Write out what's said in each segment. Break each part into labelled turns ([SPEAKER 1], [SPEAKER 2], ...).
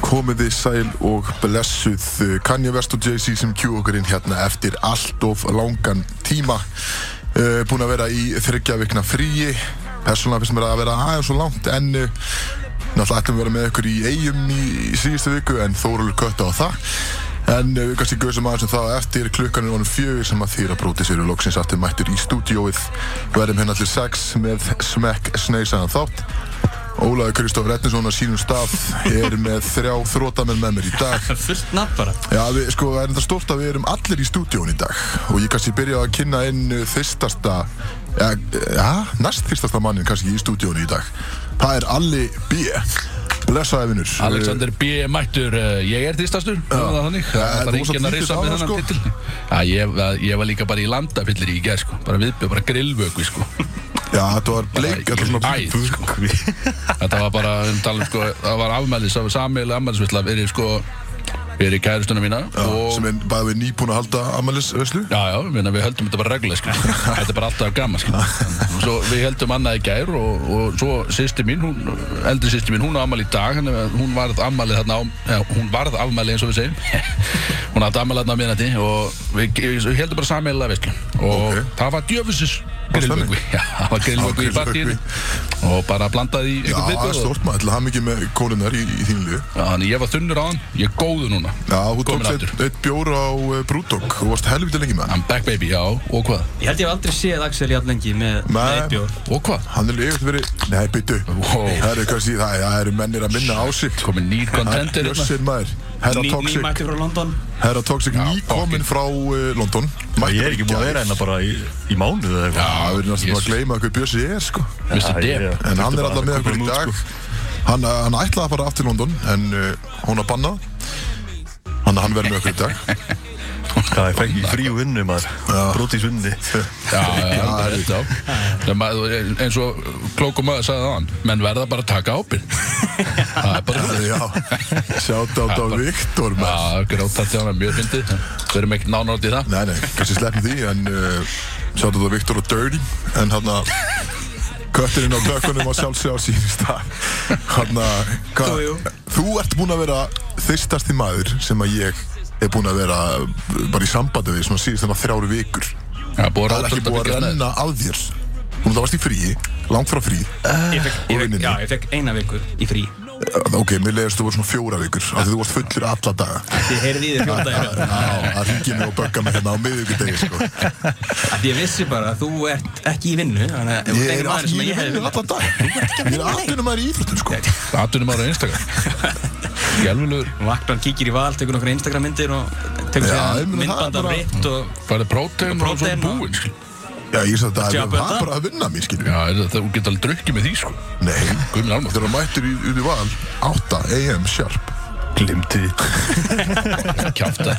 [SPEAKER 1] komiði sæl og blessuð eh, Kanye West og Jay-Z sem kjú okkur inn hérna eftir allt of langan tíma uh, búin að vera í þryggja vikna fríi persónulega finnst mér að vera aðeins og langt en uh, náttúrulega ætlum við að vera með ykkur í eigum í, í síðustu viku en Þórulur kötta á það en uh, við kannski gauðsum aðeins um það á eftir klukkan er vonum fjögur sem að þýra brótis eru loksins aftur mættur í stúdíóið verðum hérna allir sex með smekk sneisaðan þátt Ólaður Kristóf Rettinsson á sínum stað er með þrjá þrótamenn með mér í dag.
[SPEAKER 2] Það er fullt nafn bara
[SPEAKER 1] Já, við, sko, það er þetta stórt að við erum allir í stúdíón í dag og ég kannski byrja að kynna inn uh, þyrstasta, ja, ja, næst þyrstasta mannin kannski í stúdíón í dag. Það er Alli B. Blessaði vinnur.
[SPEAKER 3] Alexander B. Mættur, uh, ég er þýstastur, það var þannig.
[SPEAKER 1] Já,
[SPEAKER 3] Það
[SPEAKER 1] þú varst
[SPEAKER 3] er
[SPEAKER 1] að
[SPEAKER 3] enginn að
[SPEAKER 1] þýddist
[SPEAKER 3] rissa
[SPEAKER 1] áðan,
[SPEAKER 3] með þennan
[SPEAKER 1] sko.
[SPEAKER 3] sko. titil. Já, ég, að- ég var líka bara í landafyllir í gær, sko. Bara viðbjöð, bara grillvöku, sko.
[SPEAKER 1] Já, þetta var bleik, þetta var svona
[SPEAKER 3] Æð, sko. Þetta var bara, um talum, sko, það var afmælis, það var sammeil afmælisvillar fyrir, sko, fyrir kærustuna mína.
[SPEAKER 1] Já,
[SPEAKER 3] og,
[SPEAKER 1] sem er bara við nýbúin að halda amalisveslu.
[SPEAKER 3] Já, já, minna, við höldum þetta bara reglulega, sko. þetta er bara alltaf gaman, sko. Og Svo við höldum annað í gær og, og svo sýsti mín, hún, eldri sýsti mín, hún á afmæli í dag, hann, hún varð afmæli þarna á, ja, hún varð afmæli eins og við segjum. hún átti afmæli þarna á miðnætti og við, við, við höldum bara sammeðilega veislu. Og
[SPEAKER 1] Ok.
[SPEAKER 3] það var djöfusis
[SPEAKER 1] Var stemning?
[SPEAKER 3] grillvögvi. Já, það var grillvögvi
[SPEAKER 1] Já,
[SPEAKER 3] í partíinu og bara blandaði í
[SPEAKER 1] Já,
[SPEAKER 3] einhvern
[SPEAKER 1] það er
[SPEAKER 3] viðbjóð og-
[SPEAKER 1] stórt maður, ætla það mikið með konunnar í, í þínu liðu.
[SPEAKER 3] Já, Þannig ég var þunnur á hann, ég er góður núna.
[SPEAKER 1] Já, þú
[SPEAKER 3] Kominn
[SPEAKER 1] tókst
[SPEAKER 3] aftur.
[SPEAKER 1] eitt, eitt bjór á uh, Brúdók, þú varst helviti lengi með hann.
[SPEAKER 3] I'm back baby, já, og hvað?
[SPEAKER 2] Ég held ég hef aldrei séð Axel jafn lengi með
[SPEAKER 1] Nei.
[SPEAKER 2] með eitt bjór
[SPEAKER 3] Og hvað?
[SPEAKER 1] Hann er yfirleitt verið, nei, byttu
[SPEAKER 3] Wow.
[SPEAKER 1] Það eru kannski, það það eru mennir að minna á sig
[SPEAKER 3] Komið nýr hérna. kontentur
[SPEAKER 4] hérna.
[SPEAKER 1] Jössir maður Herra
[SPEAKER 2] Ný, ný
[SPEAKER 1] Toxic,
[SPEAKER 2] mætti frá London
[SPEAKER 1] herra Toxic
[SPEAKER 3] Já,
[SPEAKER 1] nýkominn
[SPEAKER 3] fucking.
[SPEAKER 1] frá uh, London
[SPEAKER 4] Ég er ekki búin að vera hérna bara í, í mánuð eða eitthvað.
[SPEAKER 1] Það verður
[SPEAKER 3] Jesus.
[SPEAKER 1] náttúrulega að gleyma hvað Bjössi er sko
[SPEAKER 3] Mr.
[SPEAKER 4] Já, ég-
[SPEAKER 3] Depp
[SPEAKER 1] En hann
[SPEAKER 4] þurfti
[SPEAKER 1] er
[SPEAKER 4] bara
[SPEAKER 1] alltaf
[SPEAKER 4] að
[SPEAKER 1] með
[SPEAKER 4] kúpla
[SPEAKER 1] okkur í
[SPEAKER 4] hann út,
[SPEAKER 1] dag
[SPEAKER 4] sko.
[SPEAKER 1] Hann, uh, hann ætlaði að fara aftur til London En uh, hún að banna Hann, hann verður með okkur í dag
[SPEAKER 4] Hvað, ég fekk í fríu vinnu maður. Brótis vinnu.
[SPEAKER 3] Já, já, það er þetta á En maður- eins og klókum maður sagði það hann menn verða bara að taka ábyrg það er bara
[SPEAKER 1] Já, sjátt á
[SPEAKER 3] bara-
[SPEAKER 1] Viktor maður
[SPEAKER 3] Já, gráta til hann er mjög fyndið Við erum ekkert nánátt í það
[SPEAKER 1] Nei, nei, kannski sleppum því En uh, sjátt á Viktor og Dirty En hann að Kötturinn á kökkunum á sjálfsög á sínum stað Hann að
[SPEAKER 2] Jú, jú.
[SPEAKER 1] Þú ert búinn að vera þyrstasti maður Sem að ég er búinn að vera uh, Bara í sambandi við Svona síðist þennan þrjáru vikur
[SPEAKER 3] Það er búið
[SPEAKER 1] Það er ekki búið að renna að þér Hún það varst í fríi, langt frá fríi
[SPEAKER 2] Ég fekk, ég fekk,
[SPEAKER 1] vinninni.
[SPEAKER 2] já, ég fekk eina viku í frí
[SPEAKER 1] Eh, Ok, mér leiðist þú voru svona fjóra vikur Af því þú varst fullur alla daga
[SPEAKER 2] Ég heyrði í þér fjórða í röð
[SPEAKER 1] Já, það ringið mig og bögga mig hérna á miðvikudegi sko.
[SPEAKER 2] Af því ég vissi bara að þú ert ekki í vinnu Þannig að ef þú
[SPEAKER 1] Ég er
[SPEAKER 2] tegir maður sem
[SPEAKER 1] allir
[SPEAKER 2] ég hefði
[SPEAKER 1] vinnur
[SPEAKER 2] vinnað
[SPEAKER 1] alla dag Ég er allir maður í íþróttum sko
[SPEAKER 3] Atunum maður á Instagram Gjálfulegur
[SPEAKER 2] Vaknar kíkir í val, tekur nokkra Instagram myndir og tekur
[SPEAKER 1] Já,
[SPEAKER 2] sér
[SPEAKER 1] ég meina, það
[SPEAKER 2] myndband
[SPEAKER 1] er
[SPEAKER 2] af
[SPEAKER 1] bara-
[SPEAKER 2] ritt og
[SPEAKER 3] Færði prótein og svo
[SPEAKER 2] Prótein og-
[SPEAKER 3] búinn skil.
[SPEAKER 1] Já, ég sagði þetta,
[SPEAKER 2] Tjá,
[SPEAKER 1] það er
[SPEAKER 2] betta.
[SPEAKER 1] bara að vinna mér, skiljum.
[SPEAKER 3] Já, er það- þú getur alveg drukkið með því sko
[SPEAKER 1] Nei,
[SPEAKER 3] Guð minn almátt
[SPEAKER 1] þetta er að mættur í, út í val, 8 AM sharp.
[SPEAKER 4] Glimti því.
[SPEAKER 3] Kjáfta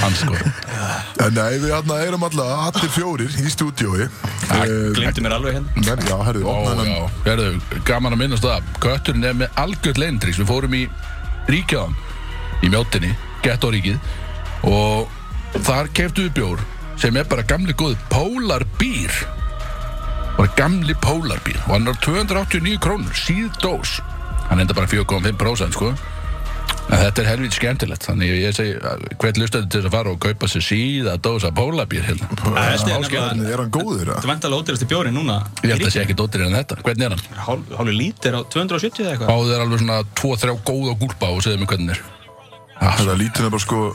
[SPEAKER 3] Hann sko
[SPEAKER 1] En nei, við hérna erum alltaf allir fjórir í stúdiói.
[SPEAKER 3] Ah,
[SPEAKER 1] Eh,
[SPEAKER 2] glemdi mér alveg hérna
[SPEAKER 1] menn- Já, herðu,
[SPEAKER 3] Ó,
[SPEAKER 1] opna hennan.
[SPEAKER 3] já, verðu, gaman að minnast það Kötturinn er með algjörð leintrís Við fórum í Ríkjaðan Í mjótinni, Ghetto ríkið Og þar keftu við bjór Sem er bara gamli góð Polar Beer Bara gamli Polar Beer Og hann er á 289 krónur, síð dós Hann enda bara 4,5% sko En þetta er helvítið skemmtilegt Þannig ég segi, hvert lustandi til þess að fara og kaupa sér síða dósa Polar Beer hérna
[SPEAKER 2] Það er sniðan
[SPEAKER 3] áskiljanlegt.
[SPEAKER 2] nefnilega
[SPEAKER 1] Er hann góður,
[SPEAKER 2] Þetta
[SPEAKER 1] að?
[SPEAKER 2] er vantalega ódýrasti bjórin núna
[SPEAKER 3] Ég held að sé ekki dóttir en þetta, hvernig er hann?
[SPEAKER 2] Hálfu lítir á 270 eða eitthvað
[SPEAKER 3] Báðu þér alveg svona 2-3 góða gúlpa og segðu mér hvernig er
[SPEAKER 1] Þetta lítur hann bara sko,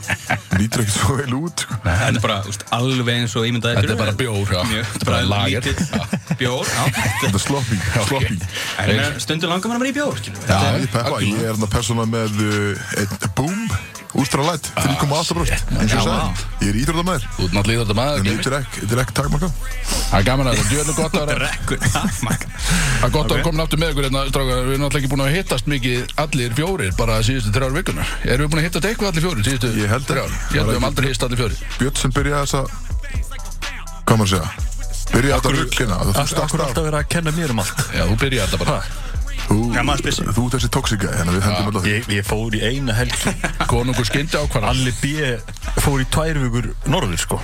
[SPEAKER 1] lítur ekki svo vel út, sko.
[SPEAKER 2] Þetta er bara úst, alveg eins og ímyndaði
[SPEAKER 3] Þetta er bara bjór, já Þetta er bara lager
[SPEAKER 2] Lítið bjór, já
[SPEAKER 1] Þetta er sloppy, sloppy.
[SPEAKER 2] En ég meina, stundum langar mann að vera í bjór skilur við.
[SPEAKER 1] Já,
[SPEAKER 3] Já,
[SPEAKER 1] ég er peppa, ég er hérna persónulega með uh, einn boom, ústralætt, 3,8 brúst. Eins og ég
[SPEAKER 3] Já,
[SPEAKER 1] sagði, ég er íþróttamæður.
[SPEAKER 3] Þú ert náttúrulega þetta maður
[SPEAKER 1] En
[SPEAKER 3] Gimmi.
[SPEAKER 1] þetta er ekki, þetta er ekki takmarka.
[SPEAKER 3] Það er gaman að það djöðlega gott að vera
[SPEAKER 2] Rekkur takmark.
[SPEAKER 3] Það er gott að koma aftur með ykkur hérna, strákar Við erum náttúrulega ekki búin að hittast mikið allir fjórir bara síðustu þrjár vikuna Erum við búin að hittast eitthvað allir fjórir síðustu
[SPEAKER 1] Ég held
[SPEAKER 3] þrjár?
[SPEAKER 1] ekki.
[SPEAKER 3] Ég held við hefum aldrei hittast allir fjórir
[SPEAKER 1] Björn sem byrjaði þess að hvað maður að segja byrjaði þetta ruggina þú
[SPEAKER 4] Akkur
[SPEAKER 1] stakst af
[SPEAKER 4] alltaf verið að kenna mér um allt.
[SPEAKER 3] Já, þú byrjar þetta bara
[SPEAKER 1] þú,
[SPEAKER 4] Já, maður spyr sig.
[SPEAKER 1] þú ert þessi tóksika hérna við hendum alltaf
[SPEAKER 4] Ég, ég fór í eina helgi.
[SPEAKER 3] Konungur skyndi á hvað
[SPEAKER 4] Alli B. fór í tvær vikur norður sko.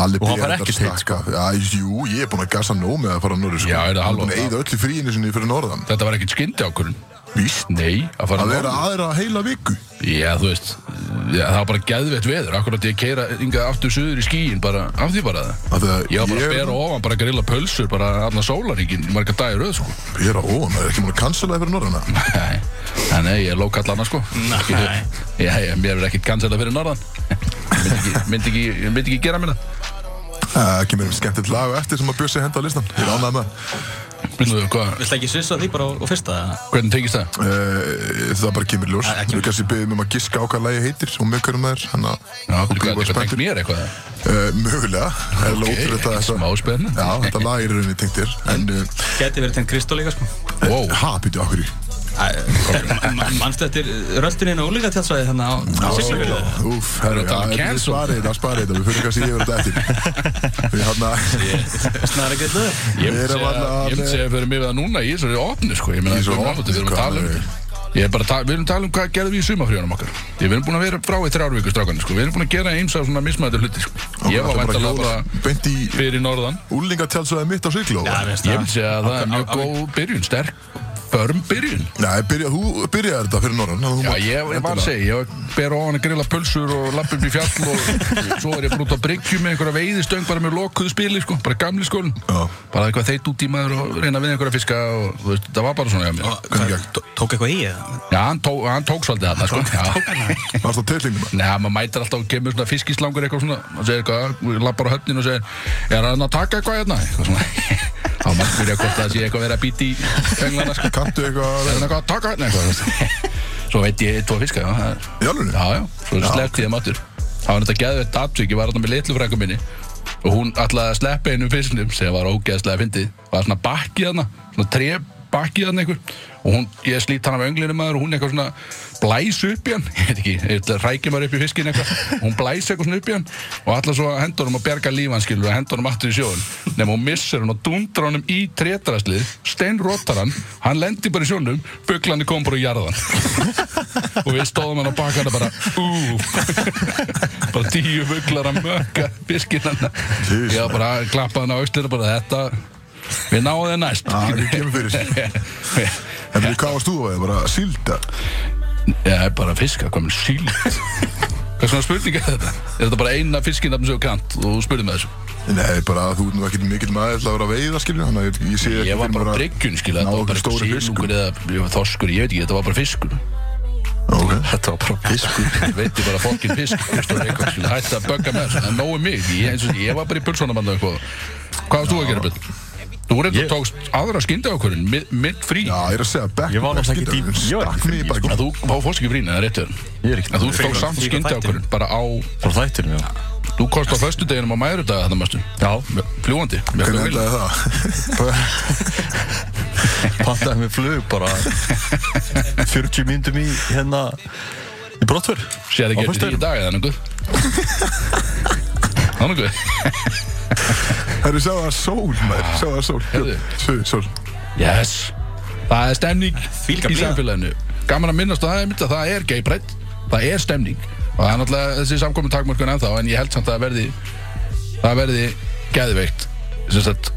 [SPEAKER 1] allir
[SPEAKER 4] Og hann
[SPEAKER 1] byrjaði
[SPEAKER 4] fær
[SPEAKER 1] þetta
[SPEAKER 4] ekkert heitt,
[SPEAKER 1] stakka já, jú ég er búinn að gasa nóg með að fara á norður sko.
[SPEAKER 3] Já, er það
[SPEAKER 1] Hann
[SPEAKER 3] hálfa?
[SPEAKER 1] búinn að eyða öllu fríinu sinni fyrir norðan
[SPEAKER 3] Þetta var ekkert skyndi ákvörðun
[SPEAKER 1] Víst.
[SPEAKER 3] Nei, að fara
[SPEAKER 1] Að
[SPEAKER 3] norður.
[SPEAKER 1] vera aðra heila viku.
[SPEAKER 3] Já, þú veist, já, það var bara geðveitt veður Akkurat ég keira ynga aftur suður í skíin bara af því bara
[SPEAKER 1] Af
[SPEAKER 3] það
[SPEAKER 1] því að
[SPEAKER 3] Ég var bara
[SPEAKER 1] ég-
[SPEAKER 3] að bera ofan, bara að grilla pölsur, bara allan sólaríkin, marga dagir auð, sko.
[SPEAKER 1] Ég er að óa, maður er ekki múin að cancela það fyrir norðana.
[SPEAKER 3] Nei, nei, nei, ég er lókall annað, sko.
[SPEAKER 2] Nei.
[SPEAKER 3] Já, já, mér er ekkert cancela fyrir norðan. Myndi ekki, myndi ekki, ég myndi ekki gera mér það.
[SPEAKER 1] Það kemur um skemmtilegt lag og eftir sem að bjössi henda á listan. Ég er ánægð með það.
[SPEAKER 3] Býttu, hvað,
[SPEAKER 2] Viltu ekki svissa því bara á, á fyrsta?
[SPEAKER 3] hvernig tengist það?
[SPEAKER 1] Eh, Það bara kemur í ljós.
[SPEAKER 2] Það- það
[SPEAKER 1] Þú
[SPEAKER 2] kemur.
[SPEAKER 1] kannski beðið mér um að giska á hvað lagi heitir og með hverjum það er. Þannig að þú
[SPEAKER 3] Já,
[SPEAKER 1] býður
[SPEAKER 3] býttu, hvað,
[SPEAKER 1] bara
[SPEAKER 3] þetta
[SPEAKER 1] spenntur.
[SPEAKER 3] tengt mér eitthvað?
[SPEAKER 1] Eh, Mögulega. Það er
[SPEAKER 3] Ok,
[SPEAKER 1] lótur þetta.
[SPEAKER 3] ekkert
[SPEAKER 1] þetta-
[SPEAKER 3] smá spennandi.
[SPEAKER 1] Já, þetta lag er í rauninni tengt þér. En, eh,
[SPEAKER 2] Gæti verið tengt Kristó líka sko
[SPEAKER 3] Wow,
[SPEAKER 1] ha, býtu, akkur í.
[SPEAKER 2] Æ, ma- Manstu eftir röldininn á úlíka tjálsvæði þannig á á Siglufirði?
[SPEAKER 1] Úf, herru,
[SPEAKER 3] að tala um
[SPEAKER 1] það er
[SPEAKER 3] cancel.
[SPEAKER 1] sparið þetta, sparið þetta. Við fyrir kannski yfir þetta eftir. Við hérna- hann
[SPEAKER 2] Snæðar ekki eitthvað
[SPEAKER 3] ég myndi
[SPEAKER 1] Við erum
[SPEAKER 3] segja,
[SPEAKER 1] allavega-
[SPEAKER 3] ég myndi segja fyrir mig við það núna í þessari opni, sko. Ég meina,
[SPEAKER 1] Í
[SPEAKER 3] við
[SPEAKER 1] þessari
[SPEAKER 3] erum
[SPEAKER 1] opnu,
[SPEAKER 3] alveg, við erum að
[SPEAKER 1] hvað
[SPEAKER 3] tala um
[SPEAKER 1] er-
[SPEAKER 3] þetta. Ég er bara að ta- við erum að tala um hvað gerðum við í sumafríðunum okkar. Ég verðum búin að vera frá í þrjárvíku strákanir, sko. Við erum búin að gera eins af svona mismæður hluti, sko. Ég var vandalega bara
[SPEAKER 1] Bent í
[SPEAKER 3] fyrir norðan.
[SPEAKER 1] úlingatjálsvæði mitt á Sigló.
[SPEAKER 2] Já, mér finnst
[SPEAKER 3] Ég myndi segja að það er
[SPEAKER 2] Á-
[SPEAKER 3] mjög
[SPEAKER 2] á-
[SPEAKER 3] góð byrjun, sterk, förm byrjun.
[SPEAKER 1] Nei, byrja, þú byrjaði þetta fyrir norðan. þannig að þú
[SPEAKER 3] Já,
[SPEAKER 1] mátt
[SPEAKER 3] ég, ég var
[SPEAKER 1] endilega-
[SPEAKER 3] að segja, ég ber ofan að grilla pulsur og lappa upp í fjall og svo er ég bara út á bryggju með einhverja veiðistöng bara með lokuðu spili, sko, bara gamli skólinn.
[SPEAKER 1] Já.
[SPEAKER 3] Bara eitthvað þeit út í maður og reyna við einhverja fiska og þú veist, það var bara svona hjá mér.
[SPEAKER 2] Og hvað, tó- Tók eitthvað í eða?
[SPEAKER 3] Já, hann, tó, hann tók svolítið þarna, sko. Já.
[SPEAKER 1] Varst á teitlingum?
[SPEAKER 3] Nei, maður mætir alltaf og kemur svona fiskislangur eitthvað svona og segir eitthvað, lappar á höfnin og segir er hann að taka eitthvað hérna? Eitthvað svona þá maður spyrja hvort það sé eitthvað verið að býti í fenglana sko.
[SPEAKER 1] Kanntu eitthvað
[SPEAKER 3] er
[SPEAKER 1] að
[SPEAKER 3] hann eitthvað að taka hérna? Eitthvað, þú veist. svo veit ég tvo fiska, já, það er-
[SPEAKER 1] Í alvöru?
[SPEAKER 3] já, já, svo sleppti ég þeim aftur það var þetta geðveitt aftök, ég var þarna með litlu frængu minni og hún ætlaði að sleppa einum fisknum sem var ógeðslega fyndið var svona bakki þarna, svona tre bakki þarna einhver og hún, ég slít hana með önglinum maður og hún eitthvað svona blæs upp í hann, ég veit ekki, eitthvað rækja maður upp í fiskin eitthvað, og hún blæs eitthvað svona upp í hann og ætla svo að henda honum að berga lífan skilur og henda honum aftur í sjóun, nema hún missir hann og dundra honum í trétraslið steinrótar hann, hann lendir bara í sjónum buglandi kom bara í jarðan og við stóðum hann á baka hann bara, ú bara tíu buglar að mögga fiskin hann
[SPEAKER 1] Jesus.
[SPEAKER 3] Já, bara klappa hann á aukslir bara þetta, við náðum þið næst
[SPEAKER 1] Já, við kemum Ah, fyrir. En við hvað varst þú að veið? Bara sílda?
[SPEAKER 3] Já, bara fiska, hvað með síld Hvað svona spurning er þetta? Er þetta bara eina fiskinafn sem þú kant og þú spurði með þessu?
[SPEAKER 1] Nei, bara að þú ert nú ekkert mikill maður til að vera að veiða, skilju, þannig að ég- ég sé ekki
[SPEAKER 3] Ég var
[SPEAKER 1] fyrir mér
[SPEAKER 3] bara
[SPEAKER 1] að-
[SPEAKER 3] bryggjun, skilja,
[SPEAKER 1] ná
[SPEAKER 3] þetta var bara
[SPEAKER 1] einhverjum
[SPEAKER 3] eitthvað
[SPEAKER 1] stórum fiskum.
[SPEAKER 3] sílungur eða ég var þorskur, ég veit ekki, þetta var bara fiskur
[SPEAKER 1] Ok.
[SPEAKER 3] Þetta var bara fiskur Ég veit ég bara fokkin fisk, þú veist, og eitthvað, skilja, hætti að bögga með þessu, það er nógu mig, ég, eins og, ég var bara í pulsónamann eitthvað Hvað varst þú að gera, Björn? Þú reyndur
[SPEAKER 4] Ég-
[SPEAKER 3] tókst aðra skynda okkur, mitt frí
[SPEAKER 1] Já, ég er að segja back
[SPEAKER 4] Ég var náttúrulega ekki
[SPEAKER 1] skilurðu,
[SPEAKER 4] í- ég var
[SPEAKER 1] Stakk
[SPEAKER 4] ekki
[SPEAKER 1] mig í
[SPEAKER 4] í-
[SPEAKER 1] bakið.
[SPEAKER 3] En þú fá fórst ekki frí, neða réttu
[SPEAKER 4] Ég er ekki-
[SPEAKER 3] En þú
[SPEAKER 4] Frí-
[SPEAKER 3] tókst samt
[SPEAKER 2] frí-
[SPEAKER 3] skynda okkur, bara á,
[SPEAKER 4] Frá þættinum, já
[SPEAKER 3] þú kost á föstudeginum á mæðurdaga þetta mestu
[SPEAKER 4] Já,
[SPEAKER 3] Fljúandi, með
[SPEAKER 1] Hvernig
[SPEAKER 3] flugvél.
[SPEAKER 1] endaði það?
[SPEAKER 4] pantaði mér flug bara 40 mínútum í hérna í brottfur
[SPEAKER 3] Sér
[SPEAKER 4] Á
[SPEAKER 3] ekki eftir því í
[SPEAKER 4] föstudaginn.
[SPEAKER 3] dag eða nokkuð Það er nokkuð
[SPEAKER 1] Herru, sjá það sól, maður, sjá það sól.
[SPEAKER 3] Heyrðu.
[SPEAKER 1] Sjöðu, sól.
[SPEAKER 3] Yes Það er stemning
[SPEAKER 2] Þvílíka
[SPEAKER 3] í
[SPEAKER 2] blíða.
[SPEAKER 3] samfélaginu Gaman að minnast að það er mitt að það er geibrætt Það er stemning Og það er náttúrulega þessi samkomin takmörkun ennþá En ég held samt að það verði Það verði geðveikt Sem sagt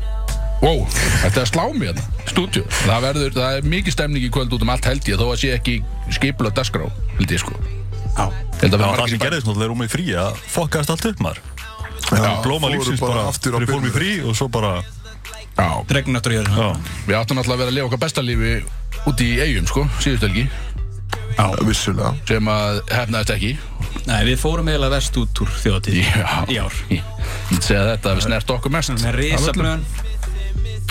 [SPEAKER 3] Wow, þetta er að slá mig hérna, stúdíu Það verður, það er mikið stemning í kvöld út um allt held ég Þó að sé ekki skipla dasgrá, held ég sko
[SPEAKER 2] Já
[SPEAKER 3] Held að
[SPEAKER 4] Það
[SPEAKER 3] vera
[SPEAKER 4] var það
[SPEAKER 3] margir
[SPEAKER 4] sem
[SPEAKER 3] í bæ-
[SPEAKER 4] gerðist náttúrulega rúmið frí að fokkaðist allt upp maður
[SPEAKER 1] Já,
[SPEAKER 4] Blóma
[SPEAKER 1] fóru
[SPEAKER 4] lífsins bara,
[SPEAKER 1] aftur á
[SPEAKER 4] við fórum í
[SPEAKER 1] byrjun.
[SPEAKER 4] frí og svo bara
[SPEAKER 3] Já,
[SPEAKER 2] Dregnin aftur í
[SPEAKER 4] Já,
[SPEAKER 2] jörðina
[SPEAKER 3] Við áttum alltaf að vera að lifa okkar besta lífi úti í eigum, sko, síðustu helgi
[SPEAKER 1] Vissulega.
[SPEAKER 3] sem að hefnaðist ekki
[SPEAKER 2] Nei, við fórum eiginlega vest út úr þjóðatíð Í ár
[SPEAKER 3] Ég myndi segja þetta að við snert okkur mest
[SPEAKER 2] Með risablöðan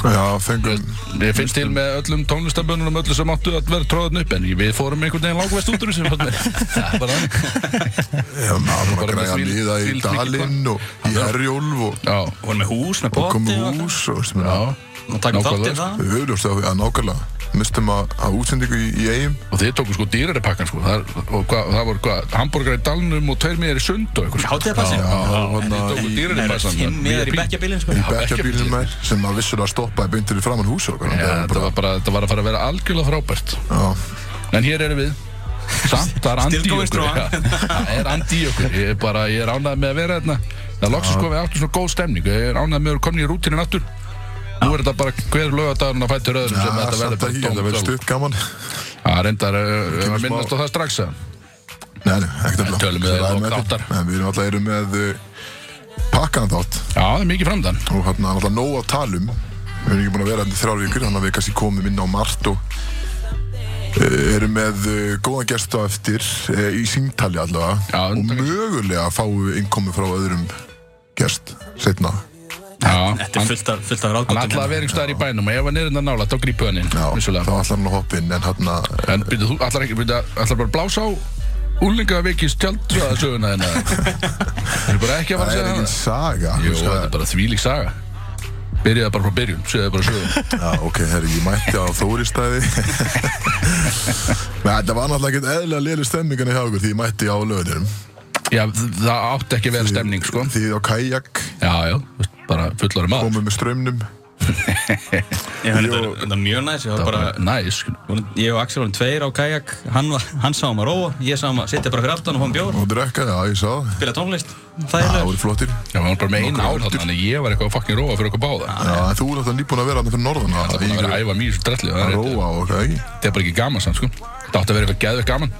[SPEAKER 1] Já, fengum...
[SPEAKER 3] Ég finnst til með öllum tónlistabönnunum öllu sem áttu að vera tróðan upp en við fórum einhvern veginn langvest út úr þessu fannst mér. Það er bara þannig
[SPEAKER 1] Já, maður var
[SPEAKER 3] Bara
[SPEAKER 1] að
[SPEAKER 3] með
[SPEAKER 1] græja
[SPEAKER 3] þvílík-
[SPEAKER 1] liða í
[SPEAKER 3] þvílík-
[SPEAKER 1] Dalinn og í Herjólf og
[SPEAKER 3] Já,
[SPEAKER 2] Vorum með hús, með
[SPEAKER 1] og komum
[SPEAKER 2] bóti
[SPEAKER 1] í hús og sem
[SPEAKER 3] já
[SPEAKER 1] er
[SPEAKER 2] Og takum
[SPEAKER 3] Nákvæmlega,
[SPEAKER 2] þáttið
[SPEAKER 3] sko.
[SPEAKER 2] það
[SPEAKER 1] Við höfðumst á því að nákvæmlega. Mistum að, að útsendingu í, í eigum.
[SPEAKER 3] Og þið tóku sko dýrari pakkan sko Það, og hva, það voru hvað, hambúrgar í dalnum og tveir miðar í sund og eitthvað sko.
[SPEAKER 2] Hátíðarpassin
[SPEAKER 1] Já,
[SPEAKER 3] Þið
[SPEAKER 1] hann að...
[SPEAKER 3] tóku
[SPEAKER 2] Nei,
[SPEAKER 3] dýrari pakkan
[SPEAKER 2] fimm miðar í
[SPEAKER 3] VIP.
[SPEAKER 2] bekkjabílinn sko
[SPEAKER 1] í bekkjabílum
[SPEAKER 3] bekkjarbílinn.
[SPEAKER 1] með sem að vissulega stoppaði beintir í framann hús okkar
[SPEAKER 3] Já, þetta var bara, þetta var að fara að vera algjörlega frábært
[SPEAKER 1] Já,
[SPEAKER 3] En hér erum við Samt, það er andi í
[SPEAKER 2] Still going
[SPEAKER 3] okkur
[SPEAKER 2] strong.
[SPEAKER 3] já. Það er andi í okkur Ég er bara, ég er ánægð með að vera þarna Það loksist sko við áttum svona góð stemning Ég er ánægð með að vera komin í rútinu aftur Nú er þetta bara hver lögadagurinn að fæta röðurum sem
[SPEAKER 1] Já,
[SPEAKER 3] þetta
[SPEAKER 1] samt ekki,
[SPEAKER 3] verður bara
[SPEAKER 1] þetta verður
[SPEAKER 3] dóm
[SPEAKER 1] stutt gaman
[SPEAKER 3] Það reyndar uh,
[SPEAKER 1] Kemur
[SPEAKER 3] að
[SPEAKER 1] smá-
[SPEAKER 3] minnast á það strax að
[SPEAKER 1] Nei, nei, ekkert alveg
[SPEAKER 3] tölum við það í lok þáttar.
[SPEAKER 1] Við erum alltaf erum með eh, pakkaðan þátt
[SPEAKER 3] Já, það er mikið framdann
[SPEAKER 1] og hann er alltaf nóg að talum við erum ekki búin að vera hérna í þrjár vikur þannig að við kannski komum inn á margt og eh, erum með eh, góðan gest á eftir eh, í síntali allavega
[SPEAKER 3] Já,
[SPEAKER 1] og
[SPEAKER 3] takk.
[SPEAKER 1] mögulega fáum við innkomi frá öðrum gest setna
[SPEAKER 3] Já,
[SPEAKER 2] Þetta er fullt af, hérna. fullt af
[SPEAKER 3] hann
[SPEAKER 2] ráðgóttum
[SPEAKER 3] ætlaði að vera einhver staðar í bænum og ef hann er hérna nála, þá grípu hann inn
[SPEAKER 1] Já, þá
[SPEAKER 3] vissulega.
[SPEAKER 1] ætlar hann að hoppa inn en hérna, hann að
[SPEAKER 3] En byrju, þú ætlar ekki, byrju, ætlar bara að blása á úlingaveikis tjaldsöðasöguna þina Það er bara ekki að fara
[SPEAKER 1] það er
[SPEAKER 3] að segja
[SPEAKER 1] ekki
[SPEAKER 3] það
[SPEAKER 1] saga
[SPEAKER 3] Jú,
[SPEAKER 1] þú veist
[SPEAKER 3] þetta
[SPEAKER 1] það-
[SPEAKER 3] er bara þvílík saga Byrjaði bara frá byrjun, segði bara sögum
[SPEAKER 1] Já, ok, herri, ég mætti á Þóristæði Men þetta var náttúrulega ekkert eðlilega lélu stemmingan í hjá okkur því ég mætti á löðunum
[SPEAKER 3] Já, þ- það átti ekki að vera stemning, sko
[SPEAKER 1] Því á kajak,
[SPEAKER 3] Já, já, þú veist, bara fullar maður
[SPEAKER 1] komum með strömmnum
[SPEAKER 2] Ég finn þetta- Þetta er mjög næs Ég var bara
[SPEAKER 3] Næs, sko.
[SPEAKER 2] Ég og Axel vorum tveir á kajak Hann, var- hann sá um að róa Ég sá um að sitja bara fyrir aftan og fá um bjór
[SPEAKER 1] og drekka, já, ég sá það
[SPEAKER 2] Spila tónlist
[SPEAKER 1] Það
[SPEAKER 2] Þægilegur
[SPEAKER 1] voru flottir
[SPEAKER 3] Já, maður bara með eina
[SPEAKER 1] Nokkur
[SPEAKER 3] ár þarna, þannig að ég var eitthvað að fucking róa fyrir okkur báða.
[SPEAKER 1] Já, en þú er alltaf nýbúin að vera hann fyrir norðan
[SPEAKER 3] Það er
[SPEAKER 1] Það
[SPEAKER 3] búin að vera að æfa mjög svo drellið, það er
[SPEAKER 1] að róa og hvað ekki
[SPEAKER 3] þetta er bara ekki gaman sann, sko. Það átti að vera eitthvað geðveikt gaman.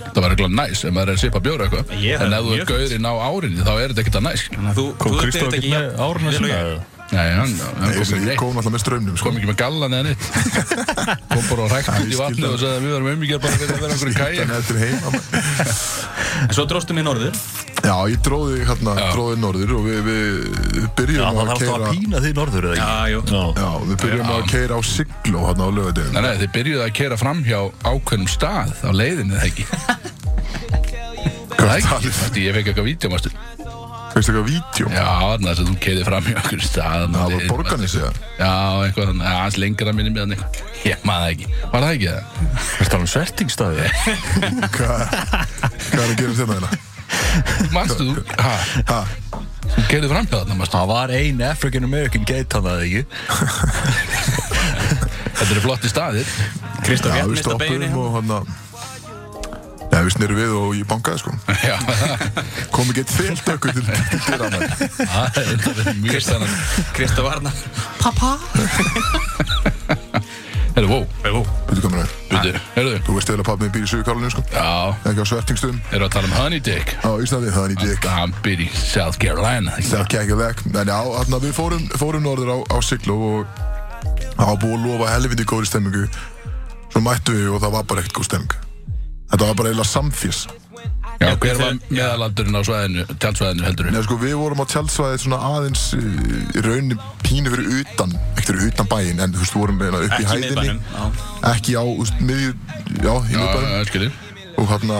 [SPEAKER 3] Það var eitthvað næs ef maður er að sipa bjóra eitthvað.
[SPEAKER 2] Ég hef
[SPEAKER 3] En ef þú er
[SPEAKER 2] mjög-
[SPEAKER 3] gaurinn á árinni, þá er þetta ekkert að sko. næs. skilur.
[SPEAKER 2] Þannig að Þú,
[SPEAKER 4] Kom
[SPEAKER 2] þú
[SPEAKER 4] Kristóf
[SPEAKER 2] upplifir
[SPEAKER 4] ekki með
[SPEAKER 2] Vel
[SPEAKER 4] áruna
[SPEAKER 2] og
[SPEAKER 4] sinna?
[SPEAKER 2] ég.
[SPEAKER 3] Nei, hann, hann
[SPEAKER 1] Nei, ég
[SPEAKER 3] kom
[SPEAKER 1] segi,
[SPEAKER 3] ekki
[SPEAKER 1] Ég
[SPEAKER 3] neitt.
[SPEAKER 1] kom alltaf með strömmnum, sko
[SPEAKER 3] Kom ekki með gallan eða neitt. Kom bara og rækt út
[SPEAKER 1] ég
[SPEAKER 3] í
[SPEAKER 1] skil
[SPEAKER 3] vatnið
[SPEAKER 1] það.
[SPEAKER 3] og sagði að við varum umíkjar bara fyrir að vera okkur í kæja.
[SPEAKER 1] Þannig eftir heima maður.
[SPEAKER 2] En svo dróstum við norður
[SPEAKER 1] Já, ég dróði hérna,
[SPEAKER 3] Já.
[SPEAKER 1] dróði norður og við, við byrjum
[SPEAKER 4] Það
[SPEAKER 1] að
[SPEAKER 4] þarf að
[SPEAKER 1] keira
[SPEAKER 4] pína þig norður eða ekki?
[SPEAKER 2] Já, jú
[SPEAKER 4] Já.
[SPEAKER 1] Já, við byrjum að keira á Sigló hérna á lögadegum
[SPEAKER 3] Nei, nei, þið byrjuðu að kera fram hjá ákveðnum stað á leiðinni, eða ekki?
[SPEAKER 1] Hvað er
[SPEAKER 3] Ekki,
[SPEAKER 1] talið?
[SPEAKER 3] Því ég fekk eitthvað vídjómastu.
[SPEAKER 1] Veistu eitthvað vídjó?
[SPEAKER 3] Já, þarna þess að þú keirði fram hjá okkur stað. þarna á
[SPEAKER 1] Það var
[SPEAKER 3] leiðinni,
[SPEAKER 1] borganis eða?
[SPEAKER 3] Já, eitthvað þannig, ja, aðeins lengra minni með hann eitthvað. Ég maður það ekki. Var það ekki það?
[SPEAKER 4] Ertu um alveg svertingstaði?
[SPEAKER 1] Hvað hvað er að gera þetta hérna?
[SPEAKER 3] Manstu þú? Ha,
[SPEAKER 1] Ha,
[SPEAKER 3] þú gerði fram hjá þarna, manstu?
[SPEAKER 4] Það var ein African American gate hann eða ekki?
[SPEAKER 3] Þetta eru flotti staðir.
[SPEAKER 2] Kristóf
[SPEAKER 1] já,
[SPEAKER 2] rétt hérna.
[SPEAKER 1] við
[SPEAKER 2] mista beginni
[SPEAKER 1] stoppum og hann að Já, við snýrum við og ég bankaði sko
[SPEAKER 3] Já,
[SPEAKER 1] Kom ekki eitt fyllt ökkur til til dyranna
[SPEAKER 3] það er þetta verið mjög stannan.
[SPEAKER 2] Kristóf Arna
[SPEAKER 3] Herru, vó,
[SPEAKER 1] Veitu hvað mér er?
[SPEAKER 3] byrju, herru,
[SPEAKER 1] Þú veist eða pappi minn býr í Suðurkálunum sko
[SPEAKER 3] já,
[SPEAKER 1] Ekki á svertingstum
[SPEAKER 3] erum við að tala um Honey Dick.
[SPEAKER 1] Á Íslandi, það er í Dick
[SPEAKER 3] Hann byrði í South Carolina. ekki?
[SPEAKER 1] Það er kækjulegt En já, hann að við fórum, fórum norður á, á Sigló og það var búið að lofa helviti góðri stemmingu Svo mættu við og það var bara ekkert góð stemming Þetta var bara eiginlega samfés
[SPEAKER 3] Já, hver var meðalandurinn á svæðinu, tjaldsvæðinu heldur við?
[SPEAKER 1] Nei, sko, við vorum á tjaldsvæðið svona aðeins uh, í rauninni pínu fyrir utan, ekkert fyrir utan bæinn, en þú veist, vorum við upp í
[SPEAKER 2] Ekki í
[SPEAKER 1] hæðinni.
[SPEAKER 2] miðbænum já.
[SPEAKER 1] Ekki á, þú veist, miðju, já, í
[SPEAKER 3] Já,
[SPEAKER 1] miðbænum.
[SPEAKER 3] já, skilji.
[SPEAKER 1] Og hérna,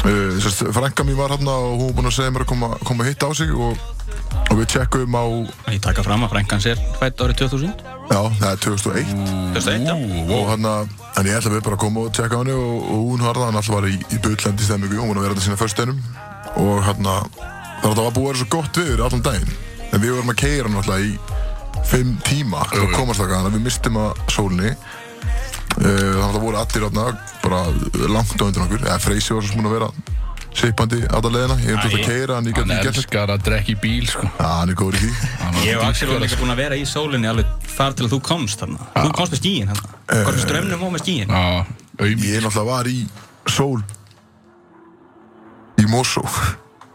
[SPEAKER 1] uh, sérst, frænka mín var hérna og hún var búin að segja mér að koma, koma að hitta á sig og, og við tjekkum á,
[SPEAKER 2] Ég taka fram að frænkan sér fætt árið 2000
[SPEAKER 1] já, það er 2001.
[SPEAKER 2] Fyrst eitt, já
[SPEAKER 1] Og
[SPEAKER 3] Ú, vó,
[SPEAKER 1] hérna, en ég ætla við bara að koma og tjekka á henni og, og hún harða, hann alltaf var í, í bullandi stemmingu, hún var að vera þetta sína föstudinum. Og hérna, þannig að það var búið að vera svo gott viður allan daginn. En við vorum að keira náttúrulega í fimm tíma til að komast þakka þannig að við mistum að sólni Eh, þannig að það voru allir átna bara langt á undan okkur eða Freysi var svo sem búinn að vera seipandi alla leðina, ég hef þurft að keira en ég gæti
[SPEAKER 3] hann
[SPEAKER 1] ekki gert þetta
[SPEAKER 3] elskar að drekka í bíl, sko.
[SPEAKER 1] Já, hann er góður í því
[SPEAKER 3] Hann
[SPEAKER 2] Ég og
[SPEAKER 3] var
[SPEAKER 2] Axel vorum
[SPEAKER 3] dýrkar,
[SPEAKER 2] líka
[SPEAKER 3] sko.
[SPEAKER 2] búin að vera í sólinni alveg þar til að þú komst þarna Þú komst með skíin þarna Komst með strömmnum og með skíin
[SPEAKER 3] Já, auðvitað.
[SPEAKER 1] Ég náttúrulega var í sól í Mosó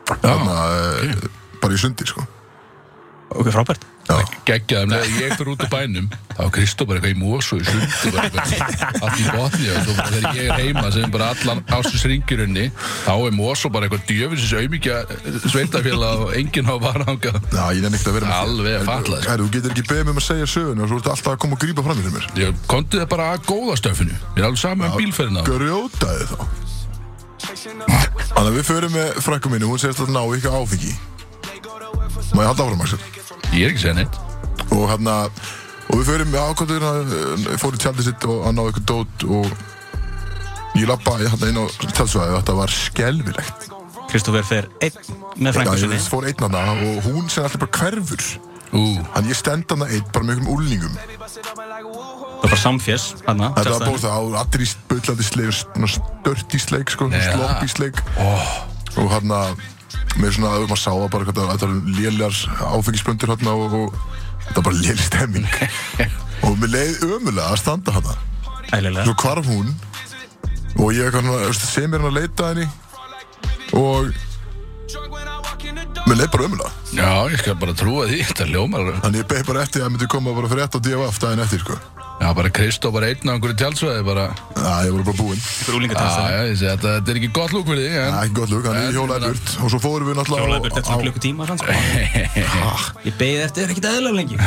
[SPEAKER 1] þannig að eh, bara í sundi sko
[SPEAKER 2] Ok, frábært
[SPEAKER 1] Já,
[SPEAKER 3] geggjaðum um þegar ég fyrir út á bænum þá er Kristó bara eitthvað í mosu í sundi bara eitthvað allt í botni og svo bara þegar ég er heima sem bara allan ásins ringirinni þá er mosu bara eitthvað djöfisins auðmíkja sveitafélag og enginn á varanga
[SPEAKER 1] Já, ég nenni ekkert að vera með
[SPEAKER 3] Alveg
[SPEAKER 1] En-
[SPEAKER 3] fatlað, sko.
[SPEAKER 1] Herru, Þú getur ekki beðið mig um að segja söguna og svo ertu alltaf að koma og grípa fram í fyrir mér
[SPEAKER 3] ég konti það bara að góða stöfinu mér er alveg sama um bílferðina
[SPEAKER 1] Grjótaði þá Þannig að við förum með frækku minni Hún segist að ná eitthvað áfengi Má ég halda áfram Axel
[SPEAKER 3] ég er ekki að segja neitt
[SPEAKER 1] Og hérna Og við förum með ákvæmdur Fór í tjaldið sitt og að ná eitthvað dót Og ég lappa ég hérna inn á tjaldsvæði Þetta var skelfilegt
[SPEAKER 2] Kristófer fer einn með
[SPEAKER 1] Já,
[SPEAKER 2] frænkan
[SPEAKER 1] ég
[SPEAKER 2] sinni
[SPEAKER 1] veist fór einn hana Og hún sem alltaf bara hverfur
[SPEAKER 3] ú,
[SPEAKER 1] Þannig ég stend hana einn bara með einhverjum úlningum
[SPEAKER 2] Það var bara samfjess þarna
[SPEAKER 1] Þetta var
[SPEAKER 2] sjálfstæðan.
[SPEAKER 1] búið það á allir í spullandi sleik Stört í sleik, sko,
[SPEAKER 3] Nei, það.
[SPEAKER 1] slopp í sleik Og hann að Með svona að maður sá það bara hvað það- Þetta var lélegar áfengisblöndur hann og, og þetta var bara léleg stemming Og mér leið ömulega að standa hann
[SPEAKER 2] Ælilega
[SPEAKER 1] Svo hvarf hún og ég eitthvað svona, þú veist, sem er hann að leita að henni og mér leið bara ömulega
[SPEAKER 3] Já, ég skal bara trúa því, þetta ljómar alveg.
[SPEAKER 1] þannig ég beði bara eftir að það myndi koma bara frétt á DFF daginn eftir sko.
[SPEAKER 3] Já, bara Kristó bara einn á einhverju tjálsvæði bara
[SPEAKER 1] Já, ég var bara búinn
[SPEAKER 3] Já,
[SPEAKER 2] Brúlingatassa
[SPEAKER 3] já, ég segi þetta, þetta er ekki gott lúk fyrir þig en...
[SPEAKER 1] Það er ekki gott lukk, þannig ég hjólaði burt og svo fórum við náttúrulega
[SPEAKER 2] Hjólaði burt eftir svona klukku tíma sann, sko. Ég beigði eftir ekkert eðlilega lengi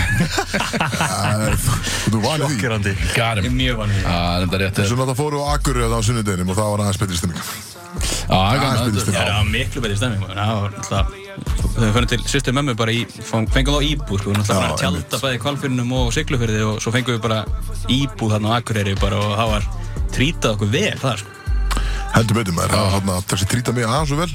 [SPEAKER 2] Ég
[SPEAKER 1] klukk Þú vanið því
[SPEAKER 4] Gerandi
[SPEAKER 3] Got
[SPEAKER 2] er
[SPEAKER 3] him
[SPEAKER 2] mjög vann við
[SPEAKER 3] Já, þetta er rétt
[SPEAKER 1] Svo náttúrulega fórum við á Akureyri þarna á sunnudeginum og það var aðeins betri stemming
[SPEAKER 3] Já, gaman,
[SPEAKER 1] spilist
[SPEAKER 3] þetta
[SPEAKER 2] Það
[SPEAKER 3] er-
[SPEAKER 2] var miklu betri stemming maður. Það var náttúrulega Þau fannum til sýstu mömmu bara í fang- Fengum þá íbúð sko, náttúrulega
[SPEAKER 1] Já,
[SPEAKER 2] bara að tjálta bæði kvalfyrinum og siglufyrði og svo fengum við bara íbúð þarna á Akureyri bara og það var trýtað okkur vel það sko
[SPEAKER 1] Heldur betur maður, það var þarna þessi trýta mig aðeins og vel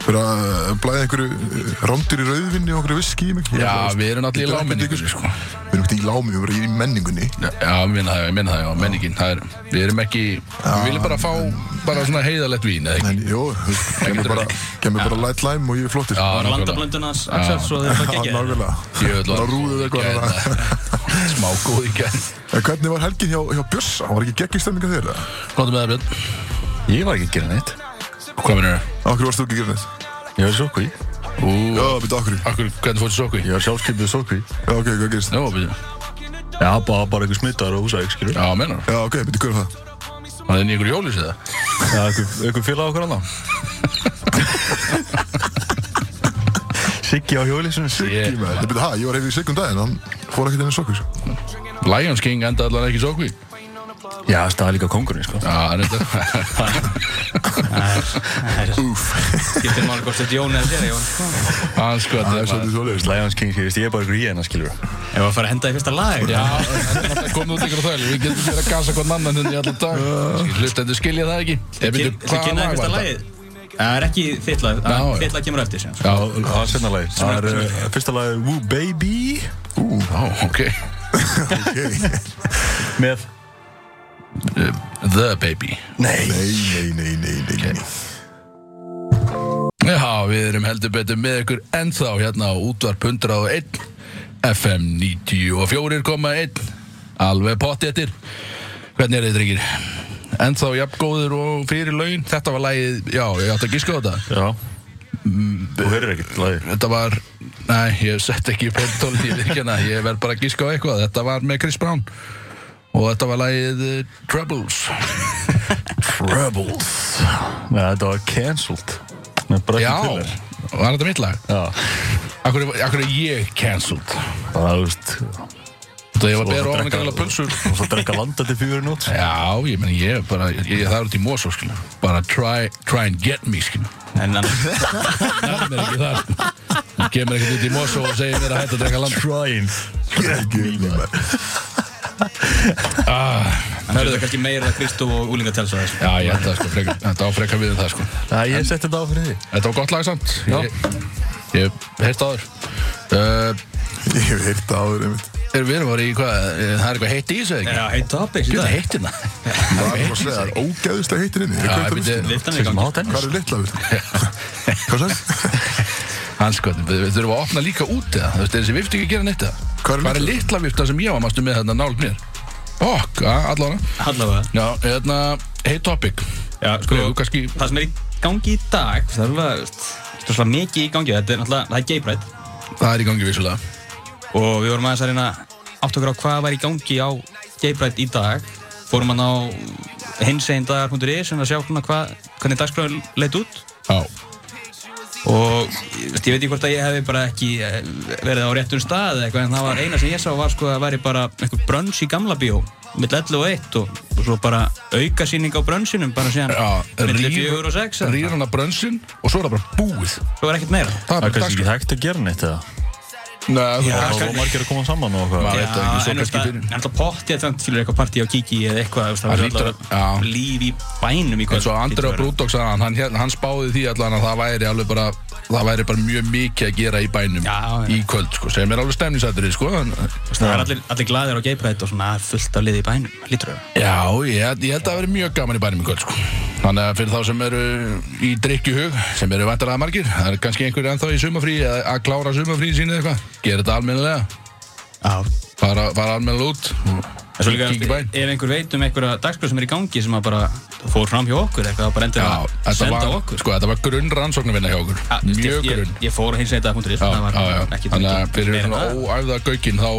[SPEAKER 1] fyrir að eh, blæða einhverju rámdur í rauðvinni og okkur viski í mig
[SPEAKER 3] Já, við erum
[SPEAKER 1] Ég
[SPEAKER 3] allir í
[SPEAKER 1] drekk þetta
[SPEAKER 3] láminningu
[SPEAKER 1] ykkur,
[SPEAKER 3] sko.
[SPEAKER 1] sko. Við erum ekki í lámi, við erum í menningunni
[SPEAKER 3] Já, ég minna það, ég minna það, já, menningin það er, Við erum ekki, við viljum bara fá bara svona heiðalegt vín eða ekki
[SPEAKER 1] En jú, þú veist, kemur bara, kemur bara light lime og ég er flottir
[SPEAKER 3] Já,
[SPEAKER 2] Það var
[SPEAKER 3] nákvæmlega.
[SPEAKER 2] landablöndunars Axels og þeir
[SPEAKER 1] Já,
[SPEAKER 2] það gekk
[SPEAKER 1] nákvæmlega
[SPEAKER 3] Ég vil
[SPEAKER 1] Það rúðuð eitthvað hana.
[SPEAKER 3] Smá góð í gæð
[SPEAKER 1] En hvernig var helgin hjá, hjá Bjössa? Var ekki geggjum stemminga þér? eða?
[SPEAKER 3] Hvað er með það, Björn?
[SPEAKER 4] Ég var ekki að gera neitt
[SPEAKER 3] Hvað minnur það?
[SPEAKER 1] Af hverju varst þú ekki að gera neitt?
[SPEAKER 4] Ég var í sókví
[SPEAKER 3] Ú,
[SPEAKER 1] Já, betur okkur
[SPEAKER 3] akkur, hvernig fórstu sokku?
[SPEAKER 4] Ég var sjálfskipið sókví
[SPEAKER 1] Já, ok, hvað gerist?
[SPEAKER 3] Já, betur
[SPEAKER 4] Já, bara, bara einhver smittar og húsæk, skilur
[SPEAKER 3] Já, mennar,
[SPEAKER 1] Já, ok, betur hvað er það?
[SPEAKER 3] hann er inn í ykkur jólís eða?
[SPEAKER 4] Já, einhver, einhver félag okkur annað Siggi á hjólisunum
[SPEAKER 1] Ég
[SPEAKER 3] Ég,
[SPEAKER 1] maður, betur, ha, ég var hefðið í sekund daginn, hann fór ekkert inn í sokkur
[SPEAKER 3] Lions King enda allan ekki sokku Já,
[SPEAKER 4] Já, staða líka kongurinn, sko
[SPEAKER 3] hann er þetta
[SPEAKER 1] Úf,
[SPEAKER 2] Skiptir máli hvort þetta er Jón eða þér Jón
[SPEAKER 3] Hann sko,
[SPEAKER 1] það
[SPEAKER 3] þetta
[SPEAKER 1] er
[SPEAKER 3] er
[SPEAKER 1] svolítið svolítið
[SPEAKER 4] Lions King, ég veist, ég er bara ykkur í hennar, skilur
[SPEAKER 2] Ég var að fara að henda í fyrsta lag
[SPEAKER 3] Já, komum út ykkur á þvæl, við getum verið að gasa hvern annan hérna í allan dag Hlustendur skilja það ekki Ég
[SPEAKER 2] Kyn-
[SPEAKER 3] byrju,
[SPEAKER 2] Viltu
[SPEAKER 3] hvað
[SPEAKER 2] kynna
[SPEAKER 3] lag
[SPEAKER 2] þér
[SPEAKER 3] var
[SPEAKER 2] fyrsta
[SPEAKER 3] þetta?
[SPEAKER 2] lagið? Það er ekki þitt lag,
[SPEAKER 3] Já, já.
[SPEAKER 2] þitt lag kemur eftir sko. sem
[SPEAKER 3] Já, eh,
[SPEAKER 4] Það er setna lagi Það er uh, fyrsta lagi Woo Baby
[SPEAKER 3] já, ok
[SPEAKER 1] Ok,
[SPEAKER 4] Með
[SPEAKER 3] Uh, The Baby
[SPEAKER 4] Nei
[SPEAKER 1] nei, nei, nei, nei, nei, nei.
[SPEAKER 3] Já, við erum heldur betur með ykkur ennþá hérna á útvarp 101 FM 94,1 Alveg pottettir Hvernig er þið, drengir? Ennþá jafngóður og fyrir laun Þetta var lagið, já, ég átti að gíska á þetta
[SPEAKER 4] Já Þú heyrir ekkert lagi
[SPEAKER 3] Þetta var, næ, ég sett ekki í pentólið í virkjana hérna. Ég verð bara að gíska á eitthvað Þetta var með Chris Brown Og þetta var lagið eh, Troubles Troubles
[SPEAKER 4] Nei, þetta var cancelled Nei, bara
[SPEAKER 3] Já,
[SPEAKER 4] ekki til þér
[SPEAKER 3] var þetta mitt lag?
[SPEAKER 4] Já
[SPEAKER 3] Akkur, akkur er ég cancelled?
[SPEAKER 4] Bara, þú veist
[SPEAKER 3] Það ég var beður ofan
[SPEAKER 4] Og
[SPEAKER 3] að
[SPEAKER 4] drekka-
[SPEAKER 3] gæla pulsur
[SPEAKER 4] Og svo drekka landa til fjögur nót
[SPEAKER 3] Já, ég meni ég bara, ég, það er út í mosa skilur Bara try, try and get me skilur
[SPEAKER 2] En annars,
[SPEAKER 3] Það er mér ekki þar Hún kemur ekkert út í mosa og segir mér að hætta að drekka land
[SPEAKER 4] Trying
[SPEAKER 1] Ekki, nei, maður.
[SPEAKER 2] annars er þetta kannski meira Kristó og Úlinga telsa þessu
[SPEAKER 3] Já, ég held það sko, frekar, þetta á frekar við en það sko
[SPEAKER 4] Já, ég setti þetta á fyrir því
[SPEAKER 3] Þetta var gott lag samt Ég, ég heist áður uh,
[SPEAKER 1] Ég hef heyrt það áður, einmitt
[SPEAKER 3] er, Við erum voru í hvað, eh, það er eitthvað heitt í þessu eða ekki?
[SPEAKER 2] Já, heit topics í
[SPEAKER 3] Gjöðu
[SPEAKER 2] dag
[SPEAKER 3] heitt hérna
[SPEAKER 1] Það er bara að segja, það er ógæðislega heitir inni Ég
[SPEAKER 3] Já,
[SPEAKER 1] kaupi það
[SPEAKER 3] ég
[SPEAKER 1] vissi.
[SPEAKER 3] myndi-
[SPEAKER 2] Liftan er í gangi
[SPEAKER 4] Má tennis
[SPEAKER 1] Hvað er litla, veist? Hvað sagði?
[SPEAKER 3] Hans sko, við, við þurfum að opna líka út eða Þú veist, er þessi vifti ekki að gera neitt eða
[SPEAKER 1] Hvar er
[SPEAKER 3] Hvað er litla vifta sem ég var mástu með þarna nált mér? Okk, allavega
[SPEAKER 2] Allavega
[SPEAKER 3] Já, hérna, hey topic
[SPEAKER 2] Já, sko,
[SPEAKER 3] Þú kannski
[SPEAKER 2] það sem er í gangi í dag Það er alveg, veist, það er alveg mikið í gangi Þetta er náttúrulega, það er gay pride
[SPEAKER 3] Það er í gangi vissulega
[SPEAKER 2] Og við vorum aðeins að reyna átt okkur á hvað var í gangi á gay pride í dag Fórum hann á hinsegindagar.is En um að sjá svona hvað, hvernig dagskráin leit út
[SPEAKER 3] Já
[SPEAKER 2] og ég veist, ég veit ekki hvort að ég hefði bara ekki eh, verið á réttum stað eða eitthvað en það var eina sem ég sá var sko að væri bara einhver brönns í gamla bíó mill 11 og 1 og, og svo bara aukasýning á brönnsinum bara síðan milli 4 og 6 eða
[SPEAKER 3] Rýr hann að brönsin og svo er það bara búið
[SPEAKER 2] það var ekkert meira
[SPEAKER 3] Það er
[SPEAKER 4] Það er
[SPEAKER 3] bara
[SPEAKER 4] kannski ekki
[SPEAKER 3] dagskrá
[SPEAKER 4] hægt að gera neitt eða
[SPEAKER 3] Nei, þú
[SPEAKER 2] Já,
[SPEAKER 4] Það
[SPEAKER 2] kannski-
[SPEAKER 4] var margir að koma saman og
[SPEAKER 3] Já,
[SPEAKER 4] hvað
[SPEAKER 3] veit það ekki, svo
[SPEAKER 2] en
[SPEAKER 3] kannski
[SPEAKER 2] það
[SPEAKER 3] fyrir-
[SPEAKER 2] er alltaf pottið að það fylgur eitthvað partí á kiki eða eitthvað þú veist,
[SPEAKER 3] Það
[SPEAKER 2] það
[SPEAKER 3] hlýtur
[SPEAKER 2] var
[SPEAKER 3] að-
[SPEAKER 2] alltaf
[SPEAKER 3] já.
[SPEAKER 2] líf í bænum í
[SPEAKER 3] En
[SPEAKER 2] kvöld
[SPEAKER 3] svo Andrea Brúdók sagði hann, hann, hélt- hann spáði því allan að það væri alveg bara það væri bara mjög mikið að gera í bænum
[SPEAKER 2] Já, já.
[SPEAKER 3] í kvöld, sko, sem er alveg stemningsættir sko, en,
[SPEAKER 2] það er allir, allir glæðir á geiprætt og svona það er fullt af liði í bænum lítur að
[SPEAKER 3] Já, ég, held- ég held að það veri mjög gaman í bænum í kvöld, sko Þannig að fyrir þá sem eru í drikkjuhug, sem eru vantar að margir það er kannski einhverju ennþá í sumafrí eða að klára sumafrí sín eða eitthvað, gera þetta almennilega
[SPEAKER 2] það
[SPEAKER 3] fara, fara almenna út
[SPEAKER 2] En svo líka,
[SPEAKER 3] Kíkja í bæinn.
[SPEAKER 2] ef einhver veit um einhverja dagskröð sem er í gangi sem að bara fór fram hjá okkur eitthvað, það bara endur
[SPEAKER 3] Já,
[SPEAKER 2] að
[SPEAKER 3] þetta
[SPEAKER 2] senda
[SPEAKER 3] var,
[SPEAKER 2] okkur.
[SPEAKER 3] sko, þetta var grunn rannsóknarvinna hjá okkur
[SPEAKER 2] Ja, þú veist,
[SPEAKER 3] Mjög
[SPEAKER 2] ég-
[SPEAKER 3] grunn
[SPEAKER 2] Ég, ég fór að hinsa þetta punktur í,
[SPEAKER 3] Já,
[SPEAKER 2] það var
[SPEAKER 3] já, já.
[SPEAKER 2] ekki
[SPEAKER 3] Þannig að
[SPEAKER 2] ekki
[SPEAKER 3] fyrir
[SPEAKER 2] meira en
[SPEAKER 3] svona
[SPEAKER 2] það.
[SPEAKER 3] óæfða gaukinn þá,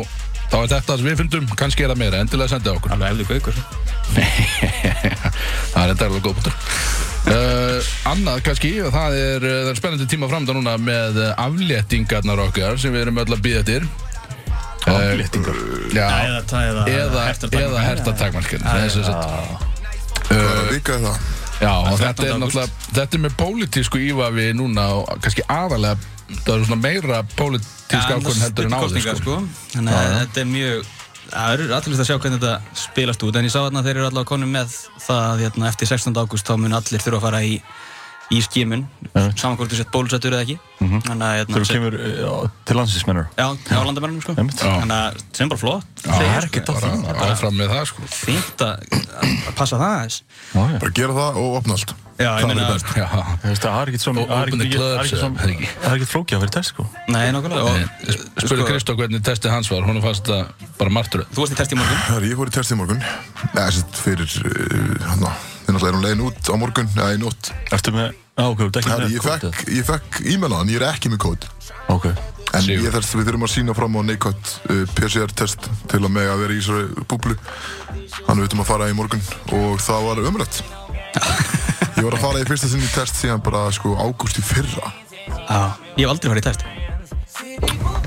[SPEAKER 3] þá er þetta sem við fundum, kannski er það meira, endilega sendið okkur
[SPEAKER 2] Alveg efðu gaukur.
[SPEAKER 3] Það er þetta alveg góð punktur Uh, annað kannski, og það er, uh, það er spennandi tíma framdá núna með uh, afléttingarnar okkar sem við erum öll að býða eftir Eh,
[SPEAKER 4] Afléttingar.
[SPEAKER 3] Já,
[SPEAKER 2] Eða, eða,
[SPEAKER 3] eða, eða hertartakmarkinn Það er sem sagt
[SPEAKER 1] Hvaða vika er það?
[SPEAKER 3] Já, og
[SPEAKER 2] Það er
[SPEAKER 3] þetta er
[SPEAKER 2] 13.
[SPEAKER 3] náttúrulega þetta er með pólitísku ívafi núna og kannski aðalega það eru svona meira pólitísk ákvörðin heldur en áður sko.
[SPEAKER 2] sko. Þannig að þetta er mjög Það eru aðlust að sjá hvernig þetta spilast út en ég sá þarna að þeir eru allavega konum með það að hérna, eftir 16. ágúst þá mun allir þurfa að fara í, í skimun saman hvort þú sett bólusettur eða ekki
[SPEAKER 3] Mhm.
[SPEAKER 2] Þannig að hérna,
[SPEAKER 4] Þegar þú
[SPEAKER 2] set-
[SPEAKER 4] kemur eh, já, til landsins
[SPEAKER 2] Já, já, landamærunum sko
[SPEAKER 4] Einmitt. Já.
[SPEAKER 2] Þannig að sem bara flott
[SPEAKER 3] Já,
[SPEAKER 2] segir,
[SPEAKER 3] það er
[SPEAKER 2] sko.
[SPEAKER 3] ekkert að
[SPEAKER 2] Bara-
[SPEAKER 3] því
[SPEAKER 2] bara
[SPEAKER 3] áfram með það sko
[SPEAKER 2] Fínt að að passa það aðeins
[SPEAKER 4] Já, já.
[SPEAKER 1] Bara gera það og opna allt
[SPEAKER 2] Já, ég
[SPEAKER 1] Það
[SPEAKER 2] meina
[SPEAKER 1] verður best.
[SPEAKER 3] Já,
[SPEAKER 4] Þú veist, Það er ekkert svo
[SPEAKER 3] Og
[SPEAKER 4] það er
[SPEAKER 3] open the
[SPEAKER 4] ekkert- það er
[SPEAKER 3] clubs,
[SPEAKER 4] ekkert svo-
[SPEAKER 3] eða ekki?
[SPEAKER 4] það er ekkert flókið að vera í test sko
[SPEAKER 2] Nei, nákvæmlega og,
[SPEAKER 3] Ég spurði
[SPEAKER 2] sko,
[SPEAKER 3] Eh, Kristó hvernig testið hans var, hún fannst það bara martur
[SPEAKER 2] Þú varst í test í morgun
[SPEAKER 1] Herri, ég fór í test í morgun Nei, sett fyrir uh, hann Þið náttúrulega erum leiðin út á morgun Eða í nótt
[SPEAKER 4] Ertu með, á ok, þú ert ekki
[SPEAKER 1] Herri,
[SPEAKER 4] með
[SPEAKER 1] ég
[SPEAKER 4] kort,
[SPEAKER 1] fekk, ég fekk e-mailaðan Ég er ekki með kód
[SPEAKER 4] eða? Ok,
[SPEAKER 1] En
[SPEAKER 3] Sigur.
[SPEAKER 1] ég þarf, við þurfum að sína fram á neikvæmt uh, PCR-test til að með að vera í þessari búblu. Þannig við þurfum að fara í morgun og það var umrætt. Ég var að fara í fyrsta sinni í test síðan bara sko ágúst í fyrra.
[SPEAKER 2] Já, ég hef aldrei farið í test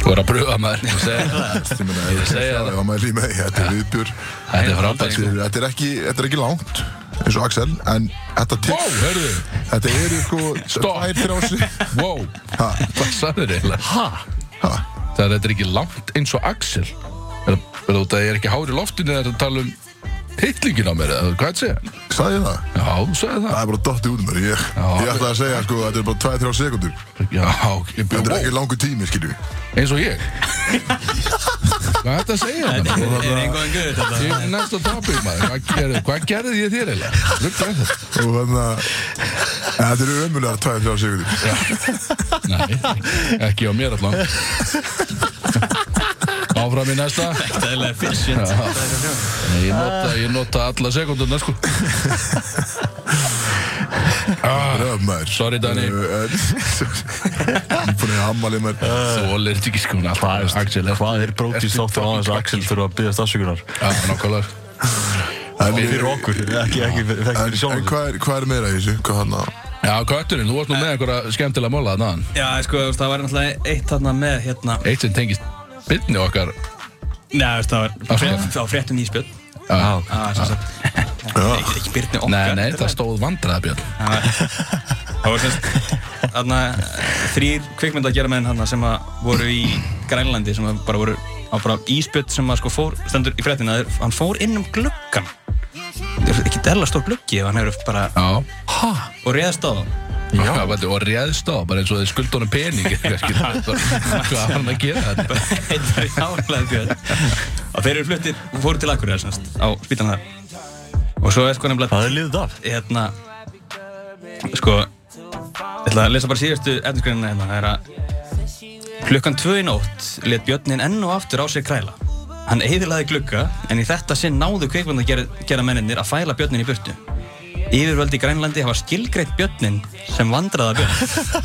[SPEAKER 3] Þú er að pröfa maður Ég segi það.
[SPEAKER 1] Ég meina, ég
[SPEAKER 3] segi
[SPEAKER 1] það. Já, maður líma því, þetta er viðbjör.
[SPEAKER 3] Þetta er frábært
[SPEAKER 1] Þetta er- þetta er ekki, þetta er ekki langt, eins og Axel, en þetta
[SPEAKER 3] Wow,
[SPEAKER 1] tips,
[SPEAKER 3] hörðu,
[SPEAKER 1] þetta eru sko
[SPEAKER 3] Stopp.
[SPEAKER 1] tvær þrjási.
[SPEAKER 3] wow
[SPEAKER 1] Ha,
[SPEAKER 3] Hvað sagður eiginlega? Ha?
[SPEAKER 1] ha,
[SPEAKER 3] Það er þetta er ekki langt eins og Axel Er það út að ég er ekki hár í loftinu þegar það tala um hitlingin á mér, eða hvað þetta segja?
[SPEAKER 1] sagði ég það?
[SPEAKER 3] Já, þú sagði það
[SPEAKER 1] Það er bara dotti út um mér, ég, ég ætlaði að segja sko, þetta er bara tvær þrjá sekundur.
[SPEAKER 3] Já, ég
[SPEAKER 1] Þetta er
[SPEAKER 3] byrja
[SPEAKER 1] ekki langur tími, skiljum.
[SPEAKER 3] eins og ég Hvað er þetta að segja
[SPEAKER 2] Þetta
[SPEAKER 3] maður?
[SPEAKER 2] er- er einhvern guð þetta
[SPEAKER 3] Ég er næsta tapir maður Hvað gerði, hvað gerði ég þér eiginlega? Rugga er þetta?
[SPEAKER 1] og þannig að þetta eru ömulegar 2-3 sekundir
[SPEAKER 3] Nei, ekki á mér allan Áfram í næsta
[SPEAKER 2] Það er leið efficient
[SPEAKER 3] Ég nota, ég nota alla sekundurna sko ah,
[SPEAKER 1] röf maður
[SPEAKER 3] Sorry, Dani.
[SPEAKER 1] búin að ammali maður
[SPEAKER 3] Þú olir þetta ekki sko hún er
[SPEAKER 4] Hvað
[SPEAKER 3] alltaf-
[SPEAKER 4] veist,
[SPEAKER 3] Axel er
[SPEAKER 4] hvað er brótist þáttur á þess að Axel þurfa að byggja stafsökunar?
[SPEAKER 3] Já, nákvæmlega
[SPEAKER 1] en,
[SPEAKER 4] Fyrir
[SPEAKER 1] en,
[SPEAKER 4] okkur, ekki, ekki fyrir
[SPEAKER 1] en,
[SPEAKER 4] sjálfum.
[SPEAKER 1] hvað, er, hvað er meira í þessu? hvað hann að
[SPEAKER 3] Já, kötturinn, þú varst nú með einhverja skemmtilega mála þarna áðan.
[SPEAKER 2] Já, sko, þú veist, það var náttúrulega eitt þarna með hérna
[SPEAKER 3] Eitt sem tengist byrni okkar
[SPEAKER 2] Nei, þú veist, það var
[SPEAKER 3] Afsakið.
[SPEAKER 2] frétt- það var fréttum íspjöld
[SPEAKER 3] Já,
[SPEAKER 2] Það sem sagt Ekki, ekki byrni okkar
[SPEAKER 3] Nei, nei, það stóð vandræðabjörn
[SPEAKER 2] Það var- það var semst þarna eh, þrýr kvikmyndageramenn hana sem að voru í Grænlandi sem að bara voru á bara íspjöld sem að sko fór, stendur í fréttina að hann fór inn um gluggan Það er ekki della stór gluggi ef hann hefur bara
[SPEAKER 3] Já,
[SPEAKER 2] og réðst á það
[SPEAKER 3] já. Væntu, og réðst á, bara eins og þið skulda honum pening eitthvað, skilur við, bara, Hvað var hann að gera þetta?
[SPEAKER 2] Þetta er jálega fjöld og þeir eru fluttir, fóru til Akureyra semst á spítan þar og svo er sko nefnilega
[SPEAKER 4] Það er liðið af.
[SPEAKER 2] hérna sko ég ætla að lesa bara síðustu efnisgreinina hérna það er að klukkan tvö í nótt let Björnin enn og aftur á sig kræla hann eiðilaði glugga en í þetta sinn náðu kveikmynda gera, gera menninir að fæla Björnin í burtu yfirvöldi í Grænlandi hafa skilgreitt Björnin sem vandraða Björn
[SPEAKER 3] Haha,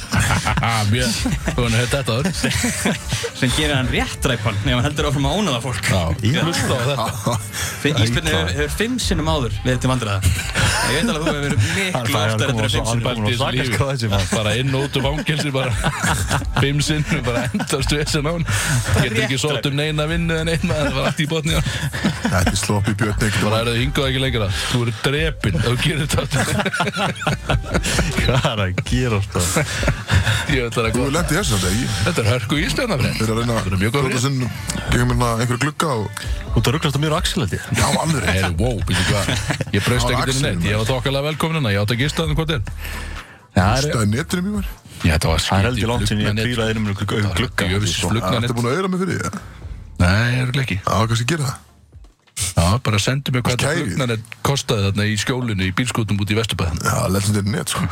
[SPEAKER 3] Ah, Björn, þú hann hefði þetta aður
[SPEAKER 2] sem gerir hann réttræpan ef hann heldur áfram að ónaða fólk
[SPEAKER 3] Já,
[SPEAKER 2] Já.
[SPEAKER 3] hlusta á þetta
[SPEAKER 2] Ísbjörn hefur, hefur fimm sinnum áður leðið til vandræða Ég veit alveg að þú hefur verið
[SPEAKER 4] Hann
[SPEAKER 2] miklu
[SPEAKER 4] fær- hann
[SPEAKER 2] oftar
[SPEAKER 4] kom
[SPEAKER 2] eftir
[SPEAKER 4] á-
[SPEAKER 2] fimm
[SPEAKER 3] Aldís
[SPEAKER 2] sinnum
[SPEAKER 4] hann kom á- Sakast
[SPEAKER 3] lífi.
[SPEAKER 4] hvað þessi maður.
[SPEAKER 3] bara inn og út úr fangelsi bara fimm sinnum, bara endast vesen á hann getur ekki sótt um neina vinnu en einn maður, það var allt í botni á hann.
[SPEAKER 1] þetta er slopp í björn
[SPEAKER 3] bara
[SPEAKER 1] ekkert
[SPEAKER 3] er það hingað ekki lengra þú eru drepinn, ef þú gerir þetta aftur.
[SPEAKER 4] Hvað er að gera þetta?
[SPEAKER 3] ég ætlar að
[SPEAKER 1] þú
[SPEAKER 3] góða
[SPEAKER 1] lendi þessu þetta ekki
[SPEAKER 3] þetta er hörku íslendafræð
[SPEAKER 1] Þeir eru að reyna
[SPEAKER 3] Þetta er mjög góð
[SPEAKER 1] að sinn gegum hérna einhverju glugga og
[SPEAKER 4] Þú ert að rugglast á mér og Axel held ég.
[SPEAKER 1] já, alveg
[SPEAKER 3] Heyrðu, wow, býttu hvað Ég braust
[SPEAKER 1] Það var
[SPEAKER 3] ekkert inn í
[SPEAKER 1] Axel,
[SPEAKER 3] neitt, ég var þokkalega velkominna, ég átt að gista þannig hvað þetta er
[SPEAKER 4] Það er-
[SPEAKER 1] það er netinu mjög var
[SPEAKER 3] Já, þetta var
[SPEAKER 4] það er
[SPEAKER 3] skrítið
[SPEAKER 4] heldur langt sem ég
[SPEAKER 3] flugmannet.
[SPEAKER 4] prýlaði innum glugga. glugga.
[SPEAKER 3] Ég vissi
[SPEAKER 4] sko.
[SPEAKER 1] Það Ah, ertu
[SPEAKER 3] flugmannet
[SPEAKER 1] búin að auðra mig fyrir því?
[SPEAKER 3] Nei, ég er ekki
[SPEAKER 1] Já, kannski gera það
[SPEAKER 3] Já, bara sendu mig hvað þetta
[SPEAKER 1] Kærið.
[SPEAKER 3] flugmannet kostaði þarna í skjólinu í bílskotum út í Vesturbæðan
[SPEAKER 1] Já, legendary net, sko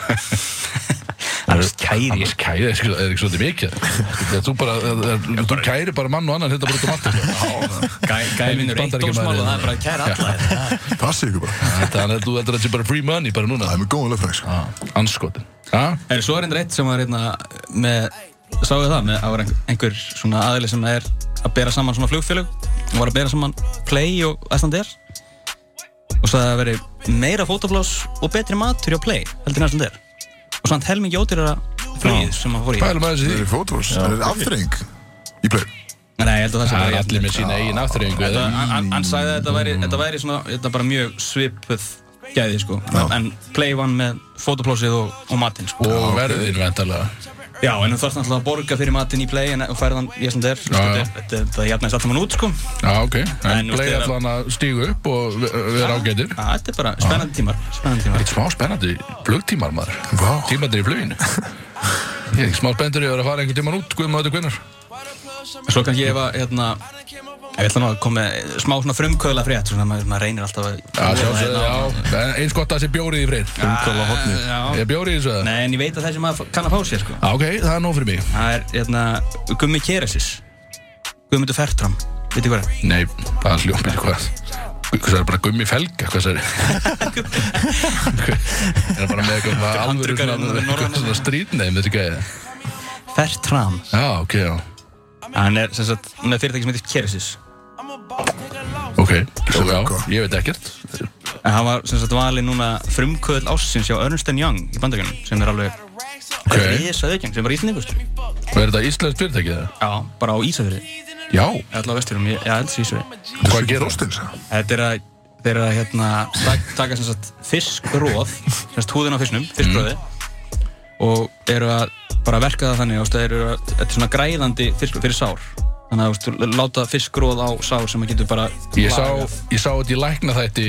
[SPEAKER 2] Það Hans kæri
[SPEAKER 3] Annars kæri er er ekki svolítið mikið Þegar Þú, bara, þú bara, kæri bara mann og annan hérna bara út um allt þetta.
[SPEAKER 2] Gæ- Gæfin eru eitt
[SPEAKER 3] Bandaríkjamaður
[SPEAKER 2] dómsmál og það
[SPEAKER 3] hérna.
[SPEAKER 2] er bara að kæra alla
[SPEAKER 1] Passið ykkur bara.
[SPEAKER 3] Þannig að þú heldur að þetta er bara free money bara núna
[SPEAKER 1] Það er með góðan lögfræðing, sko.
[SPEAKER 3] Anskotin Já,
[SPEAKER 2] Er svo er reyndar eitt sem var hérna með Sáu það með að var einhver, einhver svona aðili sem er að bera saman svona flugfélög og var að bera saman Play og Icelandair og sagði að veri meira fótaflás og betri matur hjá Play heldur en Icelandair og samt helmingi ódýrara flugið sem að fór í
[SPEAKER 3] pælum aðeins í
[SPEAKER 1] Það
[SPEAKER 3] því
[SPEAKER 1] er fótvors, það er aftreying í play.
[SPEAKER 2] Nei, ég held að það sé
[SPEAKER 3] Það er
[SPEAKER 2] bara
[SPEAKER 3] allir með sína eigin aftreyingu
[SPEAKER 2] Þetta- hann- hann- Hann sagði að þetta væri, þetta væri svona, þetta bara mjög svipuð gæði sko en, en Play vann með fótoplásið og, og matinn sko
[SPEAKER 3] Og verðin vendarlega
[SPEAKER 2] Já, en þú þarfst náttúrulega að borga fyrir matinn í Play en og færðan í þessum der
[SPEAKER 3] já.
[SPEAKER 2] Þetta er jafnægist alltaf mann út sko
[SPEAKER 3] Já, ok
[SPEAKER 2] En
[SPEAKER 3] En
[SPEAKER 2] úst,
[SPEAKER 3] play
[SPEAKER 2] þegar-
[SPEAKER 3] allan að stígu upp og ve- vera ágætir
[SPEAKER 2] Já, Þetta er bara spennandi tímar Spennandi tímar
[SPEAKER 3] Eitt smá spennandi flugtímar maður
[SPEAKER 1] Vá.
[SPEAKER 3] Tímandir í fluginu Ég er ekki smá spenntur í að vera að fara einhvern tíman út Guðum að þetta hvernar
[SPEAKER 2] Svo kannski ef að, hérna Ég ætla nú að koma með smá svona frumkvöðla frétt Svona maður maður reynir alltaf að hérna,
[SPEAKER 3] Já, sjálfsögðu, já En Eins gott að það sé bjórið í freyr
[SPEAKER 4] Umkvæmlega hotni
[SPEAKER 2] Já,
[SPEAKER 3] Ég bjórið í þessu eða?
[SPEAKER 2] Nei, en ég veit að þessi maður kann að fá sér sko
[SPEAKER 3] Já, ok, það er nóg fyrir mig
[SPEAKER 2] Það er, hérna, Gummi Keresis Gummundur Fertram, veitir hvað er?
[SPEAKER 3] Nei, það er hljómið eitthvað Hvað það er bara gummi felg, hvað það er Það er bara með eitthvað alvöru
[SPEAKER 2] handrukkar
[SPEAKER 3] svona-
[SPEAKER 2] hérna, norræna.
[SPEAKER 3] eitthvað svona strítneim þessi gæði
[SPEAKER 2] Fertram
[SPEAKER 3] Já, ok, já,
[SPEAKER 2] Hann er, sem sagt, með fyrirtæki sem heitir Keresis
[SPEAKER 3] ok
[SPEAKER 1] Svo
[SPEAKER 3] já,
[SPEAKER 1] eitthvað.
[SPEAKER 3] Ég veit ekkert
[SPEAKER 2] En hann var, sem sagt, valið núna frumkvöðl ássins hjá Ernst Young í bandaríkjunum sem er alveg
[SPEAKER 3] Ok,
[SPEAKER 2] okay. Ísaðurkjang sem var sko. íslendingur
[SPEAKER 3] og er þetta íslenskt fyrirtæki það?
[SPEAKER 2] Já, bara á Ísafjörði
[SPEAKER 3] Já,
[SPEAKER 2] Allá vesturinn, ég held þessi Ísafjörði
[SPEAKER 1] Það
[SPEAKER 3] hvað
[SPEAKER 1] er
[SPEAKER 3] gerir
[SPEAKER 1] rostins, það.
[SPEAKER 2] Þetta er að þeir eru að hérna tak- taka sem sagt fiskróð sem sagt húðin á fisknum, fiskróði og eru að bara verka það þannig ástu, eru að, þetta er svona græðandi fiskróð fyrir sár þannig að ástu, láta fiskróð á sár sem að getur bara
[SPEAKER 3] Ég sá,
[SPEAKER 2] lagað.
[SPEAKER 3] ég sá þetta í lækna þætti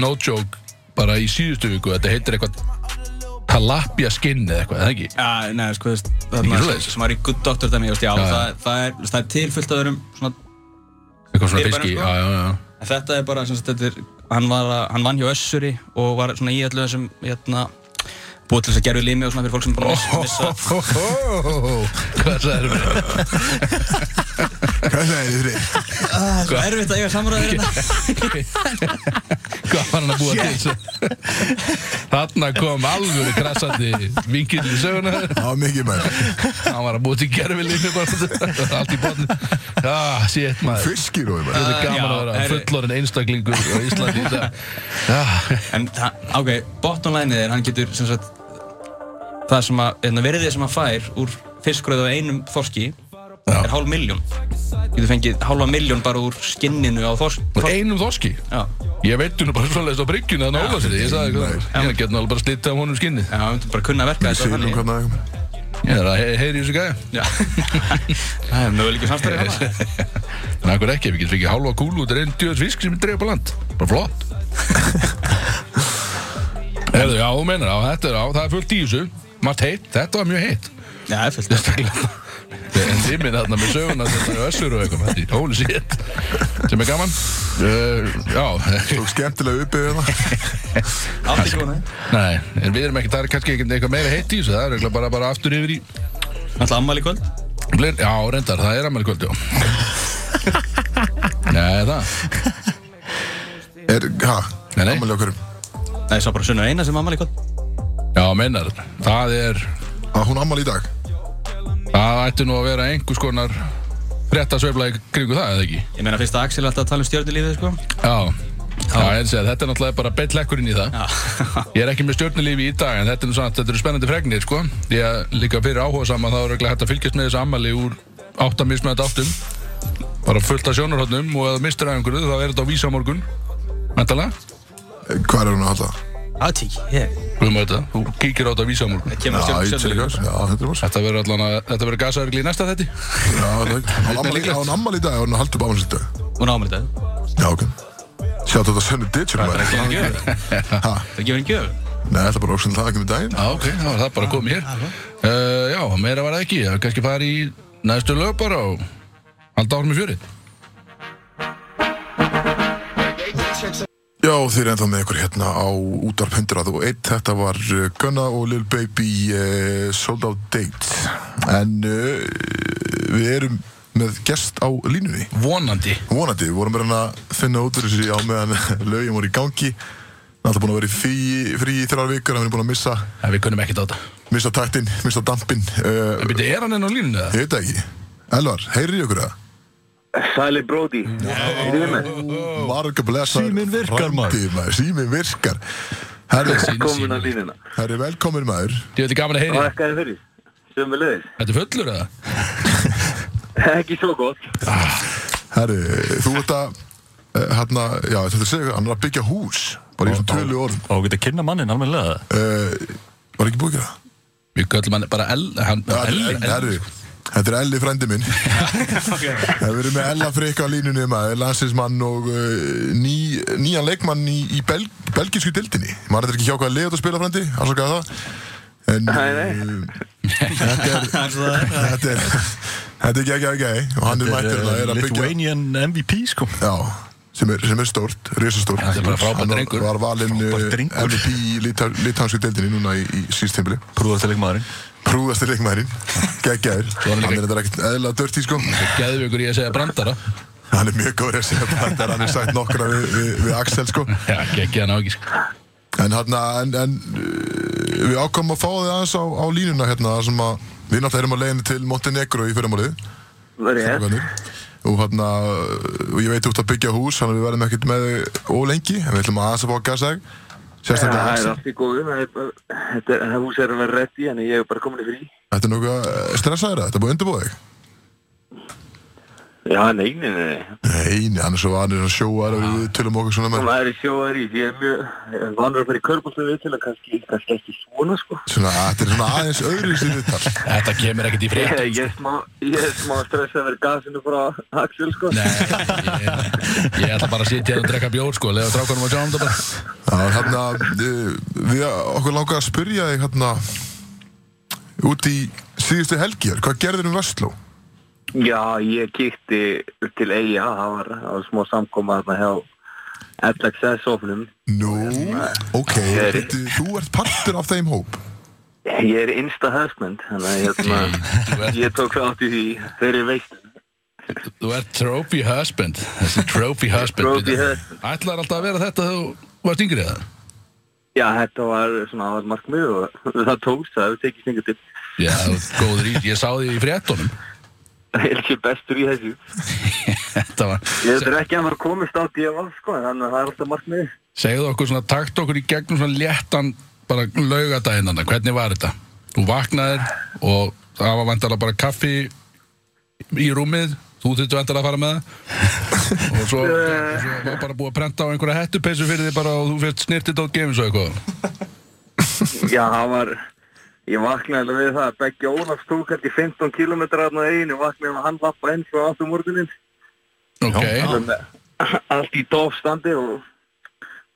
[SPEAKER 3] No joke Bara í síðustu viku Þetta heitir eitthvað Talapia skinni eða eitthvað, eða ekki?
[SPEAKER 2] Já, neða, sko, þú veist, það
[SPEAKER 3] Ekki
[SPEAKER 2] er
[SPEAKER 3] svoleiðis?
[SPEAKER 2] sem var í Good Doctor dæmi, ástu, já,
[SPEAKER 3] Já, já.
[SPEAKER 2] Það, það, er, það er tilfyllt að öðrum svona
[SPEAKER 3] Eitthvað svona
[SPEAKER 2] Fyrirbærum,
[SPEAKER 3] fiski,
[SPEAKER 2] sko.
[SPEAKER 3] já, já, já
[SPEAKER 2] En Þetta er bara, sem sagt, þetta er, hann, var, að- hann vann hjá Össuri og var svona í öllu þessum, hérna, búið til þess að gerðu limi og svona fyrir fólk sem er búin að missa, missa
[SPEAKER 3] Hvað sagðið mér?
[SPEAKER 1] Hvað segir þið fyrir?
[SPEAKER 2] Svo Sko, erfitt að eiga samræður hérna.
[SPEAKER 3] Hvað var hann að búa til þessu? Þarna kom alvöru krassandi vinkill í söguna
[SPEAKER 1] Það var mikið með.
[SPEAKER 3] Hann var að búa til gerfilinni bara Allt í botni Já, sétt maður
[SPEAKER 1] Fiskirói bara.
[SPEAKER 3] Þetta er gaman
[SPEAKER 2] Já,
[SPEAKER 3] að vera
[SPEAKER 2] herri.
[SPEAKER 3] fullorinn einstaklingur á Íslandi í dag Já,
[SPEAKER 2] En það, ok, bottom line er, hann getur, sem sagt, það sem að, hérna, verðið sem hann fær úr fiskröðu á einum þorski er hálf miljón. Getur fengið hálfa miljón bara úr skinninu á þorsk.
[SPEAKER 3] Úr
[SPEAKER 2] þorsk.
[SPEAKER 3] einum þorski
[SPEAKER 2] Já,
[SPEAKER 3] Ég veit hún er bara svoleiðist á bryggjunni að nála sér Ég sagði eitthvað
[SPEAKER 1] Nei.
[SPEAKER 3] Ég er getna alveg bara að slita á honum skinni
[SPEAKER 2] já, hann myndi bara kunna að verka
[SPEAKER 1] Ég
[SPEAKER 2] þetta
[SPEAKER 1] segir nú
[SPEAKER 2] þannig.
[SPEAKER 1] hvernig það er.
[SPEAKER 3] Ég er að he- heyri í þessu gæja
[SPEAKER 2] Já, það er möguleikir samstæri hann.
[SPEAKER 3] En akkur ekki, við getum fengið halva kúlu út er einn djöðs fisk sem er dreif á land Bara flott Herðu, já, þú meinar, já, þetta er á, það er fullt í þessu Margt heitt, þetta var mjög heitt
[SPEAKER 2] Já, það er fullt.
[SPEAKER 3] En þið minna þarna með söguna þetta er össur og eitthvað Þetta er holy shit Sem er gaman uh, Já,
[SPEAKER 1] Tók skemmtilega uppið hérna.
[SPEAKER 2] Allt ekki vonað.
[SPEAKER 3] nei, en við erum ekki, það er kannski ekki eitthvað meira heitt í þessu Það er örugglega bara, bara aftur yfir í
[SPEAKER 2] Alltaf ammali kvöld.
[SPEAKER 3] Gleir, já, reyndar, það er ammæli kvöld, já Nei, það
[SPEAKER 1] Er, ha,
[SPEAKER 3] Nei, nei.
[SPEAKER 1] ammali okkur.
[SPEAKER 2] Nei, ég sá bara sunnu eina sem ammali kvöld.
[SPEAKER 3] Já, meinar, það er
[SPEAKER 1] Að hún ammali í dag.
[SPEAKER 3] Það ætti nú að vera einhvers konar frétta sveifla í kringu það, eða ekki?
[SPEAKER 2] Ég meina fyrst að Axel er alltaf að tala um stjórnulífið, sko.
[SPEAKER 3] Já. Já, ég eins og að þetta er náttúrulega bara beitt lekkurinn í það.
[SPEAKER 2] Já.
[SPEAKER 3] Ég er ekki með stjórnulífi í dag, en þetta er nú samt, þetta eru spennandi fregnir, sko. Því að líka fyrir áhuga saman þá er ekki hægt að fylgjast með þessu ammali úr áttamismöðat áttum. Bara fullt af sjónarhóttnum og eða mistur af einhverju, þá er þetta á vísa á morgun. Mæntalega.
[SPEAKER 1] Hvað er hún að halda?
[SPEAKER 2] Átík, ég.
[SPEAKER 3] Hvað með þetta? Þú kíkir á þetta á vísa á morgun.
[SPEAKER 2] Það kemur
[SPEAKER 1] Já,
[SPEAKER 2] að
[SPEAKER 1] ég til
[SPEAKER 2] stjórnulífið.
[SPEAKER 1] ykkur. Já, þetta er bara.
[SPEAKER 3] Þetta verður allan að, þetta verður gasaðurgli í næsta þetti.
[SPEAKER 1] Já, það er ekki. Hún ammali-
[SPEAKER 3] líklegt.
[SPEAKER 1] Hún ammali í dag, hún haldur upp ammali í dag.
[SPEAKER 2] Hún ámali þetta.
[SPEAKER 1] Já, ok. Sjá þetta sönnu ditchur maður.
[SPEAKER 2] Það gefur henni gjöf. Það gefur henni gjöf.
[SPEAKER 1] Nei, þetta er bara ósinn það ekki með daginn.
[SPEAKER 3] Já, ok, þá var það bara komið hér uh, Já, meira var það ekki, það var kannski farið í næstu lög bara og halda árum í fjörið
[SPEAKER 1] Já, þeir eru ennþá með ykkur hérna á útarp 101. Þetta var eh, Gunna og Lil Baby uh, Sold Out Date. En uh, við erum með gest á línunni.
[SPEAKER 3] Vonandi
[SPEAKER 1] Vonandi, við vorum með hann að finna út úr þessu á meðan lögjum voru í gangi. Það er alltaf búin að vera í frí- frí í þrjár vikur, hann er búin að missa,
[SPEAKER 3] En við kunnum ekkert á þetta
[SPEAKER 1] missa taktinn, missa dampinn. Uh,
[SPEAKER 3] En byrja, er hann enn á línunni eða?
[SPEAKER 1] ég veit það ekki. Elvar, heyrðu í okkur það?
[SPEAKER 5] Sæli Brody Nei
[SPEAKER 1] Marga blessaður.
[SPEAKER 4] Síminn virkar, maður.
[SPEAKER 1] frændi, maður. Síminn virkar. Herri,
[SPEAKER 5] Komin á línuna
[SPEAKER 1] herri velkomin maður.
[SPEAKER 3] Ég veit gaman að heyri
[SPEAKER 5] Og ekkaði fyrir Sem við leiðis
[SPEAKER 3] Þetta er fullur eða?
[SPEAKER 5] Ekki svo gott
[SPEAKER 1] Herru, þú ert að uh, hérna, já, þetta er segja, hann er að byggja hús bara í þessum tölu orðum
[SPEAKER 4] Og geta að kynna mannin almennilega
[SPEAKER 1] uh, Var ekki búið að gera það?
[SPEAKER 3] Við köllum hann bara El hann,
[SPEAKER 1] Þetta
[SPEAKER 3] El,
[SPEAKER 1] er-
[SPEAKER 3] el,
[SPEAKER 1] Herru, þetta er Elli frændi minn Það verður með Ella Freyka á línunni maður, landsinsmann og uh, ný, nýjan leikmann í, í bel, belgísku dildinni maður er ekki hjá hvað leið að spila frændi afsakaðu það en
[SPEAKER 5] Nei,
[SPEAKER 1] uh, þetta er þetta er þetta er ekki ekki ekki og hann er mættur
[SPEAKER 4] Þetta
[SPEAKER 1] það er
[SPEAKER 4] er
[SPEAKER 1] að byggja
[SPEAKER 4] Lithuanian MVP sko
[SPEAKER 1] Já, sem er, sem er stórt, risastórt
[SPEAKER 3] Þetta er bara frábær
[SPEAKER 1] Hann var-
[SPEAKER 3] drengur.
[SPEAKER 1] Var valinn
[SPEAKER 4] Frábær
[SPEAKER 1] eh,
[SPEAKER 4] drengur.
[SPEAKER 1] MVP í litan, litansku deildinni núna í, í síðstimbili
[SPEAKER 4] Prúðastileg maðurinn
[SPEAKER 1] Prúðasti leikmærin, geggjaður
[SPEAKER 3] hann
[SPEAKER 1] Hann
[SPEAKER 3] líka-
[SPEAKER 1] er þetta ekkert eðla dörti sko
[SPEAKER 3] Geðum ykkur í að segja brandara
[SPEAKER 1] Hann er mjög góður að segja brandar, hann er sagt nokkra við, við, við Axel sko
[SPEAKER 3] Já, ekki, ekki hann á ekki sko.
[SPEAKER 1] En hérna, en, en eh, við ákvæmum að fá þig aðeins á, á línuna hérna þar sem að við náttúrulega erum á leiðinni til Montenegro í fyrramálið
[SPEAKER 5] Rétt
[SPEAKER 1] Strákarnir. og hérna og ég veit út að byggja hús þannig að við verðum ekkert með þau ólengi en við ætlum aðeins að fá að gasa þig sérstaklega
[SPEAKER 5] Það er
[SPEAKER 1] Axel.
[SPEAKER 5] allt í góðu Það er bara- þetta er- það hús er að vera rétt í En ég er bara komin í frí
[SPEAKER 1] þetta er nokkuð stressaður þetta er búið að undirbúa þig
[SPEAKER 5] Já, nei, nei, nei nei.
[SPEAKER 1] nei, nei, hann er svo vanur að sjóa og við tölum okkur svona
[SPEAKER 5] Og
[SPEAKER 1] með
[SPEAKER 5] maður er sjóðar í Því ég er mjög Vanur að fara í körbóltu við til að kannski Kannski ekki svona sko
[SPEAKER 1] svona, þetta er svona aðeins öðru sér viðtal
[SPEAKER 3] Þetta kemur ekkert í
[SPEAKER 5] Ég
[SPEAKER 3] frétt
[SPEAKER 5] ég er smá Ég er smá stressað að vera gasinu frá Axel sko
[SPEAKER 3] Nei, ég, ég ætla bara að sitja hérna og drekka bjór sko Lega strákunum að sjá um þetta bara
[SPEAKER 1] Já, hérna, eh, við okkur langar að spyrja þig hérna út í síðustu helgjar hvað gerðir um Vestló?
[SPEAKER 5] Já, ég kíkti upp til eiga, það var, það var smá samkoma þarna hjá LXS-ofnum.
[SPEAKER 1] Nú, ok,
[SPEAKER 5] Ég er-
[SPEAKER 1] bíddu, þú ert partur af þeim hóp
[SPEAKER 5] Ég er insta husband, þannig að
[SPEAKER 3] Þú
[SPEAKER 5] hérna,
[SPEAKER 3] ert-
[SPEAKER 5] ég tók þátt í því þeirri veistum.
[SPEAKER 3] Þú ert trophy husband Þessi trophy husband
[SPEAKER 5] Trophy
[SPEAKER 3] byrja.
[SPEAKER 5] husband.
[SPEAKER 3] Ætlar alltaf að vera þetta þegar þú varst yngri eða?
[SPEAKER 5] Já, þetta var svona aðal markmið og það tókst, það hefur tekið sengu til.
[SPEAKER 3] Já, þú ert góður í, ég sá því í fréttunum
[SPEAKER 5] Ég er ekki bestur í þessu.
[SPEAKER 3] Þetta var
[SPEAKER 5] Ég veit ekki að maður komist á DFL, sko, þannig að það er alltaf markmið.
[SPEAKER 3] Segðu okkur svona, takt okkur í gegnum svona léttan bara laugardaginn þarna, hvernig var þetta? Þú vaknaðir og það var vantarlega bara kaffi í rúmið, þú þurftu vantarlega að fara með það og svo, svo var bara búið að prenta á einhverja hettupeysu fyrir þig bara og þú fyrst snirtið á games og eitthvað
[SPEAKER 5] Já, það var, ég vaknaði alveg við það, Beggi Ólafs tók held í 15 km aðna einu, vaknaði með hann lappa eins og aftur morguninn.
[SPEAKER 3] Ok,
[SPEAKER 5] með allt í dofstandi og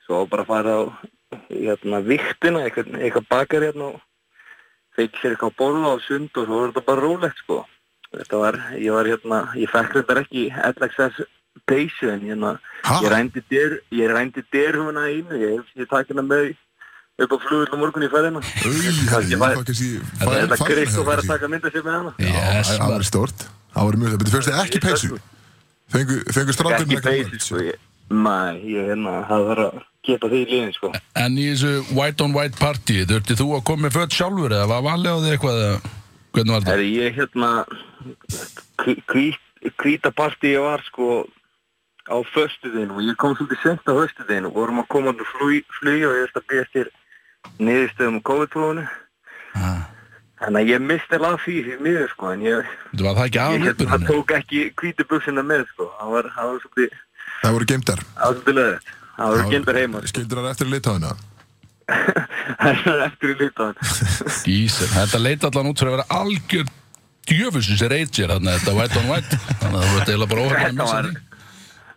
[SPEAKER 5] svo bara fara á hérna viktina, eitthvað, eitthvað bakar hérna og fekk sér eitthvað borða á sund og svo var þetta bara rólegt sko þetta var, ég var hérna, ég fekk þetta ekki LXS peysu en hérna
[SPEAKER 1] Ha?
[SPEAKER 5] ég rændi dyr, ég rændi derhuna einu, ég, ég takk hérna með upp á flugul á morgun í ferðina
[SPEAKER 1] Új, herri, ég fæ kannski
[SPEAKER 5] Það
[SPEAKER 1] fæ-
[SPEAKER 5] er þetta
[SPEAKER 1] fæ-
[SPEAKER 5] Krist og færa að
[SPEAKER 1] kannski.
[SPEAKER 5] taka mynda sér með hana
[SPEAKER 1] Já,
[SPEAKER 3] yes,
[SPEAKER 1] það það var stort Það var mjög stort, betur fyrst þið ekki
[SPEAKER 5] Ég
[SPEAKER 1] peysu
[SPEAKER 5] stökk.
[SPEAKER 1] Fengu, fengu strandurinn
[SPEAKER 5] Ekki peysu sko, ég, mæ, ég hérna, það var að geta því í liðin sko
[SPEAKER 3] en í þessu white on white party, þurfti þú að koma með fött sjálfur eða var valið á þig eitthvað eða hvernig var þetta?
[SPEAKER 5] Herri, ég hérna kvítaparti ég var sko á föstuðinu og ég kom svolítið sent á föstuðinu og vorum að koma til flug, flug og ég veist að býja eftir niðurstöðum á COVID-prófunu þannig að ég misti alveg af því því miður sko en ég,
[SPEAKER 3] Þetta var það ekki
[SPEAKER 5] ég hérna,
[SPEAKER 3] aðalhjöpurinn?
[SPEAKER 5] tók ekki kvítabuxina með sko það var, það var svolítið
[SPEAKER 1] Það voru geimdar
[SPEAKER 5] það var svolítið leðið það var gendar heima sko.
[SPEAKER 1] Skildur það eftir að leita á hana
[SPEAKER 5] það er eftir í lítan
[SPEAKER 3] Ísir, þetta leit allan út fyrir að vera algjör djöfusins reytsér þarna þetta white on white þannig að þú ert eiginlega bara óhægt að
[SPEAKER 5] þetta
[SPEAKER 3] missa
[SPEAKER 5] var
[SPEAKER 3] því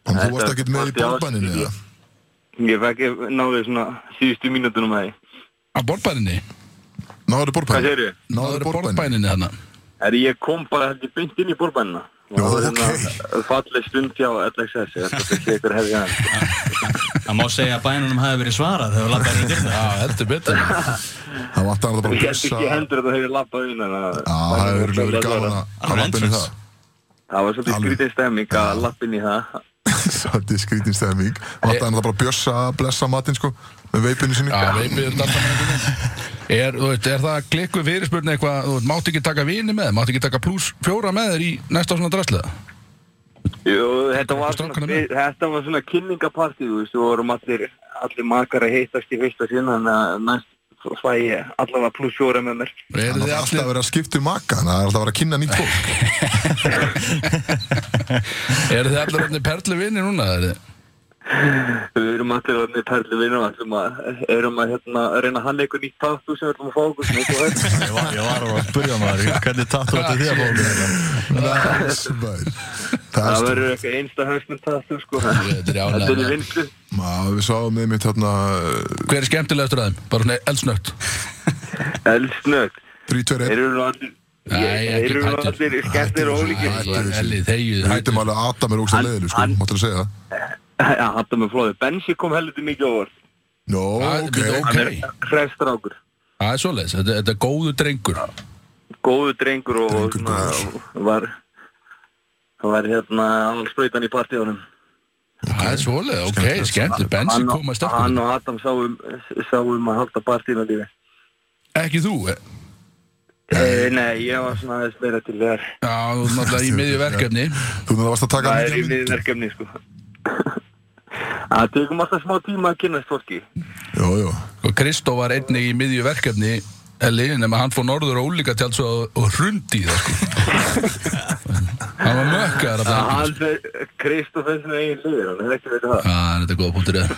[SPEAKER 1] En þú
[SPEAKER 5] Þetta
[SPEAKER 1] varst ekkert með í
[SPEAKER 5] var
[SPEAKER 1] bólbaninu
[SPEAKER 5] djátt-
[SPEAKER 1] eða?
[SPEAKER 5] ég fekk ég náði svona síðustu mínútunum að því
[SPEAKER 3] að borðbæninni,
[SPEAKER 1] Náður
[SPEAKER 5] hvað
[SPEAKER 1] bólbaninu?
[SPEAKER 5] segir þau?
[SPEAKER 3] það
[SPEAKER 1] Náður
[SPEAKER 3] eru
[SPEAKER 1] bólbaninu?
[SPEAKER 3] borðbæninni þarna
[SPEAKER 5] Er ég kom bara heldur beint inn í bórbænina
[SPEAKER 1] Nú,
[SPEAKER 5] og það var
[SPEAKER 1] ok.
[SPEAKER 5] hérna falleg stund hjá LXS ég ætla ekki að sé ykkur hefði hann
[SPEAKER 3] á
[SPEAKER 2] Það má segja að bænunum hafi verið svarað þegar lappaði í dyrna.
[SPEAKER 3] Já, heldur betur
[SPEAKER 1] Það vantar hann bara að
[SPEAKER 5] Ég held
[SPEAKER 1] bussa
[SPEAKER 5] ekki
[SPEAKER 1] Já,
[SPEAKER 5] hendur þetta hefur lappað inn en að-
[SPEAKER 1] það hefur örugglega verið gaman að að
[SPEAKER 2] Hann er
[SPEAKER 1] lappa inn í
[SPEAKER 2] entrance.
[SPEAKER 1] það
[SPEAKER 5] Það var svolítið
[SPEAKER 1] Alveg.
[SPEAKER 5] skrítið stemming að lappa inn í það
[SPEAKER 1] Svolítið skrítin stemming Vantar hann bara að bjössa að blessa matinn sko Með veipinu sinni
[SPEAKER 3] Já, veipið er alltaf með einhvern veginn er, þú veist, er það klikkuð fyrirspurni eitthvað Þú veist, máttu ekki taka vini með þér, Máttu ekki taka pluss fjóra með þér í næsta svona drastlega
[SPEAKER 5] Jú, þetta var
[SPEAKER 3] Strákana
[SPEAKER 5] svona,
[SPEAKER 3] með?
[SPEAKER 5] við, þetta var svona kynningapartí, þú veist, við vorum allir, allir makar að heitast í fyrsta sinn, þannig að næst fæ ég allavega pluss fjóra með mér.
[SPEAKER 3] Eru
[SPEAKER 1] Hann
[SPEAKER 3] þið
[SPEAKER 1] er alltaf
[SPEAKER 3] allir,
[SPEAKER 1] að vera að skipta um maka Þannig að það er alltaf að vera að kynna nýtt fólk
[SPEAKER 3] er þið allir allir perli vini núna? eruð þið?
[SPEAKER 5] Við erum allir orðinni perli vinnum, ætlum að, erum að hérna, reyna að hanna eitthvað nýtt tattu sem við ætlum að fá okkur sem eitthvað er.
[SPEAKER 4] Ég var, ég var að spyrja maður, hvernig tattu þetta þér bókið?
[SPEAKER 1] Næs, maður. Það er
[SPEAKER 5] Það
[SPEAKER 1] stórt.
[SPEAKER 5] verður eitthvað einsta hausmynd tattu, sko.
[SPEAKER 3] Þetta er í
[SPEAKER 5] Þetta er í
[SPEAKER 3] ánægð
[SPEAKER 5] vinslu.
[SPEAKER 1] Maður, Við sáum með mitt hérna
[SPEAKER 3] Hver er skemmtilegastur að þeim? Bara svona eldsnögt
[SPEAKER 5] Elsnögt.
[SPEAKER 1] 3-2-1
[SPEAKER 5] Þeir eru nú allir,
[SPEAKER 3] Nei,
[SPEAKER 5] þeir
[SPEAKER 3] ekki
[SPEAKER 5] eru nú
[SPEAKER 3] tættur.
[SPEAKER 5] allir skemmtir og ólíkir.
[SPEAKER 1] Hættu þessu.
[SPEAKER 3] Elli, þegið
[SPEAKER 1] Við veitum alveg að Adam er ógst að
[SPEAKER 5] Hann-
[SPEAKER 1] leiðinu sko
[SPEAKER 5] hann-
[SPEAKER 1] Máttu að segja það
[SPEAKER 5] Já, hattum við flóðið. Bensi kom heldur mikið á orð.
[SPEAKER 1] Nó,
[SPEAKER 3] Hann-
[SPEAKER 1] ok
[SPEAKER 3] bíddu,
[SPEAKER 5] Hann er
[SPEAKER 3] Ókei.
[SPEAKER 5] hrefstrákur.
[SPEAKER 3] Það er svoleiðis, þetta, þetta er góðu drengur
[SPEAKER 5] góðu drengur og
[SPEAKER 1] Drengur
[SPEAKER 5] svona,
[SPEAKER 1] góður.
[SPEAKER 5] var var hérna alveg spröytan í partíunum
[SPEAKER 3] Það er svoleiðis, ok,
[SPEAKER 1] Skemmtilegt.
[SPEAKER 3] skemmtileg Bensi
[SPEAKER 5] og-
[SPEAKER 3] koma
[SPEAKER 5] hann
[SPEAKER 3] sterkur
[SPEAKER 5] og Adam sáum, sáum um að halda partíuna lífi
[SPEAKER 3] Ekki þú, eh?
[SPEAKER 5] e, Nei, ég var svona aðeins meira til þér
[SPEAKER 3] já, þú ert náttúrulega í miðju verkefni
[SPEAKER 1] Þú náttúrulega varst að taka
[SPEAKER 5] Það er í
[SPEAKER 1] mikið
[SPEAKER 5] miðið
[SPEAKER 1] mynd
[SPEAKER 5] verkefni sko Það tekum alltaf smá tíma að kynast fólki
[SPEAKER 1] Jó, jó
[SPEAKER 3] Og Kristó var einnig í miðju verkefni Elli, nema hann fór norður og ólíka tjáls og, og hrundi í það sko Hann var mökkaðar að
[SPEAKER 5] Að
[SPEAKER 3] það
[SPEAKER 5] Hann, Kristoff er svona eigin liður hann er ekki veit um það
[SPEAKER 3] Það er góða punktur eða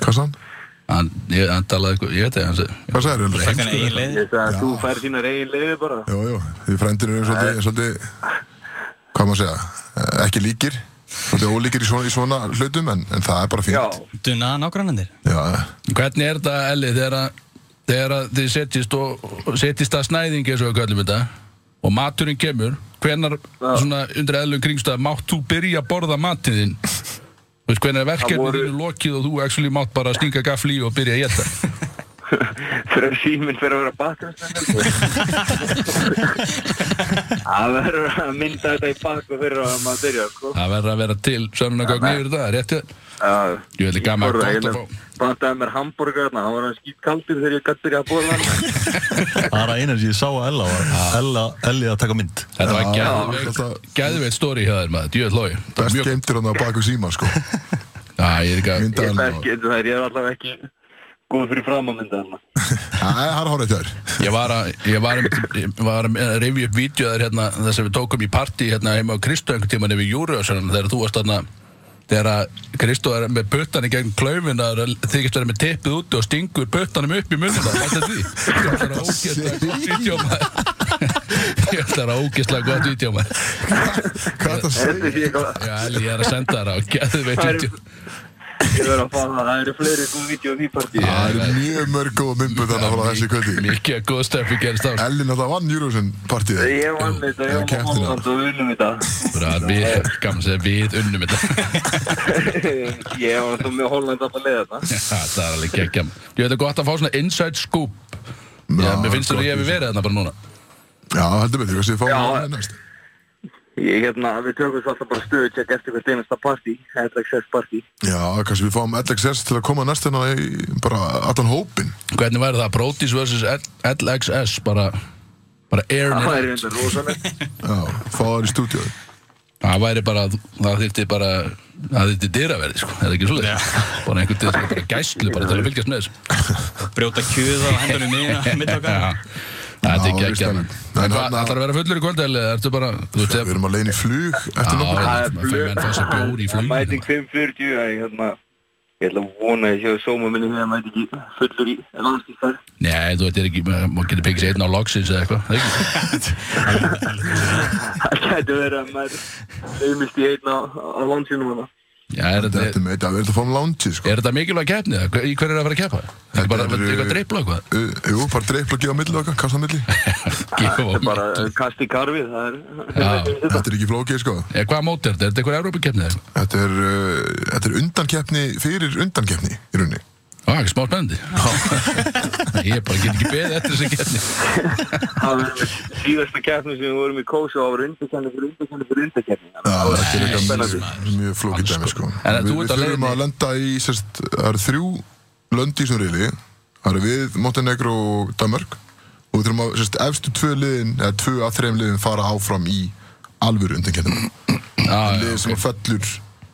[SPEAKER 1] Hvað sann?
[SPEAKER 3] Hann, ég, hann talaði eitthvað, ég veit það, hann sagði
[SPEAKER 1] Hvað sagðir
[SPEAKER 2] Það er kannski eigin leið.
[SPEAKER 5] Ég sagði að þú fær þínar eigin liður bara
[SPEAKER 1] Jó, jó Því frændinu er svolítið, svolítið Hvað maður segja eh, Ekki líkir Svolítið ólíkir í svona, í svona hlutum en, en það er bara
[SPEAKER 5] Já,
[SPEAKER 1] fínt
[SPEAKER 2] Dunnaða nágrannandir.
[SPEAKER 1] Já,
[SPEAKER 3] Hvernig er þetta, Elli, þegar að þegar að þið setjist og og setjist að snæðingi eins og við köllum þetta og maturinn kemur, hvenar svona undir eðlum kringstæð, mátt þú byrja að borða matinn þinn Þú veist, hvenær er verkefni
[SPEAKER 5] voru-
[SPEAKER 3] þínu lokið og þú actually mátt bara stinga gafli í og byrja að geta
[SPEAKER 5] Þegar síminn fyrir að vera bakgrunnsnæður Það verður að mynda þetta í bak og fyrir að maður byrja sko.
[SPEAKER 3] Það verður að vera til sönnunagögn yfir það, rétti Ég veit ekki gaman að gott að fá
[SPEAKER 5] Bantaði mér hambúrgar hann var hann skýt kaldur þegar ég gætt byrja að bóla hann
[SPEAKER 4] Það er að eina sem ég sá að Ella var Ella, Elli að taka mynd
[SPEAKER 3] Þetta var
[SPEAKER 1] þetta-
[SPEAKER 3] gæðveitt gæðveitt stóri hjá þér maður, djöð hlói
[SPEAKER 1] best
[SPEAKER 3] Mjög,
[SPEAKER 1] geimtir hann á baku síma sko
[SPEAKER 3] já, ég er ekki að
[SPEAKER 5] Ég er
[SPEAKER 1] Myndaðan
[SPEAKER 5] ekki, þetta er ég er allavega ekki góð fyrir fram að mynda hann
[SPEAKER 1] Það er hárið þér
[SPEAKER 3] Ég var að, ég var að, ég var að rifja upp vídjóðar hérna, þess að við tókum í partí hérna heima á Kristó einhvern tímann yfir Júriðarsson þegar þú varst þarna þegar að Kristó er með pötani gegn klaufin að þykist vera með tippið úti og stingur pötanum upp í munna Þetta er því Ég ætla að ógeðslega gott vídjó maður Ég ætla að ógeðslega gott vídjó maður
[SPEAKER 1] Hvað er þetta að segja?
[SPEAKER 5] Þetta sé ég hvað
[SPEAKER 3] Já, Elli, ég er að senda þér á geðveitt
[SPEAKER 5] Það
[SPEAKER 3] vídjó
[SPEAKER 5] eru- Ég verður að fá það, það eru fleiri góð vídeo því partí
[SPEAKER 3] Já.
[SPEAKER 1] Það er mjög mörg góð myndböð þannig frá þessi kvöldi
[SPEAKER 3] Mikið að góð stöfi gerist á
[SPEAKER 1] Ellin alltaf vann Eurovision partíð
[SPEAKER 5] Ég vann þetta,
[SPEAKER 1] Já,
[SPEAKER 5] ég var
[SPEAKER 1] keppnina.
[SPEAKER 5] hóland og vinnum þetta
[SPEAKER 3] Bara að Við, gaman að segja, við unnum þetta
[SPEAKER 5] Ég var alltaf með Holland að leiða þetta
[SPEAKER 3] Já, Það er alveg geggja Ég veit að gott að fá svona inside scoop Já, mér finnst þetta að ég hefði verið þarna bara núna
[SPEAKER 1] Já, heldur betur, hvað séu fáum
[SPEAKER 5] Já.
[SPEAKER 1] við hann næst
[SPEAKER 5] Ég hérna, við tökum svo alltaf bara stöðu tjekk eftir hvert einasta partí, LXS partí.
[SPEAKER 1] Já, kannski við fáum LXS til að koma næst hérna í bara allan hópin
[SPEAKER 3] Hvernig væri það? Brotis vs. L- LXS bara, bara airin
[SPEAKER 5] Það
[SPEAKER 3] it
[SPEAKER 5] er hérna rosalegt.
[SPEAKER 1] Já, fá það í stúdíói
[SPEAKER 3] Það væri bara, það þyrfti bara það þyrfti dyraverði, sko, er það ekki svolítið bara einhvern til þess að bara gæslu bara til að fylgjast með þessu
[SPEAKER 2] Brjóta kjöða og hendanum niður mitt
[SPEAKER 3] Já.
[SPEAKER 2] okkar.
[SPEAKER 3] Það er
[SPEAKER 1] Já,
[SPEAKER 3] ekki
[SPEAKER 1] víst
[SPEAKER 3] ekki
[SPEAKER 1] alveg. En
[SPEAKER 3] Það
[SPEAKER 1] þarna-
[SPEAKER 3] ætlar að vera fullur í kvöld eða ertu bara, þú veist,
[SPEAKER 1] Við erum að leiðin í flug eftir nokkur
[SPEAKER 5] Það
[SPEAKER 3] það
[SPEAKER 5] er
[SPEAKER 3] fyrir menn fá sér bjór í hérna.
[SPEAKER 5] blöð.
[SPEAKER 3] fluginu
[SPEAKER 5] Mæting 5.40, að ég hérna, ég ætla að vona að ég séu sóma minni þegar mæti ekki fullur í landslýstar.
[SPEAKER 3] Nei, þú veit, er ekki, maður getur pekið sér einn á loksins eða eitthvað, það er ekki
[SPEAKER 5] Það getur verið að maður heimist í einn á, á landslýnum hana.
[SPEAKER 3] Já, er
[SPEAKER 1] Þetta
[SPEAKER 3] þetta,
[SPEAKER 1] er með þetta að verða að fá um lángi sko.
[SPEAKER 3] er þetta mikilvæg keppni? eða? Hver- Í hverju er að fara að keppa? Þetta er bara
[SPEAKER 1] Þetta eru-
[SPEAKER 3] eitthvað að dreipla eitthvað?
[SPEAKER 1] Uh, Jú, bara dreipla og gefa á milli okkar, kasta á milli
[SPEAKER 3] Gefa
[SPEAKER 5] Þetta er
[SPEAKER 3] á-
[SPEAKER 5] bara uh, kast í karfið, það er...
[SPEAKER 3] Já.
[SPEAKER 1] Þetta er ekki flókið sko
[SPEAKER 3] Eða hvaða mót Eh, er þetta? Er þetta eitthvað Evrópukeppni eða eitthvað?
[SPEAKER 1] Þetta er, uh, þetta er undankeppni fyrir undankeppni í rauninni
[SPEAKER 3] Á, ekki smá spennandi. Ég bara get ekki beðið eftir þessi keppni.
[SPEAKER 5] Það var síðasta keppni sem við vorum í kósa og það var undarkenni fyrir undarkenni fyrir undarkenni. Það var
[SPEAKER 1] Þetta er
[SPEAKER 5] ekki spennandi.
[SPEAKER 1] eitthvað mjög flókið dæmi sko
[SPEAKER 3] En að
[SPEAKER 1] Við,
[SPEAKER 3] þú
[SPEAKER 1] við
[SPEAKER 3] ert á
[SPEAKER 1] þurfum
[SPEAKER 3] leiðinni-
[SPEAKER 1] að lenda í, sérst, það eru þrjú lönd í þessum reyli Það eru við, Montenegro og Danmark Og við þurfum að, sérst, efstu tvö liðin, eða tvö að þreim liðin fara áfram í alvöru undankeppnum
[SPEAKER 3] Já, Ah, já.
[SPEAKER 1] Liðið sem fellur,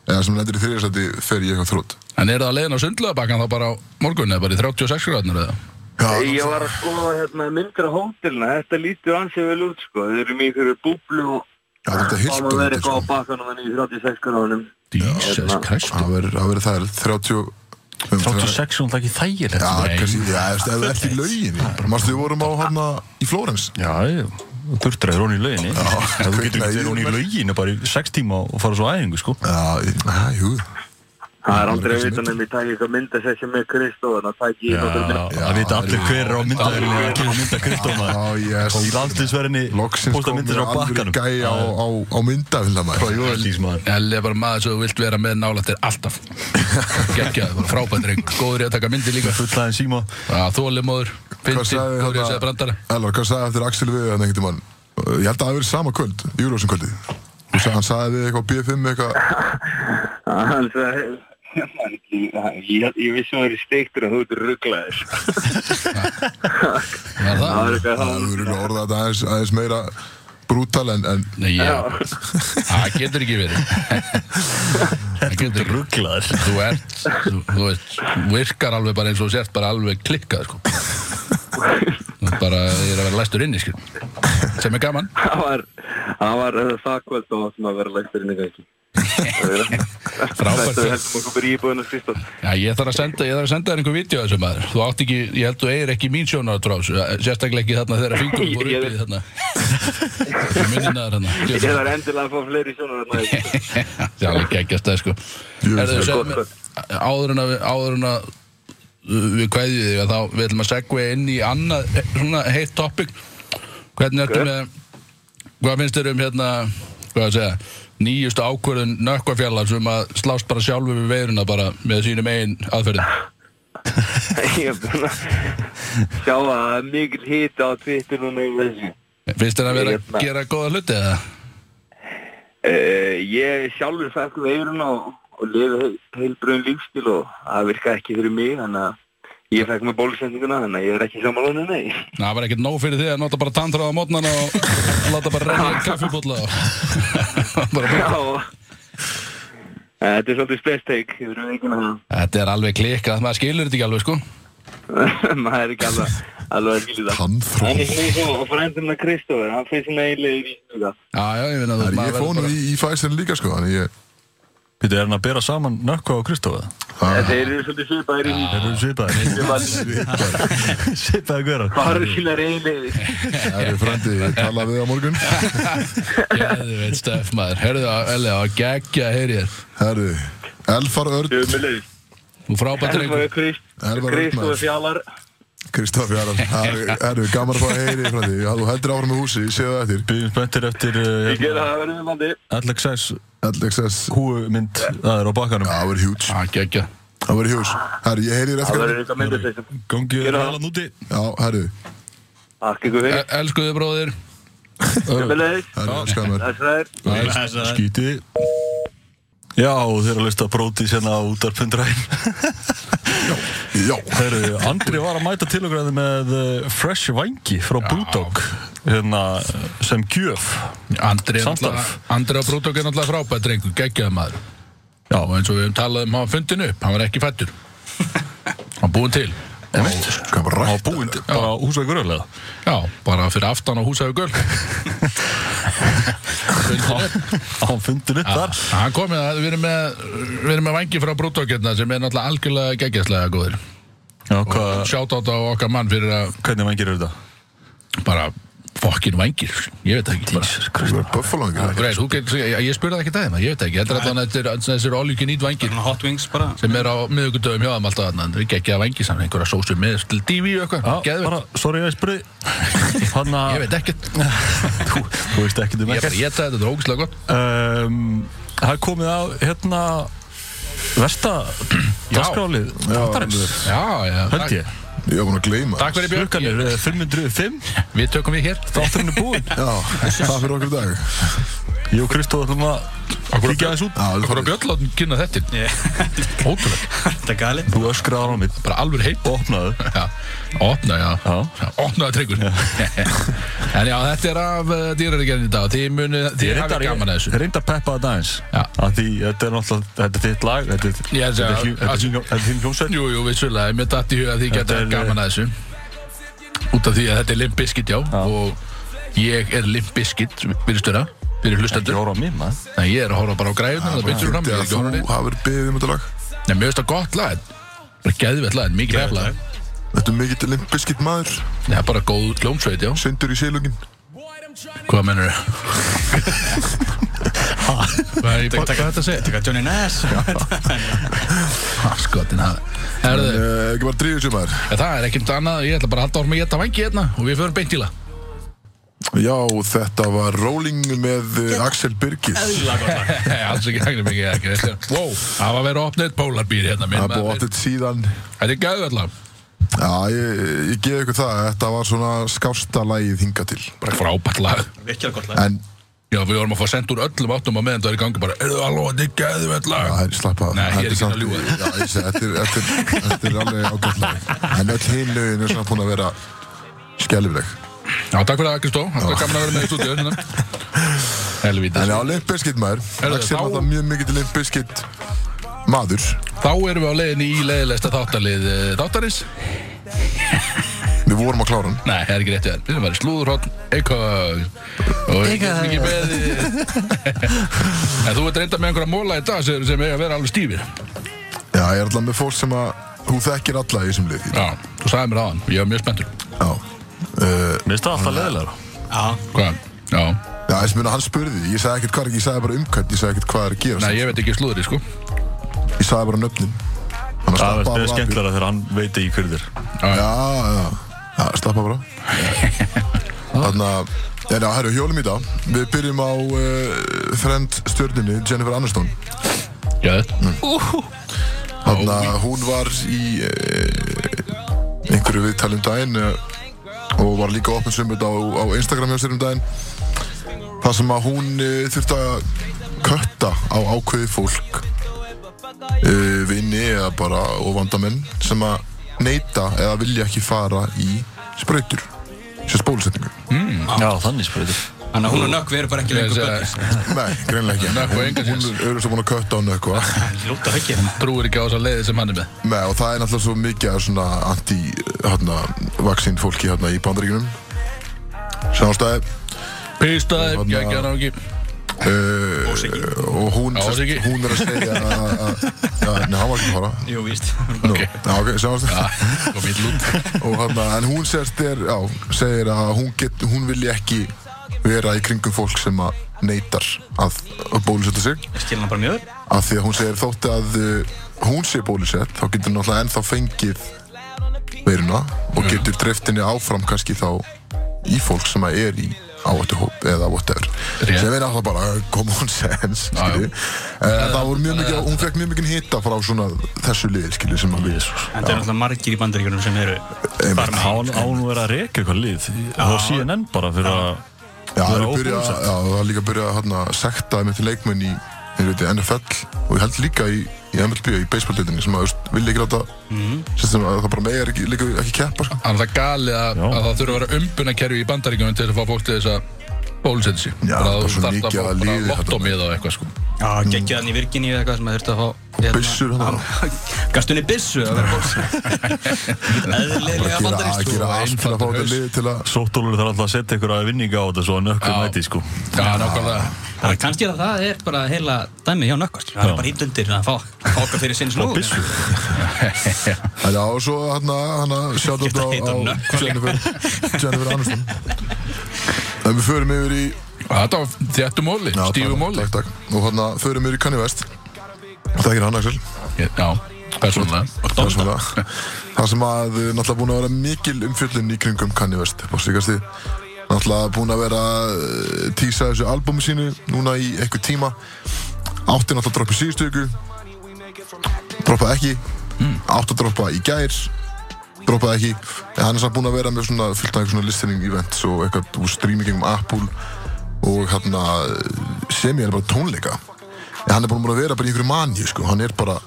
[SPEAKER 1] eða sem lendir í þriðarsæti fer ég eitthvað þrótt
[SPEAKER 3] En er það að leiðin á sundlöðabakkan þá bara á morgun eða bara í 36 gráðnir eða?
[SPEAKER 1] Já,
[SPEAKER 5] Ég var að skoða hérna, myndir á hótelina, þetta lítur ansið vel út sko, þeir eru mjög fyrir búblu og
[SPEAKER 1] Já, þetta er heilt
[SPEAKER 5] það má
[SPEAKER 1] dótið,
[SPEAKER 5] vera
[SPEAKER 1] sko.
[SPEAKER 5] eitthvað á bakkanum en í 36 gráðunum.
[SPEAKER 3] Jesus Christ.
[SPEAKER 1] Það verður það verður þær 30
[SPEAKER 4] 36 er hún ekki þægilegt
[SPEAKER 1] um, Já,
[SPEAKER 3] Nei.
[SPEAKER 1] kannski, já, ef það er ekki í lauginni Mástu við vorum á hana í Flórens
[SPEAKER 4] Já, já, durdraður hún í lauginni Já, þú getur ekki verið hún í lauginu bara í 6 tíma og fara svo á æfingu sko
[SPEAKER 1] Já, í- já, jú
[SPEAKER 5] Það er aldrei að vita nefnir, ég tæk eitthvað myndasessi með Kristó, þannig að tæk ég eitthvað mynd.
[SPEAKER 4] Það vita allir hver er á myndaðurinn eða kemur mynda Kristóma
[SPEAKER 1] Já, yes
[SPEAKER 4] Í landsliðsverðinni
[SPEAKER 1] Loksins
[SPEAKER 4] posta myndir á
[SPEAKER 1] alveg
[SPEAKER 4] bakkanum
[SPEAKER 1] gæja á, á, á myndavilla maður
[SPEAKER 4] Júvelís maður
[SPEAKER 3] Elli er bara maður sem þú vilt vera með nálægt þér alltaf Gekkjaði, bara frábæð dreng Góður í að taka myndir líka
[SPEAKER 4] Fullaðin síma
[SPEAKER 3] Þólimóður,
[SPEAKER 1] Hvað
[SPEAKER 3] fyndi,
[SPEAKER 1] sagði
[SPEAKER 3] góður í að segja brandara
[SPEAKER 1] hérna Elvar, hvað sagði eftir Axel við hann einhvern mann Ég held að það hafi verið sama kvöld, Júrósum kvöldi Sagði, hann sagði við eitthvað á B5 eitthvað
[SPEAKER 5] Þannig að hérna, ég- ég ég vissi að það eru steiktur en þú ert rugglaðis.
[SPEAKER 3] Var
[SPEAKER 5] Það
[SPEAKER 3] það?
[SPEAKER 5] er eitthvað
[SPEAKER 1] Það
[SPEAKER 5] það.
[SPEAKER 1] voru að orða þetta aðeins, aðeins meira brútal en, en
[SPEAKER 3] Nei, ég, það getur ekki verið Það getur ekki
[SPEAKER 4] Rugglaður
[SPEAKER 3] Þú ert, þú, þú veist, virkar alveg bara eins og þú sért bara alveg klikkað sko. Þú ert bara, ég er að vera læstur inni sko. sem er gaman
[SPEAKER 5] Það var, það var uh, það kvöld og áttum að vera lægstur inn í gangi.
[SPEAKER 3] Frábært.
[SPEAKER 5] Þetta er heldum okkur í íbúðinu Kristó.
[SPEAKER 3] Já, ég þarf að senda, ég þarf að senda þér einhver vídeo af þessu maður. Þú átt ekki, ég held þú eigir ekki mín sjónarátráðs, sérstaklega ekki þarna þegar fingur
[SPEAKER 5] Ég-
[SPEAKER 3] voru
[SPEAKER 5] ég-
[SPEAKER 3] uppið þarna. Ég minni næður þarna.
[SPEAKER 5] Ég þarf endilega að fá fleiri sjónar þarna. í-
[SPEAKER 3] Það er alveg geggjast það sko.
[SPEAKER 1] Jú,
[SPEAKER 3] Er þau
[SPEAKER 1] það-
[SPEAKER 3] segðu mér, áður en að, við- áður en að uh, við kveðjum þig að þá við ætlum að segja inn í annað, eh, svona heitt topic. Hvernig ertu
[SPEAKER 5] Ok.
[SPEAKER 3] með, hvað finnst þér um hérna, hvað að segja, nýjustu ákvörðun nökkvafjallar sem að slást bara sjálfu við veiruna bara með sínum eigin aðferðin?
[SPEAKER 5] Ég er búinn að sjá að það er mikil hita á Twitter núna í þessu.
[SPEAKER 3] Finnst þér að vera
[SPEAKER 5] Hérna.
[SPEAKER 3] að gera góða hluti eða?
[SPEAKER 5] Uh, ég sjálfur fekk veiruna og, og lifi heilbröðum lífstil og það virka ekki fyrir mig þannig að ég fekk með bólusendinguna þannig að ég er ekki samanlóðinu nei.
[SPEAKER 3] Ná, það var ekkert nóg fyrir því að nota bara tantráð á mótnana og láta bara reyna í kaffibólla og bara
[SPEAKER 5] Já, og- Eh, þetta er svolítið spesteik yfir veikina þannig
[SPEAKER 3] Þetta er alveg klikkað, maður skilur þetta ekki alveg sko
[SPEAKER 5] að maður er ekki alveg, alveg að skilja það.
[SPEAKER 1] tannþró
[SPEAKER 5] En ég hlýði svo og frændum að Kristófur, hann fyrir sinna eiginlega í vísnuga.
[SPEAKER 3] Já, já, ég finna
[SPEAKER 1] Það er ég fónu í, í fæsinn líka sko Þannig ég,
[SPEAKER 4] Býttu, er hann að bera saman Nökkva og Kristófa?
[SPEAKER 1] það
[SPEAKER 5] Þeir eru svolítið svipaðir í
[SPEAKER 4] Þeir eru svipaði Svipaði hverja
[SPEAKER 5] Bara sína reynlega
[SPEAKER 1] það er frændi, ég tala við á morgun
[SPEAKER 3] Gæðu veit stöf maður, herðu að, elja, að gegja heyri þér
[SPEAKER 1] Herru, Elfar Örn,
[SPEAKER 5] Sjöfumilið
[SPEAKER 3] Þú frábært
[SPEAKER 5] Elfar
[SPEAKER 3] reyngum
[SPEAKER 1] Elfar
[SPEAKER 5] Kristófur
[SPEAKER 1] Örn, maður.
[SPEAKER 5] Fjallar
[SPEAKER 1] Kristoffi Aran Herru, gaman að fá að heyri þig, frændi Já, þú heldur áfram í húsi, ég sé það eftir
[SPEAKER 4] Býðum spenntir eftir eh,
[SPEAKER 5] Ég gera það að vera með landi
[SPEAKER 4] Alexis
[SPEAKER 1] LXS,
[SPEAKER 4] húu mynd Það er á bakkanum
[SPEAKER 1] það verður hjúts
[SPEAKER 3] Já, gegja
[SPEAKER 1] Það verður hjúts Herru, ég heyri þér
[SPEAKER 5] Það
[SPEAKER 1] eftir hérna.
[SPEAKER 5] verður eitthvað myndir þessum
[SPEAKER 4] Gangið
[SPEAKER 5] Gera
[SPEAKER 4] er
[SPEAKER 5] það.
[SPEAKER 4] helan úti
[SPEAKER 1] Já, herru,
[SPEAKER 5] Takk ykkur fyrir
[SPEAKER 3] E, Elskuðu bróðir
[SPEAKER 5] Sömulegis
[SPEAKER 1] herru, skamur
[SPEAKER 5] Þess að er
[SPEAKER 4] Skítið Já, þeir eru að lusta brótið sérna á útarpundræn
[SPEAKER 1] Já,
[SPEAKER 4] Herru, Andri var að mæta til okkur hérna með eh, Fresh Vangi frá Brewdog hérna, sem gjöf
[SPEAKER 3] Andri er
[SPEAKER 4] Samstarf.
[SPEAKER 3] náttúrulega- Andri á Brútok er náttúrulega frábært reyngum, gegjaðu maður Já, og eins og við höfum talað um, hann var fundin upp, hann var ekki fættur Hann búinn til
[SPEAKER 1] skamur
[SPEAKER 4] á
[SPEAKER 1] rætt
[SPEAKER 4] búind bara á húsveikur öðlega
[SPEAKER 3] Já, bara fyrir aftan á húsæðu göl
[SPEAKER 4] á fundin upp þar
[SPEAKER 3] Já, Hann Ah, komið að við erum með, við erum með vangi frá brúttókjörna sem er náttúrulega algjörlega geggjastlega góðir.
[SPEAKER 4] Já, hva,
[SPEAKER 3] Sjátt á okkar mann fyrir að
[SPEAKER 4] hvernig vangir eru þetta?
[SPEAKER 3] bara fokkin vængir, ég veit það ekki bara.
[SPEAKER 1] Buffalo
[SPEAKER 3] Það
[SPEAKER 1] ekki
[SPEAKER 3] er, þú getur, ég, ég spurði það ekki daginn, ég veit það ekki, þetta er alltaf þessir, þessir all you can eat vængir
[SPEAKER 2] Hot Wings bara
[SPEAKER 3] sem er á miðugundöfum hjá þeim alltaf þarna, það er ekki ekki að vengi saman, einhverja sósu með til divi og
[SPEAKER 4] Já,
[SPEAKER 3] eitthvað, geðvitt,
[SPEAKER 4] bara, sorry að ég spurði Þannig
[SPEAKER 3] ég
[SPEAKER 4] að
[SPEAKER 3] veit ekkert,
[SPEAKER 4] þú, þú veist ekki um
[SPEAKER 3] ég er
[SPEAKER 4] ekkert
[SPEAKER 3] bara ég þetta, þetta er ógæslega gott.
[SPEAKER 4] um, Það er komið á hérna Versta Dasgrálið Þáttarins
[SPEAKER 3] Já, já,
[SPEAKER 4] Held
[SPEAKER 3] takk,
[SPEAKER 4] ég
[SPEAKER 1] Ég var búin að gleyma
[SPEAKER 3] takk fyrir Björk,
[SPEAKER 4] Klukkan er eh, 505
[SPEAKER 3] við tökum við hér.
[SPEAKER 4] Þátturinn er búinn
[SPEAKER 1] Já, það fyrir okkur í dag
[SPEAKER 4] Ég og Kristóð ætlum að Kíkja aðeins út
[SPEAKER 1] Já, það
[SPEAKER 3] Hvað
[SPEAKER 1] fyrir
[SPEAKER 3] er Björnlóðin kynna þetta? Ótrúlega,
[SPEAKER 2] Þetta er galið
[SPEAKER 4] Þú öskraði á mig
[SPEAKER 3] bara alveg heitt.
[SPEAKER 4] Opnaðu
[SPEAKER 3] Já, opna, já,
[SPEAKER 4] Já.
[SPEAKER 3] já. opnaða tryggur En já, þetta er af uh, dýrarigerðin í dag Þið munið, þið hafið gaman að þessu
[SPEAKER 4] reynda að peppa þetta aðeins
[SPEAKER 3] Já.
[SPEAKER 4] að Því þetta er náttúrulega Þetta er þitt lag Þetta er-
[SPEAKER 3] Ég
[SPEAKER 4] þetta
[SPEAKER 3] segi
[SPEAKER 4] er
[SPEAKER 3] að-
[SPEAKER 4] hljú- þetta er þín- þetta er þín hljómsveit
[SPEAKER 3] Jú, jú, vissulega, mér datt í huga að þið
[SPEAKER 4] Þetta
[SPEAKER 3] geta
[SPEAKER 4] er-
[SPEAKER 3] gaman að þessu Út af því að þetta er Limp Bizkit, já, Og ég er Limp Bizkit, virðist vera Fyrir
[SPEAKER 4] Ekki
[SPEAKER 3] hlustendur
[SPEAKER 4] ára á mig maður
[SPEAKER 3] Nei, ég er að horfa bara á græðunum Það byrjur fram,
[SPEAKER 1] Fyndi
[SPEAKER 3] ég er
[SPEAKER 1] að
[SPEAKER 3] ekki að horfa á
[SPEAKER 1] þú
[SPEAKER 3] neitt
[SPEAKER 1] hafur beðið um þetta lag
[SPEAKER 3] Nei, mér finnst það gott lag en Bara geðvett lag, en mikið
[SPEAKER 2] Geðveikt
[SPEAKER 3] hefla
[SPEAKER 2] lag.
[SPEAKER 1] Þetta er mikill limpiskitt maður
[SPEAKER 3] Það er bara góð hljómsveit, já
[SPEAKER 1] Sundur í sílungin
[SPEAKER 3] Hvað mennur þau? Hvað er í bótt? Hvað er þetta að segja?
[SPEAKER 2] Þetta er Johnny Nash
[SPEAKER 3] Skotin að
[SPEAKER 1] Eh,
[SPEAKER 3] Herðu,
[SPEAKER 1] Ekki bara drífið sér maður
[SPEAKER 3] ja, það er ekkert annað Ég ætla bara að halda orma í þetta vangi hérna Og við förum beint í það
[SPEAKER 1] Já, þetta var Rolling með eh, Axel Birgis
[SPEAKER 3] Alls ekki hægnir mikið ekki þetta er- Wow, það var að vera opnið pólarbýr hérna minn
[SPEAKER 1] Það er búið
[SPEAKER 3] maður.
[SPEAKER 1] átt þetta síðan
[SPEAKER 3] Þetta er gæðu alltaf
[SPEAKER 1] Já, ég, ég gef ykkur það Þetta var svona skásta lagið hinga til
[SPEAKER 3] Bara frábært lag
[SPEAKER 2] Virkilega gott lag
[SPEAKER 1] En
[SPEAKER 3] Já, við vorum að fá sendt úr öllum áttum á meðan það er í gangi bara Eru það alveg, þetta er gæðu lag
[SPEAKER 1] Það er slappað
[SPEAKER 3] Nei, ég er
[SPEAKER 1] Þetta
[SPEAKER 3] ekki
[SPEAKER 1] samt-
[SPEAKER 3] að ljúga þér.
[SPEAKER 1] Já, ég segi, þetta er- þetta er- þetta er alveg ágætt lag En öll hinn lögin er svona búin að vera skelfileg
[SPEAKER 3] Já, takk fyrir það Kristó Alltaf gaman að vera með í stúdíu hérna.
[SPEAKER 1] En
[SPEAKER 3] Helvítis
[SPEAKER 1] já, Limp Bizkit maður
[SPEAKER 3] Herðu,
[SPEAKER 1] Axel
[SPEAKER 3] þá-
[SPEAKER 1] var það mjög mikið til Limp Bizkit maður
[SPEAKER 3] Þá erum við á leiðinni í leiðilegsta þáttarlið eh, þáttarins
[SPEAKER 1] Við vorum að klára hann
[SPEAKER 3] Nei, það er ekki rétt við Við erum bara í slúðurhótt, eitthvað Og ég get mikið beðið En þú ert reynda með einhverja móla í dag sem, sem eiga að vera alveg stífir
[SPEAKER 1] Já, ég er alltaf með fólk sem að Þú þekkir alla í þessum lið
[SPEAKER 3] Já, þú sagði mér aðan, ég var mjög spenntur
[SPEAKER 1] Já Uh,
[SPEAKER 4] Mér finnst það alltaf leðilega
[SPEAKER 2] Já
[SPEAKER 3] Hvað? Já,
[SPEAKER 1] já, þess að hann spurði Ég sagði ekkert hvað er ekki, ég sagði bara umkvæmt Ég sagði ekkert hvað er að gera
[SPEAKER 3] nei, ég veit ekki slúðri, sko
[SPEAKER 1] Ég sagði bara nöfnin Þannig að
[SPEAKER 4] Það
[SPEAKER 1] slappa
[SPEAKER 4] er
[SPEAKER 1] bara af.
[SPEAKER 4] skemmtilega þegar hann veit ekki hverður
[SPEAKER 1] Já, já, já, slappa bara Þannig að En já, herru, hjólum í dag Við byrjum á uh, frend stjörnunni Jennifer Aniston
[SPEAKER 3] Já, þetta
[SPEAKER 1] Þannig að hún var í uh, einhverju viðtali um daginn uh, og var líka opnum sömut á, á Instagram hjá sér um daginn þar sem að hún uh, þurfti að kötta á ákveði fólk uh, vinni eða bara ofandamenn sem að neyta eða vilja ekki fara í sprautur sem spólusetningu
[SPEAKER 4] Já, þannig spurði
[SPEAKER 2] Þannig að hún og Nökk við erum bara ekki lengur
[SPEAKER 3] Ég
[SPEAKER 2] bönni
[SPEAKER 3] segi-
[SPEAKER 1] Nei, greinlega ekki
[SPEAKER 3] Nökkva
[SPEAKER 1] Hún-
[SPEAKER 3] engan séns.
[SPEAKER 1] Hún er auðvitað búin að kötta á nökkva
[SPEAKER 2] Lúta höggið hennar
[SPEAKER 3] trúir ekki á þessa leiði sem hann er með
[SPEAKER 1] Nei, og það er náttúrulega svo mikið af svona anti-vaxín fólki hérna í bandaríkunum Sjáumstæði
[SPEAKER 3] Pýstaði,
[SPEAKER 1] Þarna-
[SPEAKER 3] ekki hann á ekki
[SPEAKER 1] uh,
[SPEAKER 2] Ósiki
[SPEAKER 1] og hún,
[SPEAKER 3] Já,
[SPEAKER 1] sest,
[SPEAKER 3] Siggi.
[SPEAKER 1] hún er að segja að að- að- Nei, hann var ekki að fara
[SPEAKER 2] Jú, víst
[SPEAKER 1] Nú, já, ok, sjáumstæði
[SPEAKER 3] Kom í lút
[SPEAKER 1] Og hérna, en hún sérst er, já, segir að hún, get, hún vilji ekki vera í kringum fólk sem að neytar að, að bólusetja sig
[SPEAKER 2] Ég skil hann bara mjög vel.
[SPEAKER 1] af því að hún segir þótti að uh, hún sé bólusett þá getur hún náttúrulega ennþá fengið veiruna og getur dreftinni áfram kannski þá í fólk sem að er í áhættu hóp eða whatever
[SPEAKER 3] Rétt.
[SPEAKER 1] sem er alltaf bara eh, common sense
[SPEAKER 3] Já, já. Eh,
[SPEAKER 1] skilju en það voru mjög mikið hún fekk mjög mikið hita frá svona þessu liði skilju sem að við
[SPEAKER 2] En það er náttúrulega margir í bandaríkjunum sem eru þar með
[SPEAKER 4] Án án verið að reka eitthvað lið Það var CNN bara fyrir að
[SPEAKER 1] Já, það
[SPEAKER 4] Þú
[SPEAKER 1] er
[SPEAKER 4] er
[SPEAKER 1] að byrja,
[SPEAKER 4] óbólusett.
[SPEAKER 1] já, það er líka að byrja hérna, að sekta með til leikmenn í þeir veit, NFL og ég held líka í, í MLB í baseball-deitinni sem að þú veist, vilja ekki láta
[SPEAKER 3] Mhm.
[SPEAKER 1] sem sem að það bara megar ekki, líka ekki keppa sko.
[SPEAKER 3] Þannig að það galið að,
[SPEAKER 4] Já.
[SPEAKER 3] að það þurfa að vera umbunarkerfi í bandaríkjum til þess að fá fólk til þess að bólusetja sig
[SPEAKER 1] Já,
[SPEAKER 3] Bara
[SPEAKER 1] það
[SPEAKER 3] þú
[SPEAKER 1] er svo
[SPEAKER 3] þarft
[SPEAKER 1] mikið
[SPEAKER 3] fá
[SPEAKER 1] að
[SPEAKER 3] bara
[SPEAKER 1] liði
[SPEAKER 3] lottómiða og eitthvað sko
[SPEAKER 2] Já, geggið hann í virkinni eða eitthvað sem að þurftu að fá
[SPEAKER 1] Og byssur þarna.
[SPEAKER 2] þarna Gastu henni byssu að vera bóls Eðlilega
[SPEAKER 1] gera, að
[SPEAKER 2] bandaríkjum
[SPEAKER 1] gera allt til að fá þetta
[SPEAKER 3] haus.
[SPEAKER 1] lið til að
[SPEAKER 4] Sóttólur þarf alltaf að setja ykkur að vinninga á þetta Svo að nökkur
[SPEAKER 3] Já.
[SPEAKER 4] mæti sko
[SPEAKER 3] Já, nákvæmlega
[SPEAKER 2] Það er kannski að það er bara heila dæmi hjá nökkvart Það er
[SPEAKER 4] Já.
[SPEAKER 2] bara hýtlundir að fá fá okkar fyrir sinns nú
[SPEAKER 4] Og byssu
[SPEAKER 1] En já, og svo hann að sjátt á,
[SPEAKER 2] Geta hitt
[SPEAKER 1] á
[SPEAKER 2] á nökkva líka.
[SPEAKER 1] Jennifer, Jennifer Aniston Ef við förum yfir í
[SPEAKER 3] Þetta var þjættu móli,
[SPEAKER 1] Já,
[SPEAKER 3] stífu
[SPEAKER 1] takk,
[SPEAKER 3] móli
[SPEAKER 1] takk, takk. Og hérna förum yfir í Kanye West Það er ekki hann Axel
[SPEAKER 3] Já, persónulega
[SPEAKER 1] Persónulega. Það sem að uh, náttúrulega búin að vera mikil umfjöllun í kringum Kanye West upp á síkasti náttúrulega búin að vera uh, tísa þessu albúmi sínu núna í eitthvað tíma átti náttúrulega að droppa í síðustu ykkur droppaði ekki átti að droppa í gær droppaði ekki en hann er samt búin að vera með svona fullt af einhver svona listening events og eitthvað úr streaming um Apple og hérna sem ég er bara tónleika en hann er búin að vera bara í einhverju manju sko. hann er bara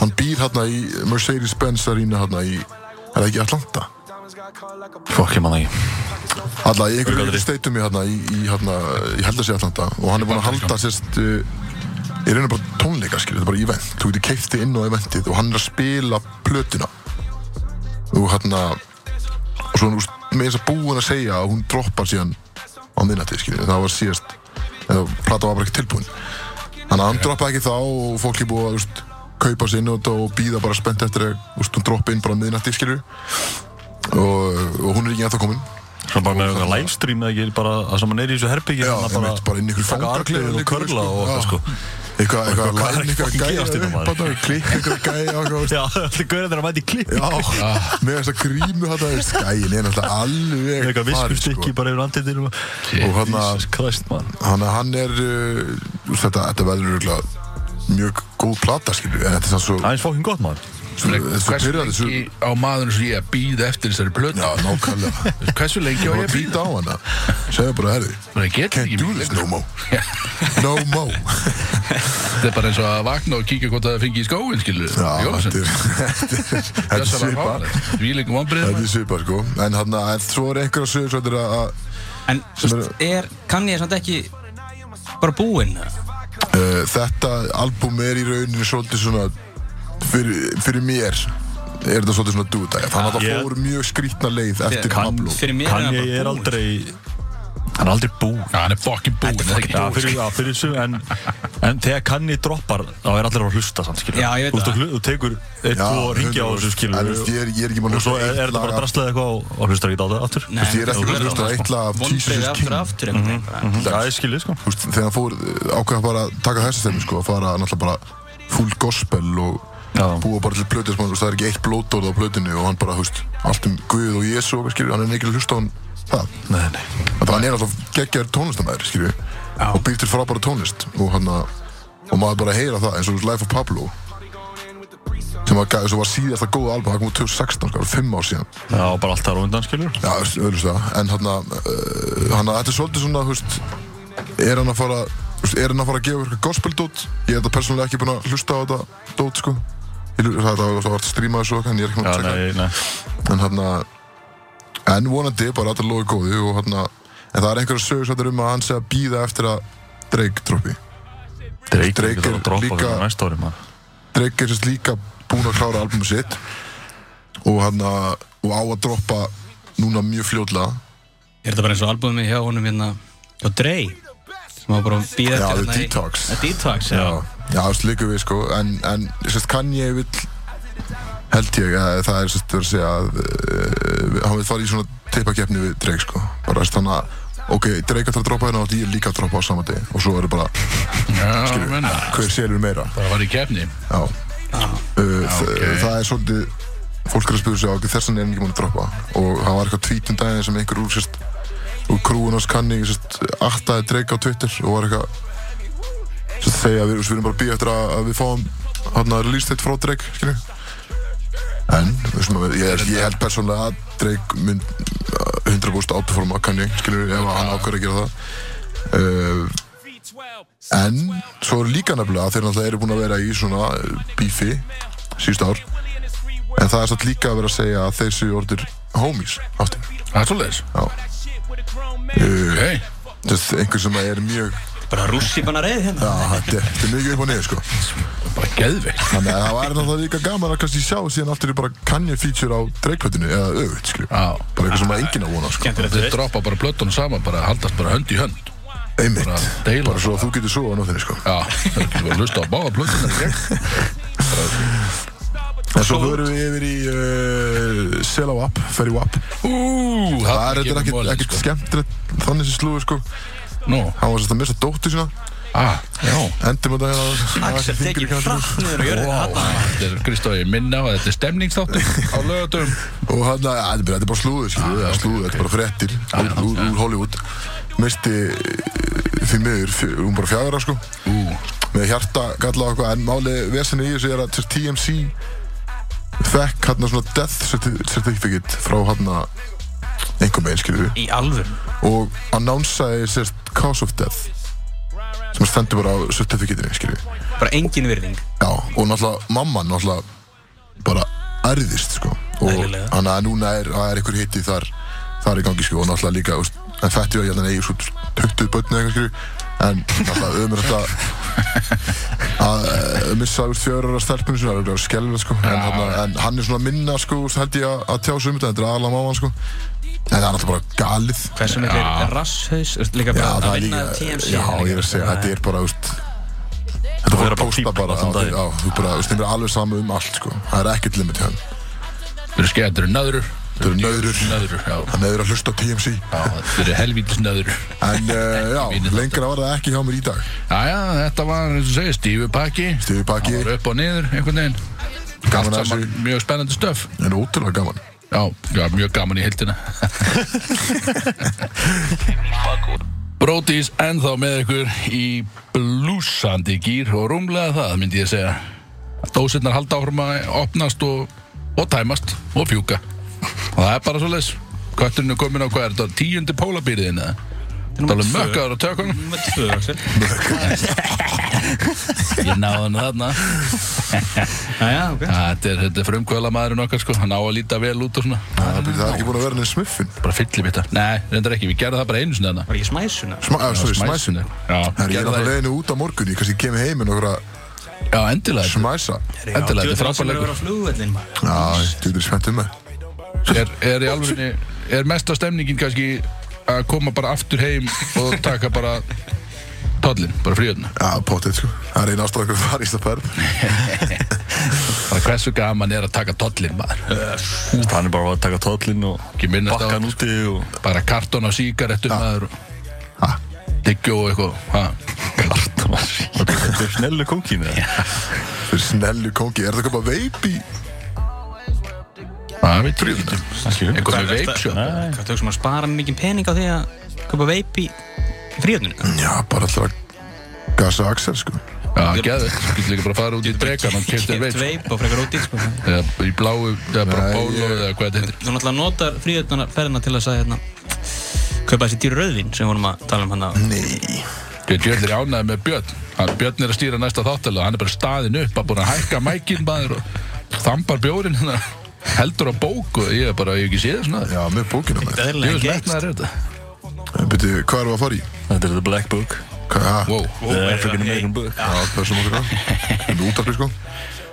[SPEAKER 1] hann býr hérna í Mercedes-Benz arena hérna í, er það ekki Atlanta?
[SPEAKER 4] Fokk, ég manna ekki
[SPEAKER 1] Alla í einhverju
[SPEAKER 4] Örgaldri.
[SPEAKER 1] steytum í hérna í, í hérna, ég held að sé Atlanta og hann er búinn að halda sérst uh, ég reyna bara tónleika skilur, þetta er bara event þú getur keifti inn á eventið og hann er að spila plötuna og hérna og svo hann úst, með þess að búin að segja að hún droppar síðan á minnati skilur, það var síðast eða plata var bara ekki tilbúin þannig að hann droppaði ekki þá og fólk er búið að úst, kaupa sér inn á þetta og býða bara spennt eftir að úst, hún droppi inn bara á minnati skilur og, og hún er ekki ennþá komin
[SPEAKER 4] Svo bara með eitthvað livestream eða ekki bara að sem hann er í þessu herbyggja
[SPEAKER 1] Já, það er bara inn í ykkur fangaklefa
[SPEAKER 4] og körla og eitthvað sko
[SPEAKER 1] Eitthvað, eitthvað,
[SPEAKER 4] hvað er
[SPEAKER 1] læn ykkur
[SPEAKER 4] fucking
[SPEAKER 1] gæja
[SPEAKER 4] gerast hérna,
[SPEAKER 1] upp
[SPEAKER 4] maður?
[SPEAKER 1] að það Klikk ykkur gæja og eitthvað, veist.
[SPEAKER 4] Já, allir gaurið þeirra mæti klip
[SPEAKER 1] Já,
[SPEAKER 4] Ah.
[SPEAKER 1] með þess að grímu hann að skæin er náttúrulega alveg farinn,
[SPEAKER 4] Eitthvað viskur
[SPEAKER 1] sko.
[SPEAKER 4] stykki bara yfir andindinu
[SPEAKER 1] Og hérna- hann að
[SPEAKER 4] Jesus Christ, man
[SPEAKER 1] Þannig að hann er uh, úst, þetta, þetta verður örugglega mjög góð plata skilju en þetta er sann svo
[SPEAKER 4] Það er eins fokkin gott, man
[SPEAKER 1] svo- þetta er svo
[SPEAKER 3] Hversu
[SPEAKER 1] pyrrandi svo
[SPEAKER 3] lengi á maðurinn sem ég að býða eftir þessari plötu
[SPEAKER 1] Já, nákvæmlega
[SPEAKER 3] Hversu lengi á
[SPEAKER 1] Ég
[SPEAKER 3] ég
[SPEAKER 1] var
[SPEAKER 3] að
[SPEAKER 1] að
[SPEAKER 3] býða?
[SPEAKER 1] býta á hana Segðu bara, herri
[SPEAKER 3] Nei, ég get
[SPEAKER 1] Can't
[SPEAKER 3] ekki
[SPEAKER 1] do
[SPEAKER 3] mikið
[SPEAKER 1] this
[SPEAKER 3] lengur.
[SPEAKER 1] no more
[SPEAKER 3] Já,
[SPEAKER 1] No more
[SPEAKER 3] Þetta er bara eins og að vakna og kíkja hvort það fengi í skóin, skilur
[SPEAKER 1] Já, þetta er þetta er- þetta er svipað
[SPEAKER 3] Við
[SPEAKER 1] Þetta
[SPEAKER 3] líkum vonbrið
[SPEAKER 1] er svipað sko En hann að svo er einhverja sögursvættir að að,
[SPEAKER 2] En
[SPEAKER 1] Sem
[SPEAKER 2] þú veist, er, kann ég samt ekki bara búinn? eða?
[SPEAKER 1] uh, Þetta albúm er í rauninu svolítið svona Fyrir, fyrir mér er þetta svolítið svona dúdæg Þannig að það
[SPEAKER 4] Ég-
[SPEAKER 1] fór mjög skrýtna leið eftir
[SPEAKER 2] Kann-
[SPEAKER 1] Pablo
[SPEAKER 2] Fyrir mér
[SPEAKER 4] Kann
[SPEAKER 2] hann
[SPEAKER 4] ég er
[SPEAKER 2] bara búinn.
[SPEAKER 4] aldrei Hann er aldrei búinn
[SPEAKER 3] Já, hann er fucking búinn er það ekki?
[SPEAKER 4] Já,
[SPEAKER 2] sko.
[SPEAKER 4] fyrir, já, fyrir þessu, en, en þegar kanni droppar, þá er allir að hlusta samt, skilur.
[SPEAKER 2] Já, ég veit
[SPEAKER 4] þú, veist,
[SPEAKER 2] það.
[SPEAKER 4] þú hlu- Þú tekur eitt, tvo ringi á
[SPEAKER 1] 100%.
[SPEAKER 4] þessu, skilur.
[SPEAKER 1] En þú veist, ég er, ég er ekki búin
[SPEAKER 4] og svo er, er þetta bara drastlað eitthvað og- og hlustar ekki á það aftur.
[SPEAKER 2] Nei,
[SPEAKER 1] Ég er ekki búin
[SPEAKER 2] þú
[SPEAKER 1] að
[SPEAKER 2] verður
[SPEAKER 1] hlusta á
[SPEAKER 2] alveg
[SPEAKER 1] eitt lag af Jesus
[SPEAKER 2] Vonbreið
[SPEAKER 1] is
[SPEAKER 2] aftur
[SPEAKER 1] King
[SPEAKER 2] aftur einhvern veginn bara.
[SPEAKER 4] Mhm. Já, ég skilur, sko.
[SPEAKER 1] Þú veist, Þegar hann fór ákveða bara að taka þessi stefni sko Að fara náttúrulega bara full gospel og
[SPEAKER 4] Já.
[SPEAKER 1] búa bara til plötu sem hann, þú veist, það er ekki eitt blótórð á plötinu og hann bara, þú veist, allt um Guð og Jésu og skilur, hann er ekki að hlusta á hann það
[SPEAKER 4] Nei, nei.
[SPEAKER 1] Þannig að hann er alltaf geggjar tónlistamæður, skilju Og býr til frábæra tónlist Og hann að Og maður bara heyra það, eins og Life of Pablo Sem var, sem var síðasta góða album Það kom út 2016, sko, það var fimm ár síðan
[SPEAKER 4] Já, og bara allt þar á undan, skilur.
[SPEAKER 1] Já, auðvitað það En hann að uh, Hann að þetta er svolítið svona, þú veist Er hann að fara þú veist, Er hann að fara að gefa eitthvað gospel dót Ég er þetta persónulega ekki búin að hlusta á þetta dót, sko Ég lu- Það það var það var strímaði svo En ég er ekki búin
[SPEAKER 4] Já,
[SPEAKER 1] að checka
[SPEAKER 4] nei, nei.
[SPEAKER 1] en hérna en vonandi bara að þetta loði góðu og hérna en það er einhverja sögursættir um að hann sé að býða eftir að Drake droppi Drake
[SPEAKER 4] Drake, Drake er
[SPEAKER 1] er
[SPEAKER 4] að droppa
[SPEAKER 1] líka-
[SPEAKER 4] fyrir næsta ári, maður.
[SPEAKER 1] Drake er sérst líka búinn að klára albumu sitt og hérna og á að droppa núna mjög fljótlega
[SPEAKER 2] Er þetta bara eins og albúmið hjá honum hérna hjá Dre sem var bara að býða
[SPEAKER 1] Já,
[SPEAKER 2] eftir
[SPEAKER 1] The
[SPEAKER 2] hérna í-
[SPEAKER 1] Detox.
[SPEAKER 2] The Detox, já
[SPEAKER 1] já, þess líka við sko en, en sérst Kanye vill held ég að það er sérst verið að segja að uh, hann vil fara í svona teipakeppni við Drake sko bara sérst hann að ok, Drake ætlar að droppa hérna og ég er líka að droppa á sama degi og svo er það bara
[SPEAKER 3] Já, menna
[SPEAKER 1] hver selur meira
[SPEAKER 3] Það var í kefni
[SPEAKER 1] Já. Uh,
[SPEAKER 3] ok.
[SPEAKER 1] okay. Það er svolítið fólk er að spyrja sig á okkur þessan er hann ekki múin að droppa og það var eitthvað tweet um daginn sem einhver úr sérst úr krúun hans kanni sérst aftaði dreika á Twitter og var eitthvað sérst segja við, við erum bara að býja eftir að, að við fáum hann að release þetta frá dreik skilju en þú veist maður, ég, er- ég held persónlega að uh, dreik mynd 100% outperforma kanni skilju ef hann ákveður að gera það uh, En svo er líka nefnilega að þeir náttúrulega eru búin að vera í svona eh, bífi síðust ár En það er satt líka að vera að segja að þeir séu orðir homies áttir
[SPEAKER 3] Það er svolítið
[SPEAKER 1] Já uh,
[SPEAKER 3] Ok
[SPEAKER 1] Þess, einhver sem er mjög
[SPEAKER 2] bara rússi banna reið hérna
[SPEAKER 1] Já, þetta er þetta er mikið upp og niður sko
[SPEAKER 3] Bara geðveikt
[SPEAKER 1] Þannig að það væri náttúrulega líka gaman að kannski sjá síðan aftur í bara kannja feature á dreikvöldinu eða öfugt skilju
[SPEAKER 3] Já.
[SPEAKER 1] Bara eitthvað sem að enginn á vona sko
[SPEAKER 3] Þeir
[SPEAKER 2] Skemmtilegt, þú veist
[SPEAKER 3] droppa bara plötunum saman bara haldast bara hönd í hönd Bara
[SPEAKER 1] Einmitt
[SPEAKER 3] deila
[SPEAKER 1] Bara svo að þú getur svo á nóttinni sko
[SPEAKER 3] Já, það er ekki verið að hlusta á báða plötunum
[SPEAKER 1] En svo förum við yfir í uh, Sel á app, fer í app
[SPEAKER 3] Ú,
[SPEAKER 1] Það er
[SPEAKER 3] um
[SPEAKER 1] þetta ekkert,
[SPEAKER 3] sko.
[SPEAKER 1] ekkert skemmtilegt Þannig sem slúður sko
[SPEAKER 3] Nú,
[SPEAKER 1] Hann var sérst að mista dóttu sína
[SPEAKER 3] ah, já
[SPEAKER 1] Endum þetta hérna
[SPEAKER 2] Axel tekið hratt niður og gjörði
[SPEAKER 3] Wow,
[SPEAKER 2] þetta
[SPEAKER 3] þetta er Kristófi minna og þetta er stemningsþáttur á lögatum
[SPEAKER 1] Og hann að, þetta er bara- þetta er bara slúður sko Það er slúður, þetta er bara frettir Úr úr- úr Hollywood Misti eh, því miður, fjö- hún bara fjagra sko
[SPEAKER 3] Ú,
[SPEAKER 1] með hjarta galla og eitthvað en málið vesinu í þessu er að sérst, TMC fekk hérna svona death certi- certificate frá hérna einhver meginn skilur
[SPEAKER 2] Í alvör
[SPEAKER 1] og annánsaði sérst cause of death sem stendur bara á certificatinu skilur
[SPEAKER 2] Bara engin virðing
[SPEAKER 1] já og náttúrulega mamman náttúrulega bara erðist sko og
[SPEAKER 2] Eðlilega.
[SPEAKER 1] hann að núna er, það er einhver hitti þar þar í gangi sko og náttúrulega líka þú veist, en fætti var ég hérna eigi svo 20 börn eða eitthvað skilur en náttúrulega ömur þetta að eh, missa úr fjörur að stelpunum sinna, það er skelvilega sko en, hann, en hann er svona minna sko, þú veist, held ég að, að tjá sig um þetta, þetta er aðalega máman sko en það er alltaf bara galið
[SPEAKER 2] Hversu miklir rasshaus þú veist, Líka
[SPEAKER 1] já,
[SPEAKER 2] bara
[SPEAKER 1] það
[SPEAKER 2] að
[SPEAKER 1] er
[SPEAKER 2] vinna
[SPEAKER 1] líka,
[SPEAKER 2] TMC
[SPEAKER 1] já,
[SPEAKER 2] hérna, líka.
[SPEAKER 1] ég er að segja, þetta er bara, þú veist þetta er bara
[SPEAKER 4] vera
[SPEAKER 1] að
[SPEAKER 4] bara
[SPEAKER 1] posta
[SPEAKER 4] fífl
[SPEAKER 1] bara,
[SPEAKER 4] allan
[SPEAKER 1] já,
[SPEAKER 4] daginn.
[SPEAKER 1] já, þú bara, þú veist, þeim er alveg sama um allt sko, það er ekkert limit hjá hann
[SPEAKER 3] þetta eru skemmt, þetta eru nöðrur
[SPEAKER 1] Þetta eru nöðrur.
[SPEAKER 3] Nöðrur, já,
[SPEAKER 1] hann er að hlusta á TMC
[SPEAKER 3] já þetta eru helvítis nöðrur
[SPEAKER 1] en uh, já,
[SPEAKER 3] vinir þetta.
[SPEAKER 1] lengra var það ekki hjá mér í dag
[SPEAKER 3] Jæja, þetta var, eins og segja, stífu pakki
[SPEAKER 1] Stífi
[SPEAKER 3] Það
[SPEAKER 1] Paki,
[SPEAKER 3] var upp og niður, einhvern veginn
[SPEAKER 1] gaman
[SPEAKER 3] Allt
[SPEAKER 1] að
[SPEAKER 3] saman,
[SPEAKER 1] þessu
[SPEAKER 3] mjög spennandi stöf
[SPEAKER 1] en ótrúlega gaman
[SPEAKER 3] Já, já, mjög gaman í hildina Brótis ennþá með ykkur í blúsandi gýr og rúmlega það myndi ég segja Dósirnar halda áfram að opnast og, og tæmast og fjúka og það er bara svo leis Kötturinn er komin á hvað er þetta, tíundi pólabýriðin eða? Það er alveg mökkaður á tökunum
[SPEAKER 2] Númer tvö, Axel
[SPEAKER 3] Ég náði hann þarna
[SPEAKER 2] Jæja, ok
[SPEAKER 3] Þetta er, þetta er frumkvöla maðurinn okkar sko, hann á að líta vel út og svona
[SPEAKER 1] það er það er ekki búin að vera neins smuffin
[SPEAKER 3] Bara fyllir mitt Nei, reyndar ekki, við gerðum það bara einu sinni þarna
[SPEAKER 2] Var ég smæsuna?
[SPEAKER 1] Sma, já, Ah, sorry, smæsun
[SPEAKER 3] Já,
[SPEAKER 1] Herri, ég er
[SPEAKER 3] gerðu
[SPEAKER 1] alltaf
[SPEAKER 3] það í-
[SPEAKER 1] leiðinu út á morgun, ég kannski kemur heim með nokkra
[SPEAKER 3] Já, endilega þetta-
[SPEAKER 1] smæsa.
[SPEAKER 3] Endilega, þetta er
[SPEAKER 2] sem er að
[SPEAKER 3] frábæðleikur
[SPEAKER 2] vera á flugvöllin maður
[SPEAKER 1] Já, þú ert spennt um það.
[SPEAKER 3] er, er í alvegni, er mesta stemningin kannski að koma bara aftur heim og taka bara tollin, bara fríöðna
[SPEAKER 1] Já, potið, sko. Það er einn ástæða okkur að fara í þess að ferð.
[SPEAKER 3] Bara hversu gaman er að taka tollin maður
[SPEAKER 4] Hann er bara að taka tóllinn og
[SPEAKER 3] Ekki minnast á
[SPEAKER 4] bakka hann úti og
[SPEAKER 3] bara kartón á sígarettum maður
[SPEAKER 1] Ha,
[SPEAKER 3] Diggjó og eitthvað ha.
[SPEAKER 4] kartón og síðan. Þetta er snellu kókinu.
[SPEAKER 1] fyrir snellu kongi. Er það eitthvað veip í?
[SPEAKER 3] Það veit ég ekki
[SPEAKER 4] Skiljum.
[SPEAKER 3] Eitthvað með veip sjó
[SPEAKER 4] Nei.
[SPEAKER 2] Hvað tökum sem að spara mikið pening á því að köpa veip í fríðunum?
[SPEAKER 1] Já, bara alltaf að gasa Axel, sko.
[SPEAKER 3] Já, geðu, getur líka bara að fara út í drekan og kemst þér veip
[SPEAKER 2] Keft
[SPEAKER 3] sko.
[SPEAKER 2] veip og frekar ódýr sko.
[SPEAKER 3] Eða í bláu, eða bara
[SPEAKER 1] Nei,
[SPEAKER 3] bólu
[SPEAKER 1] ég-
[SPEAKER 3] eða hvað þetta heitir
[SPEAKER 2] Þú náttúrulega notar fríðunarferðina til þess að hérna, kaupa þessi dýru rauðvin sem við vorum að tala um hann að
[SPEAKER 1] Nei.
[SPEAKER 3] Ég djöðlir ánæði með Björn hann, Björn er að stýra næsta þáttalega Hann er bara staðin upp að búin að hækka mækinn maður og þambar bjórin hérna heldur á bók og ég er bara, ég hef ekki séð svona
[SPEAKER 1] Já, með bókina með.
[SPEAKER 3] Ég
[SPEAKER 2] dæðilega
[SPEAKER 3] veist
[SPEAKER 2] geist
[SPEAKER 3] metnaður hérna. er þetta
[SPEAKER 1] Býttu, hvað erum við að fara í?
[SPEAKER 4] Þetta er The Black Book.
[SPEAKER 1] Hvað, ha?
[SPEAKER 3] Wow,
[SPEAKER 4] The African American Book.
[SPEAKER 1] Já, það er sem okkur að. Það er útarpið, sko.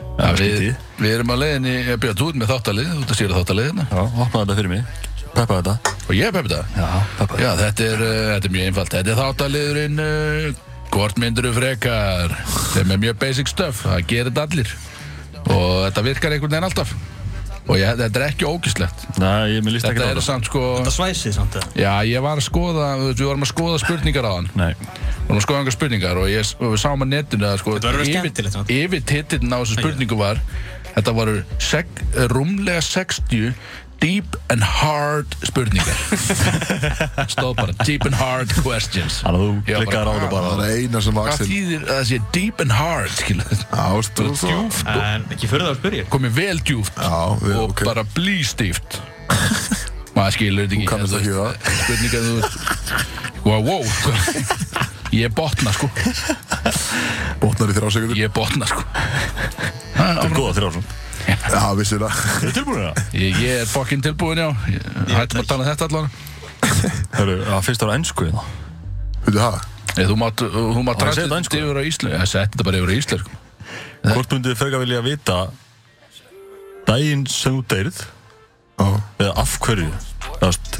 [SPEAKER 3] ja, við, við erum að leiðinni eh, Björn, þú ert með þáttalið, þú ert að stýra þáttalið hérna.
[SPEAKER 4] Já, opnaði þetta fyrir mig. Peppa þetta.
[SPEAKER 3] og ég er peppi það
[SPEAKER 4] Já, peppa
[SPEAKER 3] Já, þetta er, eh, þetta er mjög einfalt Þetta er þáttaliðurinn uh, Hvort myndir þú frekar sem er mjög basic stuff, það gerir þetta allir og þetta virkar einhvern veginn alltaf og ég, þetta er ekki ógislegt
[SPEAKER 4] Nei, ég mér líst ekki
[SPEAKER 3] Þetta
[SPEAKER 4] á
[SPEAKER 3] er
[SPEAKER 4] þetta.
[SPEAKER 3] samt sko
[SPEAKER 2] Það svæsið samt að
[SPEAKER 3] Já, ég var að skoða, þú veist, við vorum að skoða spurningar á hann
[SPEAKER 4] Nei.
[SPEAKER 3] Við vorum að skoða einhver spurningar og, ég, og við sáum að netinu að sko
[SPEAKER 2] Þetta verður að vera skemmtilegt, samt.
[SPEAKER 3] Yfir titillin á þessu spurningu var Þetta voru seg, rúmlega 60 deep and hard spurningar Stóð bara deep and hard questions
[SPEAKER 4] Þannig að þú
[SPEAKER 3] Ég var
[SPEAKER 4] klikkar á
[SPEAKER 3] bara,
[SPEAKER 4] þetta bara.
[SPEAKER 1] Það er eina sem
[SPEAKER 3] Hvað
[SPEAKER 1] Axel.
[SPEAKER 3] þýðir að það sé deep and hard, skilu
[SPEAKER 1] Já, veistu, þú veist.
[SPEAKER 2] En ekki fyrir það að spyrja
[SPEAKER 3] Komið vel djúft
[SPEAKER 1] Já, við-
[SPEAKER 3] og
[SPEAKER 1] ok.
[SPEAKER 3] bara blýstíft Maður skilur þetta ekki
[SPEAKER 1] Þú kannast
[SPEAKER 3] en
[SPEAKER 1] ekki við
[SPEAKER 3] veist, Spurning að þú veist Wow, wow sko. Ég botna sko
[SPEAKER 1] Botnar í þrjá segundur.
[SPEAKER 3] Ég botna sko
[SPEAKER 4] Þetta er góða þrjá svona.
[SPEAKER 1] Já, vissið það.
[SPEAKER 4] Þetta er tilbúin það.
[SPEAKER 3] Ég, ég er fokkin tilbúin já Ég- Hættum að tala um þetta allan
[SPEAKER 4] Hörru, að fyrst ára ennsku það.
[SPEAKER 1] Veitu það?
[SPEAKER 3] Ég, Þú mátt, uh, þú mátt
[SPEAKER 4] Á, ég
[SPEAKER 3] rætt
[SPEAKER 4] segi þetta
[SPEAKER 3] þetta
[SPEAKER 4] ensku.
[SPEAKER 3] yfir á Ísland Ég seti þetta bara yfir á Ísland sko.
[SPEAKER 4] Hvort myndið þið frekar vilja vita daginn sem þú deyrið
[SPEAKER 1] Já.
[SPEAKER 4] eða af hverju? Þú veist,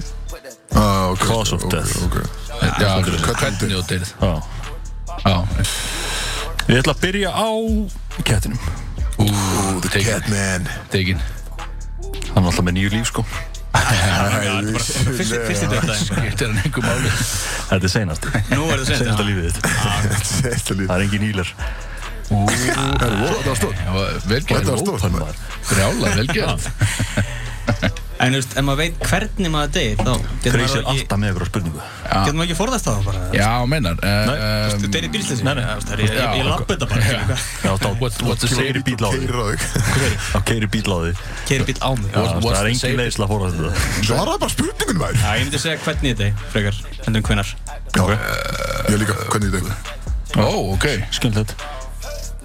[SPEAKER 1] Já, ok.
[SPEAKER 4] Cause of
[SPEAKER 1] ok,
[SPEAKER 4] death.
[SPEAKER 1] ok.
[SPEAKER 3] Já, hvernig
[SPEAKER 1] hvernig
[SPEAKER 3] þú deyrið
[SPEAKER 4] já.
[SPEAKER 3] Já,
[SPEAKER 4] Ég ætla að byrja á kettinum.
[SPEAKER 1] Ooh, the
[SPEAKER 3] Take it.
[SPEAKER 1] Catman
[SPEAKER 3] Tekin
[SPEAKER 4] Hann er alltaf með nýju líf sko
[SPEAKER 2] Fyrsti fyrsti dauðdaginn.
[SPEAKER 3] Skiptir hann einhver máli
[SPEAKER 4] Þetta er seinast
[SPEAKER 2] Nú er það sent,
[SPEAKER 4] Seinasta
[SPEAKER 2] já.
[SPEAKER 4] lífið þitt
[SPEAKER 1] Ah. Þetta líf
[SPEAKER 4] Það er engin ílar
[SPEAKER 1] Þetta var stórt
[SPEAKER 3] Já, vel gert.
[SPEAKER 1] Þetta var stórt
[SPEAKER 4] Ópæl
[SPEAKER 1] maður.
[SPEAKER 4] maður
[SPEAKER 3] Brjála, vel gert
[SPEAKER 2] En þú veist, ef maður veit hvernig maður deyr þá getur
[SPEAKER 4] Freysi
[SPEAKER 2] maður
[SPEAKER 4] er
[SPEAKER 2] ekki,
[SPEAKER 4] alltaf með ykkur á spurningu
[SPEAKER 2] getur maður ekki forðast það bara
[SPEAKER 3] Já, meinar
[SPEAKER 4] Nei,
[SPEAKER 3] uh,
[SPEAKER 2] Þú deyr í bílsleysi
[SPEAKER 4] Nei, nei.
[SPEAKER 2] Já, þú veist, það er- Ég, ég,
[SPEAKER 3] Já,
[SPEAKER 2] ég lappa þetta bara ja.
[SPEAKER 4] Já, þá
[SPEAKER 3] What- what's
[SPEAKER 4] what's
[SPEAKER 3] the
[SPEAKER 4] the
[SPEAKER 3] safety
[SPEAKER 4] keiri bíl á því
[SPEAKER 1] Keirir á þig
[SPEAKER 4] Þá keiri bíl á því Já,
[SPEAKER 2] Keiri bíl á mig
[SPEAKER 3] What-
[SPEAKER 4] Það
[SPEAKER 3] what's
[SPEAKER 4] er
[SPEAKER 3] the
[SPEAKER 4] engin
[SPEAKER 3] safety-
[SPEAKER 4] leiðsla að forðast þetta
[SPEAKER 1] Svaraði bara spurningun maður
[SPEAKER 2] Já, ég myndi segja hvernig þetta er frekar Heldur um hvenar
[SPEAKER 1] Já, ég líka, hvernig er þetta?
[SPEAKER 3] Ó, ok
[SPEAKER 4] Skjöndlegt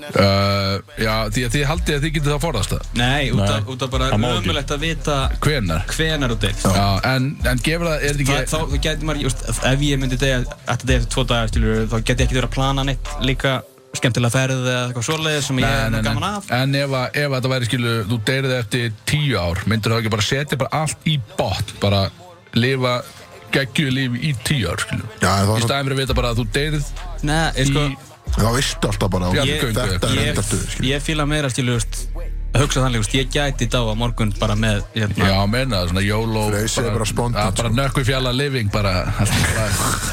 [SPEAKER 3] uh, Já, því að þið haldið að þið getið það forðast það
[SPEAKER 2] Nei, út
[SPEAKER 4] Nei,
[SPEAKER 2] af, út af bara
[SPEAKER 4] það má ekki.
[SPEAKER 2] ömulegt að vita
[SPEAKER 3] Hvenar?
[SPEAKER 2] hvenar þú deyr
[SPEAKER 3] Já, en, en gefur það, er
[SPEAKER 2] Þa,
[SPEAKER 3] þetta
[SPEAKER 2] þá,
[SPEAKER 3] ekki
[SPEAKER 2] þá getur maður, just, ef ég myndi degja, þetta degja eftir tvo dagar, skilur, þá get ég ekkert verið að plana neitt líka skemmtilega ferð eða eitthvað svoleiðis sem ég er nú gaman af.
[SPEAKER 3] En ef, að- ef að þetta væri skilu, þú deyrið eftir tíu ár myndir það ekki bara setja bara allt í botn bara lifa geggju lífi í tíu ár skilu
[SPEAKER 1] Já, en það
[SPEAKER 3] Í
[SPEAKER 1] var svo
[SPEAKER 3] staðin fyrir að vita bara að þú deyrið
[SPEAKER 2] Nei, ég sko,
[SPEAKER 3] Í-
[SPEAKER 1] Það veistu alltaf bara ok,
[SPEAKER 3] Ég-
[SPEAKER 1] Þetta er enda stöðu,
[SPEAKER 2] ég, ég fíla meira, skilur, just, að hugsa þannig, just, ég gæti dáa morgun bara með, hérna,
[SPEAKER 3] Já, meina það, svona YOLO
[SPEAKER 1] Freysi er bara spontan,
[SPEAKER 3] að Bara
[SPEAKER 1] sko.
[SPEAKER 3] nökku fjalla living bara, allt bara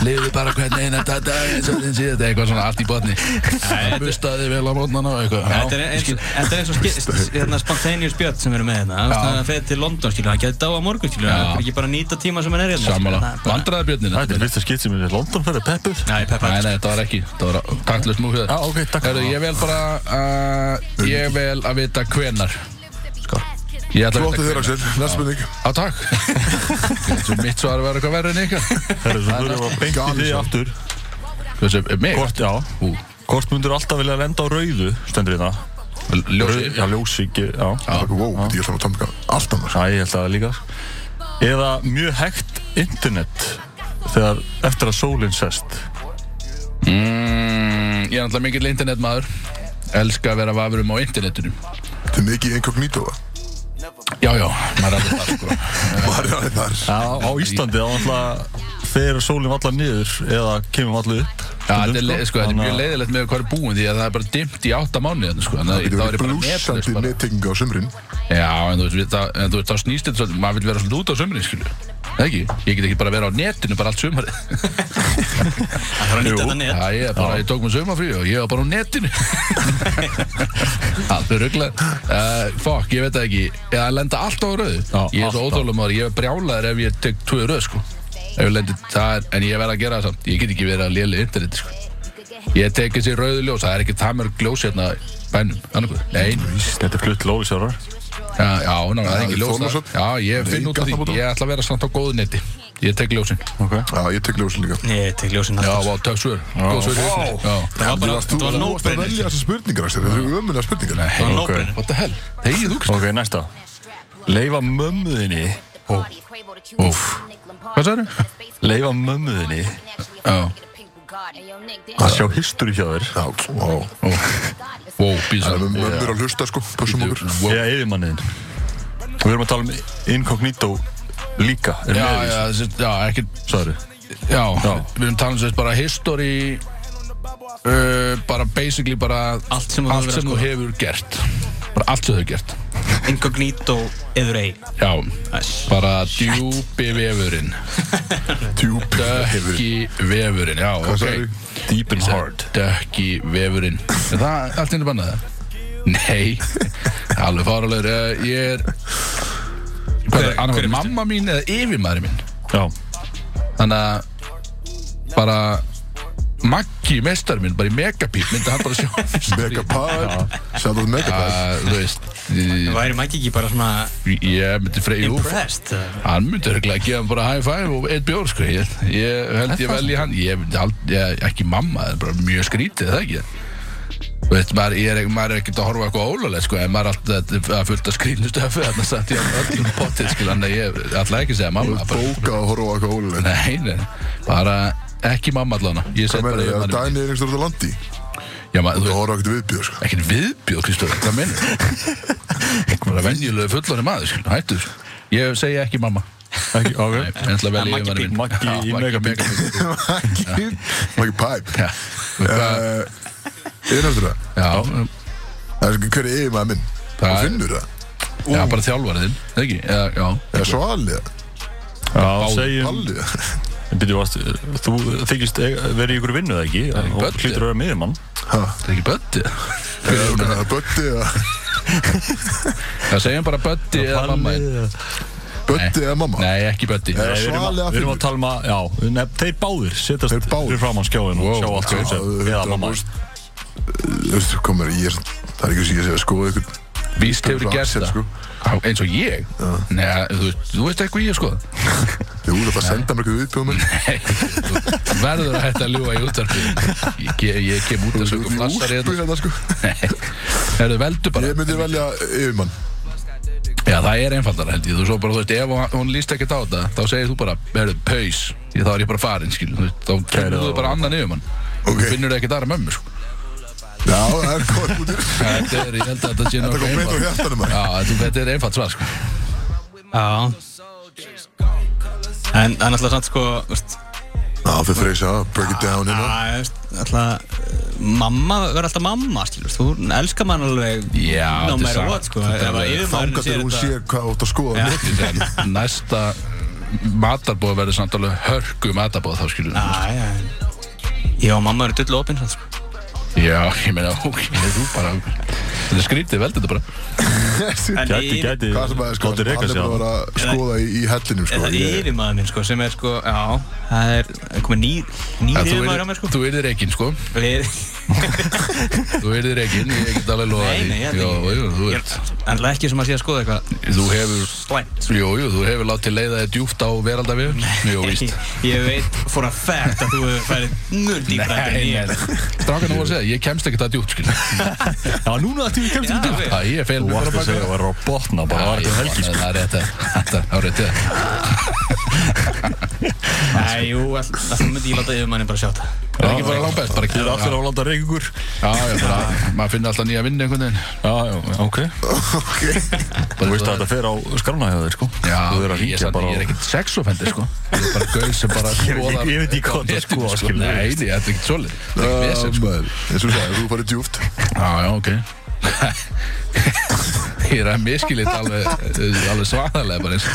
[SPEAKER 3] Lifi bara hvernig eina dag daginn sem þinn síðan Eitthvað svona allt í botni Bustaði vel á mótnana og eitthvað
[SPEAKER 2] Þetta er
[SPEAKER 3] Já,
[SPEAKER 2] eins, þetta er eins og ske- s- hérna, spontaneous björn sem við erum með hérna þú veist,
[SPEAKER 3] Já.
[SPEAKER 2] Það er að feða til London, skilur, það getur dáa morgun, skilur
[SPEAKER 3] Já.
[SPEAKER 2] Það er ekki bara að nýta tíma sem hann er hérna skilur,
[SPEAKER 3] Sammála,
[SPEAKER 2] það er bara-
[SPEAKER 3] vandraði björnin
[SPEAKER 4] Þetta er fyrsta skitt sem er í London fyrir peppuð
[SPEAKER 2] Nei, peppa,
[SPEAKER 3] Nei, nei, þetta var ekki, þetta var taktlust múfið
[SPEAKER 4] Já, ok, takk.
[SPEAKER 3] Heru, Ég vel bara, uh, ég vel að vita hvenar Ég ætla að
[SPEAKER 1] Klóttu þér
[SPEAKER 3] vita
[SPEAKER 1] Axel, næst spurning
[SPEAKER 3] Já, takk Svo Mitt svar var eitthvað verður en ykkar
[SPEAKER 4] Það er svo þurfum að beinti
[SPEAKER 1] Galið
[SPEAKER 4] því
[SPEAKER 1] svo.
[SPEAKER 4] aftur
[SPEAKER 3] Hversu, mig?
[SPEAKER 4] Hvort, já
[SPEAKER 3] Ú,
[SPEAKER 4] Hvort myndur alltaf vilja lenda á rauðu Stendur hérna
[SPEAKER 3] Ljósi
[SPEAKER 4] Rau- Já, ljósi ekki, já
[SPEAKER 1] Wow, ég ætla að tóma allt annars
[SPEAKER 4] Já, ég held að það líka Eða mjög hægt internet Þegar eftir að sólinn sest
[SPEAKER 3] Mm, Ég er náttúrulega mikill internetmaður Elska að vera vafurum á internetinu
[SPEAKER 1] Þetta er mikið inkognító það
[SPEAKER 3] Já, já, maður er alveg þar sko
[SPEAKER 1] Var það þar
[SPEAKER 4] Já, á Íslandi þá náttúrulega Þegar sólinn allar niður Eða kemur allar upp
[SPEAKER 3] Já, þetta er, le- sko, þetta er
[SPEAKER 4] Þannig
[SPEAKER 3] mjög
[SPEAKER 4] að-
[SPEAKER 3] leiðilegt með hvað er búin því að það er bara dimmt í átta mánuði þarna, sko, þannig að
[SPEAKER 1] Þetta
[SPEAKER 3] það
[SPEAKER 1] var
[SPEAKER 3] er bara netlaust
[SPEAKER 1] blúsandi
[SPEAKER 3] bara.
[SPEAKER 1] nettingu á sumrin
[SPEAKER 3] Já, en þú veist, við- það- en þú veist, þá snýst þetta svolítið, maður vil vera svolítið út á sömurinn, skilju Það ekki, ég get ekki bara að vera á netinu bara allt sömarið
[SPEAKER 2] það þarf að nýta þetta net
[SPEAKER 3] Já, ég, er bara, ég tók mér sömarfrí og ég var bara á netinu Alveg rugglað uh, Fuck, ég veit það ekki, eða að lenda alltaf á rauðu
[SPEAKER 4] Já,
[SPEAKER 3] Ég er svo
[SPEAKER 4] alltaf.
[SPEAKER 3] óþólum ári, ég er brjálaður ef ég tek tvö rauð, sko Ef ég lendi, það er, en ég verð að gera það samt, ég get ekki verið að léli internet, sko Ég tek þessi rauðu ljós, það er ekki það mörg ljós hérna í bænum, annarkuð. Nei,
[SPEAKER 4] Þetta er flutt lóðisjárar
[SPEAKER 3] já, já, ná, það er
[SPEAKER 1] Já,
[SPEAKER 3] ekki ljós þar.
[SPEAKER 1] Þorlákshöfn.
[SPEAKER 3] Já, ég finn
[SPEAKER 1] Nei,
[SPEAKER 3] út af því,
[SPEAKER 1] Gatabótum.
[SPEAKER 3] ég ætla að vera samt á góðu neti. Ég tek ljósin.
[SPEAKER 4] okay.
[SPEAKER 1] Já, ég tek ljósin líka
[SPEAKER 2] Ég tek ljósinn
[SPEAKER 3] Já,
[SPEAKER 2] alltaf
[SPEAKER 3] vá, tökk svör. Góð svör. í ljósinu. Já.
[SPEAKER 2] Það var
[SPEAKER 1] Þú
[SPEAKER 2] bara, þetta var
[SPEAKER 1] varst að
[SPEAKER 2] no-brainer
[SPEAKER 1] velja þessar spurningar Axel, þetta eru ömulega spurningar
[SPEAKER 3] sko. Nei, ok.
[SPEAKER 2] var no-brainer.
[SPEAKER 3] What the hell? Þegið þú, Kristof?
[SPEAKER 4] ok, næsta Leifa mömmuðinni
[SPEAKER 6] Úf
[SPEAKER 3] Hvað sagðirðu?
[SPEAKER 4] Leifa mömmuðinni
[SPEAKER 6] Já
[SPEAKER 4] Að sjá history hjá þér
[SPEAKER 1] Já, wow.
[SPEAKER 3] Wow,
[SPEAKER 1] Það er
[SPEAKER 3] býð svo.
[SPEAKER 1] með mömmur að hlusta sko, pössum okkur
[SPEAKER 3] Wow.
[SPEAKER 4] Eða yfirmanniðin Við erum að tala um incognito líka Er
[SPEAKER 3] Já,
[SPEAKER 4] með í
[SPEAKER 3] já,
[SPEAKER 4] þessu,
[SPEAKER 3] þessi- já, ekki,
[SPEAKER 4] sagðirðu?
[SPEAKER 3] já,
[SPEAKER 4] Já.
[SPEAKER 3] við erum talað um þess bara history, uh, bara basically bara
[SPEAKER 2] Allt sem þú
[SPEAKER 3] allt
[SPEAKER 2] hefur sko, verið að
[SPEAKER 3] sem þú
[SPEAKER 2] skoða.
[SPEAKER 3] hefur gert, bara allt sem þú hefur gert.
[SPEAKER 2] Incognito eður ei
[SPEAKER 3] Já,
[SPEAKER 2] Æss.
[SPEAKER 3] bara djúpi vefurinn,
[SPEAKER 1] Djúb hefur
[SPEAKER 3] dökki vefurinn, já,
[SPEAKER 1] Hvað
[SPEAKER 3] ok.
[SPEAKER 1] sagði?
[SPEAKER 4] Deep and hard
[SPEAKER 3] Dökki vefurinn Er það allt inni bannað það? Nei, alveg fáralegur uh, Ég er Hvað
[SPEAKER 2] Hver-
[SPEAKER 3] er, annað
[SPEAKER 2] hver er
[SPEAKER 3] var
[SPEAKER 2] bestur?
[SPEAKER 3] mamma mín eða yfirmaður minn
[SPEAKER 4] Já,
[SPEAKER 3] Þannig að bara Maggi mestar minn, bara í megapíl myndi hann bara sjá
[SPEAKER 1] Megapad Sjáðu það Megapad
[SPEAKER 3] Uh, þú veist ég-
[SPEAKER 2] Væri maður ekki bara svona
[SPEAKER 3] ég myndi freyja úr
[SPEAKER 2] impressed? eða?
[SPEAKER 3] hann myndi örgulega að gefa hann bara high five og eitt bjór sko ég, ég held ég velji hann ég, myndi hald- ég, ekki mamma, það er bara mjög skrítið það ekki Þú Veit, maður, ég er, maður er ekkert að horfa á eitthvað ólulegt sko, en maður er alltaf þetta er fullt af skrýnustöfu þannig að satt ég á öllum potið sko, þannig að ég ætla ekki að segja mamma bara,
[SPEAKER 1] Bóka og horfa á eitthvað ólega
[SPEAKER 3] nei, nei, bara ekki mamma allana ég
[SPEAKER 1] Hvað
[SPEAKER 3] set
[SPEAKER 1] meina
[SPEAKER 3] bara
[SPEAKER 1] ég?
[SPEAKER 3] yfirmann minn.
[SPEAKER 1] Dæni er einhverjum landi
[SPEAKER 3] Já, maður,
[SPEAKER 1] Þú
[SPEAKER 3] þú-
[SPEAKER 1] horfa ekkert viðbjör sko
[SPEAKER 3] ekkert viðbjóð Kristóð, hvað minn bara venjulegu fullorinn maður sko, hættu, sko. ég segja ekki mamma
[SPEAKER 4] ekki,
[SPEAKER 3] Nei,
[SPEAKER 4] ok
[SPEAKER 3] en ætla að velja
[SPEAKER 2] Maggi
[SPEAKER 3] yfirmann
[SPEAKER 2] Píl.
[SPEAKER 3] minn.
[SPEAKER 4] Maggi
[SPEAKER 3] Já,
[SPEAKER 4] í megabíl.
[SPEAKER 1] Maggi Pipe
[SPEAKER 3] Já,
[SPEAKER 1] Eh, Er það eftir það?
[SPEAKER 3] já,
[SPEAKER 1] Það er hver er yfirmaður minn?
[SPEAKER 3] Það
[SPEAKER 1] Það
[SPEAKER 3] er-
[SPEAKER 1] finnur það?
[SPEAKER 3] Já, bara þjálfarið þinn Ekki, eða, já
[SPEAKER 1] Eða svalið?
[SPEAKER 4] Já, segjum
[SPEAKER 1] Pallið?
[SPEAKER 4] Býtu, varst, þú þykist eiga- vera í ykkur vinnu eða ekki
[SPEAKER 3] í
[SPEAKER 4] og
[SPEAKER 3] bölli.
[SPEAKER 4] hlýtur að vera miður mann
[SPEAKER 3] Það er ekki Böddi
[SPEAKER 1] Eða ég meina, Böddi eða
[SPEAKER 3] Það segjum bara Böddi eða mamma þinn
[SPEAKER 1] Böddi eða mamma?
[SPEAKER 3] Nei, ekki Böddi
[SPEAKER 1] Nei.
[SPEAKER 4] Nei, við erum, að-
[SPEAKER 1] Svalega
[SPEAKER 4] við erum
[SPEAKER 1] fínt.
[SPEAKER 4] að tala um að, já, nefn, þeir báðir setjast
[SPEAKER 1] Þeir báðir.
[SPEAKER 4] fyrir fram á skjáin og
[SPEAKER 3] Wow,
[SPEAKER 4] sjá allt
[SPEAKER 1] já,
[SPEAKER 4] sem sem
[SPEAKER 1] þú-
[SPEAKER 4] eða
[SPEAKER 1] þú-
[SPEAKER 4] mamma
[SPEAKER 1] þú- Þú veist, komur ég er Það er ekki sem ég sé að skoða ykkur
[SPEAKER 3] Víst hefur
[SPEAKER 1] Þú-
[SPEAKER 3] gert
[SPEAKER 1] þú-
[SPEAKER 3] það
[SPEAKER 1] sko.
[SPEAKER 3] Á, Eins og ég Nei, þú, veist- þú veist eitthvað ég sko
[SPEAKER 1] Þú ert að senda mér eitthvað viðbjóðum
[SPEAKER 3] Þú verður að hætta að ljúa í útvarpi ég, ég, ég kem út að
[SPEAKER 1] Þú
[SPEAKER 3] sögum
[SPEAKER 1] ert
[SPEAKER 3] flassar
[SPEAKER 1] í úlpu
[SPEAKER 3] hérna
[SPEAKER 1] hérna sko
[SPEAKER 3] Herðu, veldu bara
[SPEAKER 1] Ég myndi velja yfirmann
[SPEAKER 3] Já, það er einfaldara held ég, þú svo bara, þú veist, ef hún- hún líst ekkert á þetta, þá segir þú bara, verður, paus, því þá er ég bara farin, skil, þú veist, þá finnur þú bara annan yfir mann,
[SPEAKER 1] Ok.
[SPEAKER 3] þú finnur ekkert aðra mömmu, sko.
[SPEAKER 1] Já, það er góð bútur
[SPEAKER 3] Þetta er, ég held að þetta sé
[SPEAKER 1] Þetta kom beint úr hjartanum, maður.
[SPEAKER 3] Já, þetta, þetta er einfalt svar, sko.
[SPEAKER 2] Já En það er náttúrulega samt sko þú veist,
[SPEAKER 1] Já, þau freysa Break it down hérna
[SPEAKER 2] að, þú veist, náttúrulega, Mamma verður alltaf mamma skilur, Þú elskar mann alveg
[SPEAKER 3] Já, þetta
[SPEAKER 2] No
[SPEAKER 3] er
[SPEAKER 2] matter
[SPEAKER 3] satt.
[SPEAKER 2] what sko
[SPEAKER 3] Þetta er
[SPEAKER 2] Ef að
[SPEAKER 3] alveg-
[SPEAKER 2] yfirmaðurinn
[SPEAKER 1] Þangar
[SPEAKER 2] sér
[SPEAKER 1] þegar hún
[SPEAKER 2] þetta-
[SPEAKER 1] sér hvað þú ert að skoða
[SPEAKER 2] Já.
[SPEAKER 1] mitt.
[SPEAKER 3] En Næsta matarbóð verður samt alveg hörku matarbóð, þá skilur þú.
[SPEAKER 2] Já, já Já, mamma verður dullu opinn sko.
[SPEAKER 3] Já, ég meina, ok, þú bara, þetta er skrítið, veldu þetta bara.
[SPEAKER 2] En
[SPEAKER 4] Gæti,
[SPEAKER 2] yfir-
[SPEAKER 4] gæti,
[SPEAKER 1] Hvað sem að er sko
[SPEAKER 4] gæti reyka
[SPEAKER 1] Hann er
[SPEAKER 4] sig á
[SPEAKER 1] bara að
[SPEAKER 4] það
[SPEAKER 1] vera að skoða í, í hellinum sko
[SPEAKER 2] Eða
[SPEAKER 1] Ég-
[SPEAKER 2] yfirmaður minn sko sem er sko Já, það er það er komið nýr Nýr
[SPEAKER 3] Þú
[SPEAKER 2] yfirmaður
[SPEAKER 3] yrðir-
[SPEAKER 2] hjá mér sko
[SPEAKER 3] Þú yrðir reygin, sko,
[SPEAKER 2] Við-
[SPEAKER 3] þú yrðir reygin, ég get alveg loðað
[SPEAKER 2] Nei, nei, ég held
[SPEAKER 3] Jó,
[SPEAKER 2] ekki.
[SPEAKER 3] jú, þú
[SPEAKER 2] Ég
[SPEAKER 3] ert,
[SPEAKER 2] er En ekki sem að sé að skoða eitthvað
[SPEAKER 3] þú hefur
[SPEAKER 2] Slæmt sko.
[SPEAKER 3] Jú, jú, þú hefur látið leiða þér djúft á veraldavið Jú, víst
[SPEAKER 2] Ég veit for a fact að þú hefur færið Nörd dýpra heldur en ég
[SPEAKER 3] Strákan á að segja, ég kemst ekkert að djúpt, skil
[SPEAKER 4] Já, núna ætti við kemst
[SPEAKER 2] Já,
[SPEAKER 4] í þetta
[SPEAKER 2] við-
[SPEAKER 3] Það ég fel
[SPEAKER 4] Þú
[SPEAKER 3] mig
[SPEAKER 4] ætti
[SPEAKER 3] bara
[SPEAKER 4] að segja að vera á botna bara, var þetta um helgi
[SPEAKER 3] Það er rétt, þetta það er rétt það.
[SPEAKER 2] Nei, jú, alltaf myndi ég láta yfirmannin bara sjá það
[SPEAKER 3] Það er ekki bara langt best, bara
[SPEAKER 4] Þið eru allir
[SPEAKER 3] Já,
[SPEAKER 4] að láta reyka ykkur
[SPEAKER 3] já, bara, maður finnir alltaf nýja vinnu einhvern veginn
[SPEAKER 4] Já, já, ok Þú veist að þetta fer á skrána hjá þér, sko
[SPEAKER 3] Já,
[SPEAKER 4] Þú verður að
[SPEAKER 3] ég,
[SPEAKER 4] hringja
[SPEAKER 3] sann,
[SPEAKER 4] bara
[SPEAKER 3] ég er
[SPEAKER 4] á-
[SPEAKER 3] ekkert sexofendi, sko Ég er bara gauð sem bara
[SPEAKER 4] Ég- ég-
[SPEAKER 3] skoðar
[SPEAKER 4] ég veit ekki hvað þetta
[SPEAKER 3] eitthvað á netinu,
[SPEAKER 4] skoðar, skilur.
[SPEAKER 3] Nei, nei, þetta er ekkert svolít
[SPEAKER 1] Um,
[SPEAKER 3] Það er ekki vesend, sko
[SPEAKER 1] eins og það, þú farið djúft
[SPEAKER 3] Já, já, ok Ég er að miskilið alveg, eh, alveg svaðalega bara eins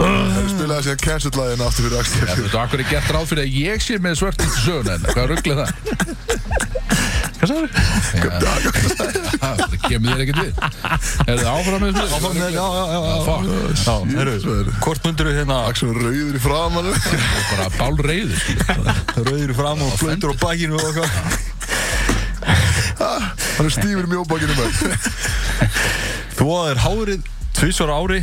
[SPEAKER 1] Spilaði sér cancel-læðin aftur fyrir
[SPEAKER 3] Já, þú
[SPEAKER 1] Axel
[SPEAKER 3] veist, akkur er gert ráð fyrir að ég sé með svört í söguna hérna, hvað ruggla það?
[SPEAKER 4] Hvað sagðirðu?
[SPEAKER 3] Ha, Það kemur þér ekkert við. Er það áfram með þessu? Áfram
[SPEAKER 4] Já, já, já, já.
[SPEAKER 3] Fuck,
[SPEAKER 4] Já, heyrðu, hvort myndirðu hérna
[SPEAKER 1] Axel er rauður í framann
[SPEAKER 3] það er bara bálreiður, sko.
[SPEAKER 4] rauður í fram og blöndur á bakinu og eitthvað
[SPEAKER 1] Hann er stífur í mjóbakinu með
[SPEAKER 4] Þú að þér hárið tvisvar á ári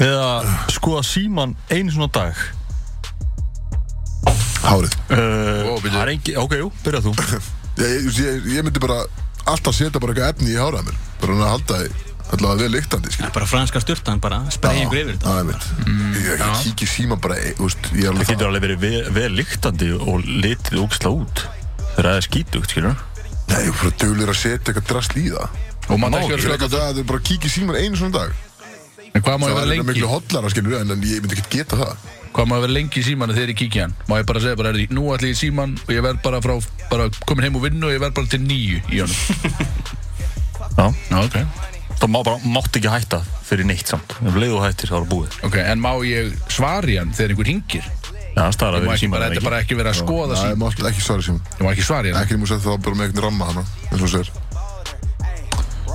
[SPEAKER 4] eða skoða síman einu svona dag
[SPEAKER 1] Hárið
[SPEAKER 4] Uh,
[SPEAKER 3] Ó, bíddu.
[SPEAKER 4] það er engi, ok, jú, byrja þú
[SPEAKER 1] ég, ég, ég, ég myndi bara alltaf setja bara eitthvað efni í hárað mér bara hann að halda því allavega vel lyktandi skil.
[SPEAKER 2] Það er bara franska styrtan, bara spreyja ykkur yfir þetta
[SPEAKER 1] það er mitt ég, ég kíkja í síma bara þú veist, ég er
[SPEAKER 4] Það
[SPEAKER 1] alveg
[SPEAKER 4] getur alveg verið vel, vel lyktandi og litið ógisla út Þegar það er skítugt, skilur
[SPEAKER 1] það nei, ég er bara dölur að setja eitthvað drast í það
[SPEAKER 3] Og maður ekki
[SPEAKER 1] Ég
[SPEAKER 3] verið
[SPEAKER 1] er eitthvað það að bara kíkja í síman einu svona dag
[SPEAKER 3] sko. En hvað má ég
[SPEAKER 1] það
[SPEAKER 3] vera
[SPEAKER 1] er eitthvað
[SPEAKER 3] lengi?
[SPEAKER 1] miklu hotlara skilur en en ég myndi ekki geta það
[SPEAKER 3] Hvað má ég vera lengi í símanu þegar ég kíkja hann? Má ég bara segja bara, er nú ætla ég í síman og ég verð bara frá, bara komin heim og vinnu og ég verð bara til nýju í honum.
[SPEAKER 4] Já,
[SPEAKER 3] Já, ok.
[SPEAKER 4] það má bara, mátt ekki hætta fyrir neitt samt Ef leið og hættir, þá er það búið
[SPEAKER 3] Ok, en má ég svari hann þegar einhver hingir?
[SPEAKER 4] Já, það er
[SPEAKER 3] Má
[SPEAKER 4] að vera í
[SPEAKER 3] ekki
[SPEAKER 4] síman
[SPEAKER 3] bara, þetta er bara ekki vera að skoða
[SPEAKER 1] það er
[SPEAKER 3] síman.
[SPEAKER 1] mátt ekki svara í síman
[SPEAKER 3] Ég má ekki svari hann.
[SPEAKER 1] ekki nýmur setja það bara með eitthvað ramma hana eins og þú segir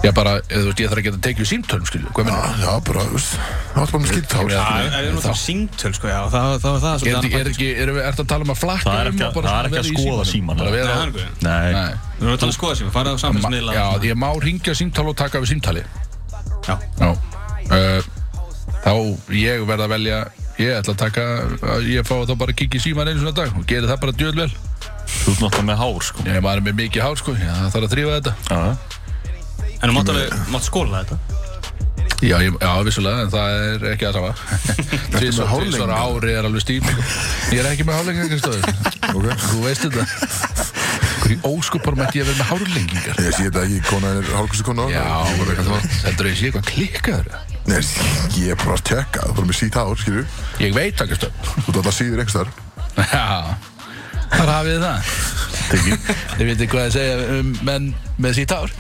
[SPEAKER 3] Ég bara, eða þú veist, ég þarf að geta tekið símtölum, skilju. Hvað minnum?
[SPEAKER 1] Ah, já, bara, þú veist það er bara með skilt hár
[SPEAKER 3] Já.
[SPEAKER 2] Það er náttúrulega símtöl, sko, já, þá er það
[SPEAKER 3] Er,
[SPEAKER 2] svolítið
[SPEAKER 3] er,
[SPEAKER 2] annað
[SPEAKER 3] er,
[SPEAKER 2] partur,
[SPEAKER 3] ekki, er, er, ertu að tala um að flakka
[SPEAKER 4] Það er ekki
[SPEAKER 3] um
[SPEAKER 4] að-
[SPEAKER 3] bara
[SPEAKER 4] það er ekki að
[SPEAKER 3] vera í
[SPEAKER 4] skoða símanum.
[SPEAKER 3] Bara
[SPEAKER 2] sko.
[SPEAKER 3] vera á-
[SPEAKER 2] Nei, það er ekki.
[SPEAKER 4] Nei,
[SPEAKER 3] Nei.
[SPEAKER 2] Við erum að tala um skoða sem, fara á samfélagsmiðla
[SPEAKER 3] Já,
[SPEAKER 2] og-
[SPEAKER 3] ég má ringja símtala og taka við símtali
[SPEAKER 2] Já.
[SPEAKER 3] Já uh, Þá ég verð að velja Ég ætla að taka að Ég fá þá bara að kíkja í síman einu svona dag Og gera það bara djöðl vel
[SPEAKER 4] þú ert náttúrulega með hár, sko
[SPEAKER 3] Ég maður er með mikið hár sko, já, það þarf að þrýfa þetta
[SPEAKER 4] Já,
[SPEAKER 2] En þú mátt alveg, mátt skóla þetta
[SPEAKER 3] Já, ég, já vissulega, en það er ekki það sama Tvisvar
[SPEAKER 1] hárlengingar?
[SPEAKER 3] tvisvar á ári er alveg stíl sko. Ég er ekki með hárlengingar, Kristofur Þú veist þetta Hverju óskupar mætti ég að vera með hárlengingar
[SPEAKER 1] ég sé þetta ekki kona er hálfkvæmstu kona
[SPEAKER 3] Já,
[SPEAKER 1] Ég bara eitthvað svona.
[SPEAKER 3] heldur ég sé eitthvað klikkaður
[SPEAKER 1] Nei, ég er bara að tjekka, það er bara með sítt hár, skilju.
[SPEAKER 3] Ég veit það, Kristofur
[SPEAKER 1] Þú ert alltaf síður einhvers þar.
[SPEAKER 3] Já, þar hafið þið það Þið vitið hvað að segja um menn með sítt ár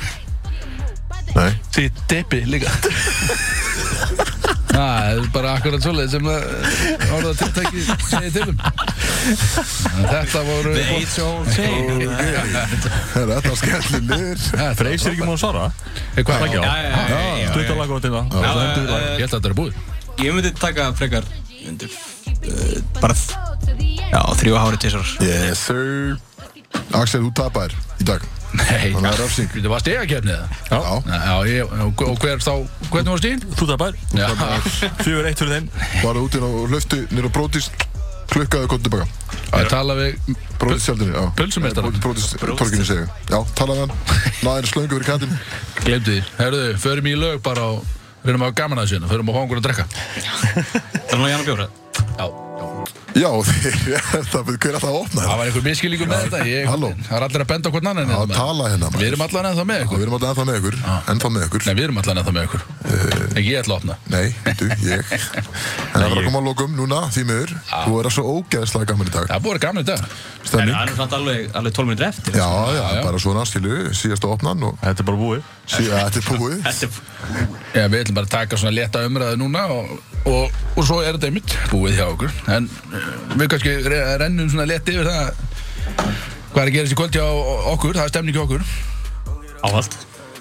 [SPEAKER 1] Nei,
[SPEAKER 3] Því depi líka Það er bara akkurat svolítið sem það orða tiltæki segir til um Þetta voru
[SPEAKER 2] It's all same
[SPEAKER 1] Herra, þetta var skellilur
[SPEAKER 4] Freysir ekki múið að svara
[SPEAKER 3] Hey, hvað er
[SPEAKER 4] Ekki
[SPEAKER 3] ekki
[SPEAKER 4] á
[SPEAKER 3] á?
[SPEAKER 2] Já, já, já, já, já.
[SPEAKER 4] Stuttalagotina
[SPEAKER 2] Já,
[SPEAKER 4] Það
[SPEAKER 2] já,
[SPEAKER 4] endur
[SPEAKER 2] já,
[SPEAKER 4] það
[SPEAKER 3] Ég held að þetta er búið
[SPEAKER 2] Ég myndi taka frekar ég myndi, uh, bara f- já, þrjú hári tísar
[SPEAKER 1] Yes sir Axel, þú tapar í dag
[SPEAKER 3] Nei,
[SPEAKER 1] Það var refsing.
[SPEAKER 3] Þetta var stegakefnið
[SPEAKER 1] Já,
[SPEAKER 3] Já, ég, og og hver þá, hvernig var stíðin?
[SPEAKER 4] Þú tapar
[SPEAKER 3] Já,
[SPEAKER 4] Fjögur eitt fyrir þeim
[SPEAKER 1] Varðu úti og hlöftu nýra brótis Klukkaðu komið tilbaka
[SPEAKER 3] ég tala við
[SPEAKER 1] Brótis sjaldinni, já eh,
[SPEAKER 3] Pulsumeistarann.
[SPEAKER 1] Brótis torkinu segja Já, talaði hann Laðinu slöngu fyrir kattinn
[SPEAKER 3] Glemdi því, herðu, förum í lög bara og reynum að hafa gaman að þessu hérna, förum að fá okkur að drekka
[SPEAKER 2] Það er nú Janna Bjóra
[SPEAKER 3] Já,
[SPEAKER 1] Já, þeir Það hver er alltaf að opna
[SPEAKER 3] það
[SPEAKER 1] hérna?
[SPEAKER 3] var einhver miskilíkur með þetta ég,
[SPEAKER 1] Halló.
[SPEAKER 3] Það er allir að benda okkur annan
[SPEAKER 1] Að tala hérna maður.
[SPEAKER 3] Við erum allan ennþá með
[SPEAKER 1] Já, Við
[SPEAKER 3] ykkur
[SPEAKER 1] erum alltaf ennþá með ykkur Ennþá með ykkur
[SPEAKER 3] Nei, við erum allan ennþá með ykkur
[SPEAKER 1] Eh.
[SPEAKER 3] Ekki ég ætla að opna
[SPEAKER 1] Nei, þú, ég En það var að koma að lokum núna, því miður Þú er að svo ógeðslega gaman í dag
[SPEAKER 3] Það er búið að vera gaman í dag
[SPEAKER 2] Það
[SPEAKER 1] Stemning
[SPEAKER 2] er nú samt alveg, alveg 12 minnir eftir
[SPEAKER 1] Já, já,
[SPEAKER 3] já.
[SPEAKER 1] bara svona, skilu, síðasta opnan og
[SPEAKER 4] Þetta er bara búið
[SPEAKER 1] sí, ja, þetta er búið
[SPEAKER 2] Þetta er
[SPEAKER 3] Já, við ætlum bara að taka svona leta umræðu núna og, og, og svo er þetta einmitt búið hjá okkur En uh, við kannski re- rennum svona leti yfir það Hvað er að gerast í kvöld hjá okkur, það er stemning hjá okkur
[SPEAKER 2] ávallt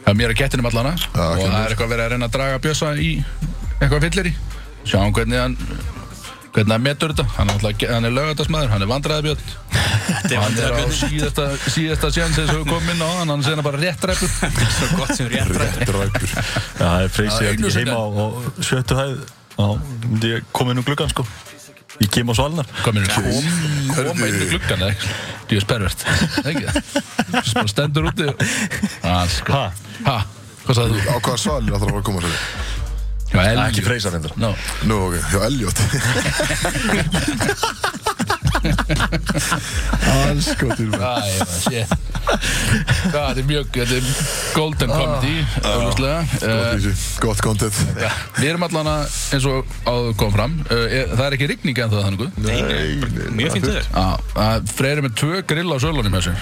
[SPEAKER 3] Það er mér að kettinum allana
[SPEAKER 1] Já,
[SPEAKER 3] Og
[SPEAKER 1] kemur.
[SPEAKER 3] það er eitthvað verið að reyna að draga bjösa í eitthvað fyllir í Sjáum hvernig hann hvernig hann metur þetta, hann er, náttúrulega- hann er lögatarsmaður, hann er vandræðabjörn
[SPEAKER 2] Þetta
[SPEAKER 3] hann er á
[SPEAKER 2] vandræðabjörn.
[SPEAKER 3] síðasta, síðasta sjans eins og við komum inn á hann, hann er sérna bara rétt ræpur
[SPEAKER 2] Þetta er svo gott sem rétt rætt
[SPEAKER 1] Rétt ræpur
[SPEAKER 4] Já, það er Freysir
[SPEAKER 3] Já,
[SPEAKER 4] ekki
[SPEAKER 3] einu sinni.
[SPEAKER 4] heima á á sjöttu hæð Já, myndi ég koma inn um gluggan sko Ég kem á svalnar
[SPEAKER 3] komin inn í
[SPEAKER 1] Hörðu.
[SPEAKER 3] koma inn í gluggan eða eitthvað. Þú er spervert ekki það bara stendur úti og- Ah, sko.
[SPEAKER 4] Ha?
[SPEAKER 3] ha hvað sagði þú
[SPEAKER 1] Á hvaða svalir ætlar að fara að koma sér?
[SPEAKER 3] já, Elliot.
[SPEAKER 4] Ekki Freysar endur
[SPEAKER 3] no.
[SPEAKER 1] Nú, ok, já, Elliot Alls gotur maður.
[SPEAKER 3] Æ, já, shit. Já, þetta er mjög þetta er golden comedy augljóslega.
[SPEAKER 1] Gott
[SPEAKER 3] Eh,
[SPEAKER 1] í þessu, Gott content
[SPEAKER 3] já, við erum allan að eins og áður kom fram eh, er- það er ekki rigning en það þannig
[SPEAKER 2] Mjög fínt þau
[SPEAKER 3] Ah, Freyri með tvö grill á sölunum hjá sér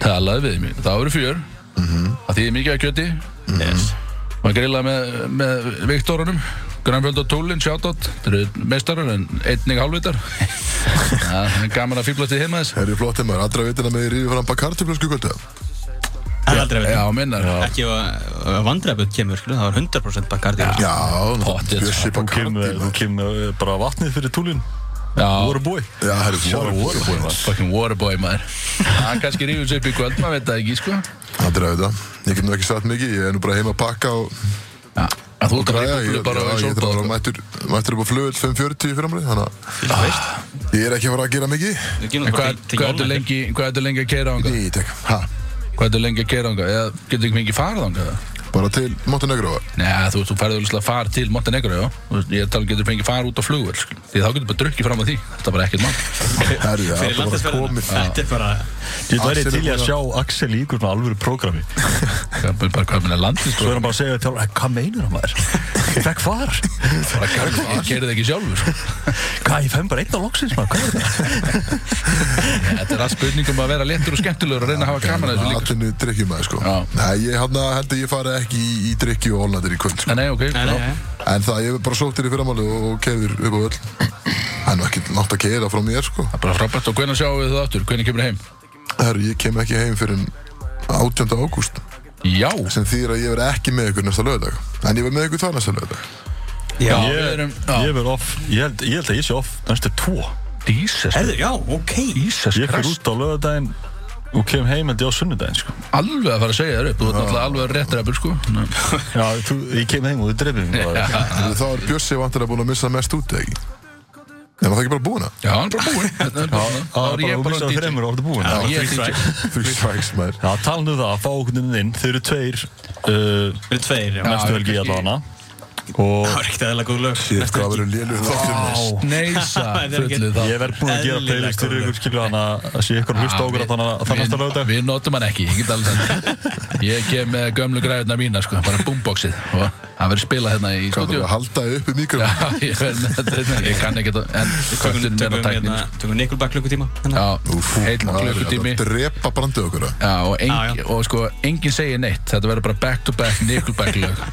[SPEAKER 3] talaði við mig, það voru fjör það þýði mikið að kjöti
[SPEAKER 2] Yes
[SPEAKER 3] maður grillaði með, með Viktorunum Grænfjöld og Tólin, shoutout þeir eru meistarar en einnig hálfvitar það er gaman að fýblast í heima þess
[SPEAKER 1] Það eru flott heimar, allra vitina með ríðu fram bara kartöflösku kvöldu
[SPEAKER 2] Það er aldrei að
[SPEAKER 3] já,
[SPEAKER 2] vita
[SPEAKER 3] minnar já.
[SPEAKER 2] Ekki ef vandræðabjörn kemur, skilur, það var 100% Bacardi
[SPEAKER 1] Já,
[SPEAKER 3] Pottet.
[SPEAKER 1] bjössi
[SPEAKER 4] Þú
[SPEAKER 1] bara
[SPEAKER 4] kem,
[SPEAKER 1] kartöflösku
[SPEAKER 4] þú kem eh, bara vatnið fyrir túlin
[SPEAKER 3] já.
[SPEAKER 4] Þú voru búið
[SPEAKER 1] Já, það eru voru búin
[SPEAKER 3] fucking waterboy maður hann kannski rífur sér upp í kvöld, maður veit það ekki sko.
[SPEAKER 1] Allra vitina, ég get nú ekki sagt mikið Ég er nú bara heima að pakka og
[SPEAKER 3] já, að þú ert að
[SPEAKER 1] græja
[SPEAKER 3] rífa
[SPEAKER 1] Ég
[SPEAKER 3] búlu
[SPEAKER 1] ég-
[SPEAKER 3] bara á
[SPEAKER 1] já, ég þarf að vera
[SPEAKER 3] sópa
[SPEAKER 1] mættur mættur upp á flugöld 5.40 í framræði Þannig
[SPEAKER 2] Þú veist,
[SPEAKER 1] að ég er ekki að fara að gera mikið
[SPEAKER 2] við gerum
[SPEAKER 3] En
[SPEAKER 2] það bara
[SPEAKER 3] hvað
[SPEAKER 2] til- til
[SPEAKER 3] hvað ertu
[SPEAKER 2] jólna
[SPEAKER 3] lengi, hvað ertu lengi að keira ánga?
[SPEAKER 1] Í, tek, ha,
[SPEAKER 3] Hvað ertu lengi að keira ánga? Eða getur ekki mikið farið ánga?
[SPEAKER 1] bara til Montenegro
[SPEAKER 3] Nei, þú veist, þú færðu alveg að fara til Montenegro, já. Þú veist, Ég tala um getur fengið fara út á flugvel, sko. Því þá getur bara drukkið fram að því. Þetta er bara ekkert mann.
[SPEAKER 1] Herri, það
[SPEAKER 2] Fyrir
[SPEAKER 1] er bara
[SPEAKER 2] landesferðina,
[SPEAKER 1] komið
[SPEAKER 2] þetta er bara
[SPEAKER 4] Ég
[SPEAKER 1] Axel
[SPEAKER 4] væri
[SPEAKER 1] er
[SPEAKER 4] til í að
[SPEAKER 1] búinn að-
[SPEAKER 4] sjá Axel í ykkur með alvöru prógrami
[SPEAKER 3] Það er bara hvað minna landið,
[SPEAKER 4] Svo
[SPEAKER 3] sko.
[SPEAKER 4] er hann bara að segja til hann Hvað meinar hann maður? Ég fekk far
[SPEAKER 3] Bara kærðu, ég keirði ekki sjálfur, sko.
[SPEAKER 4] Hvað, ég fenn bara einn á loksins maður Hvað er þetta?
[SPEAKER 3] Nei, Þetta er allt spurningum að vera léttur og skemmtilegur og reyna að hafa gaman að þessu líka.
[SPEAKER 1] Atvinnu drikkjum aðeins sko
[SPEAKER 3] Já.
[SPEAKER 1] Nei, ég hana, held að ég fari ekki í, í drikki og holnadir í kvöld sko.
[SPEAKER 3] Nei, nei, ok.
[SPEAKER 2] Nei, nei,
[SPEAKER 3] já.
[SPEAKER 2] nei.
[SPEAKER 1] En það, ég hef bara sótt þér í fyrramáli og, og keður upp á öll Það er nú ekki nátt að keira frá mér sko
[SPEAKER 3] Það er bara frábært. Og hvenær sjáum við það aftur? Hvenær kemur heim?
[SPEAKER 1] Herru, ég kem ekki heim fyrir 18. ágúst
[SPEAKER 3] Já.
[SPEAKER 1] sem þýðir að ég verð ekki með ykkur næsta lögadag En ég verð með ykkur það næsta lögadag
[SPEAKER 2] Já,
[SPEAKER 3] Já. við
[SPEAKER 4] Ég,
[SPEAKER 3] erum- já.
[SPEAKER 4] ég verð off ég held, ég held að ég sé off næstu tvo
[SPEAKER 3] Jesus.
[SPEAKER 2] herðu, já, ok
[SPEAKER 3] Jesus
[SPEAKER 4] Ég fyrir
[SPEAKER 3] Christ.
[SPEAKER 4] út á lögadaginn og kem heim en ég á sunnudaginn sko.
[SPEAKER 3] Alveg að fara að segja þér upp. Þú ert náttúrulega alveg réttræpur, sko. Nei.
[SPEAKER 4] Já, þú, ég kem heim og þú dreifir mig bara.
[SPEAKER 1] Herru, Þá er Bjössi vantilega búin að missa mest út eða ekki En það ekki bara búin að
[SPEAKER 3] Já, hann er bara búinn. Þetta er bara svona. Þá
[SPEAKER 4] Það
[SPEAKER 3] er
[SPEAKER 4] er
[SPEAKER 3] ég
[SPEAKER 4] bara, þú
[SPEAKER 3] bara
[SPEAKER 4] missaði
[SPEAKER 3] DJ.
[SPEAKER 4] þreymur og orðið búin
[SPEAKER 3] Já,
[SPEAKER 4] Já,
[SPEAKER 3] ég er DJ.
[SPEAKER 1] Three strikes, maður
[SPEAKER 4] Já, talandu það, fá okkur inn, þau eru tveir uh,
[SPEAKER 2] Fyrir tveir, já
[SPEAKER 4] næstu
[SPEAKER 3] já,
[SPEAKER 4] helgi
[SPEAKER 3] kannski-
[SPEAKER 4] allavega Og
[SPEAKER 2] Það var ekkert eðla góð lög
[SPEAKER 1] Sér hvað verður lélu þáttur með
[SPEAKER 4] Vá.
[SPEAKER 3] Neisa
[SPEAKER 2] Það er ekki-
[SPEAKER 3] fullu það
[SPEAKER 4] ég verð búinn að gera
[SPEAKER 2] Eðlilega
[SPEAKER 4] playlist fyrir
[SPEAKER 2] góð
[SPEAKER 4] ykkur skilja hana að sé ykkur að hlusta á okkur að þannig að það næsta lögdag
[SPEAKER 3] Við notum hann ekki, ég get alveg sagt Ég kem með gömlu græðuna mína sko, bara boomboxið og hann verður spilað hérna í
[SPEAKER 1] Hvað verður
[SPEAKER 3] stúdíu
[SPEAKER 1] að halda þið uppi mikrofón?
[SPEAKER 3] Já, ég verð með þetta hérna, ég kann ekki þetta en
[SPEAKER 2] Tökum,
[SPEAKER 3] kvöldin meina
[SPEAKER 2] tökum,
[SPEAKER 3] tæknin
[SPEAKER 2] hérna,
[SPEAKER 3] sko.
[SPEAKER 2] tökum Nickelback klukkutíma hérna.
[SPEAKER 3] Já, heil klukkutími
[SPEAKER 1] Það drepa brandið okkur að.
[SPEAKER 3] Já, og, eng,
[SPEAKER 2] Já, já.
[SPEAKER 3] og sko, enginn segir neitt Þetta verður bara back to back Nickelback lög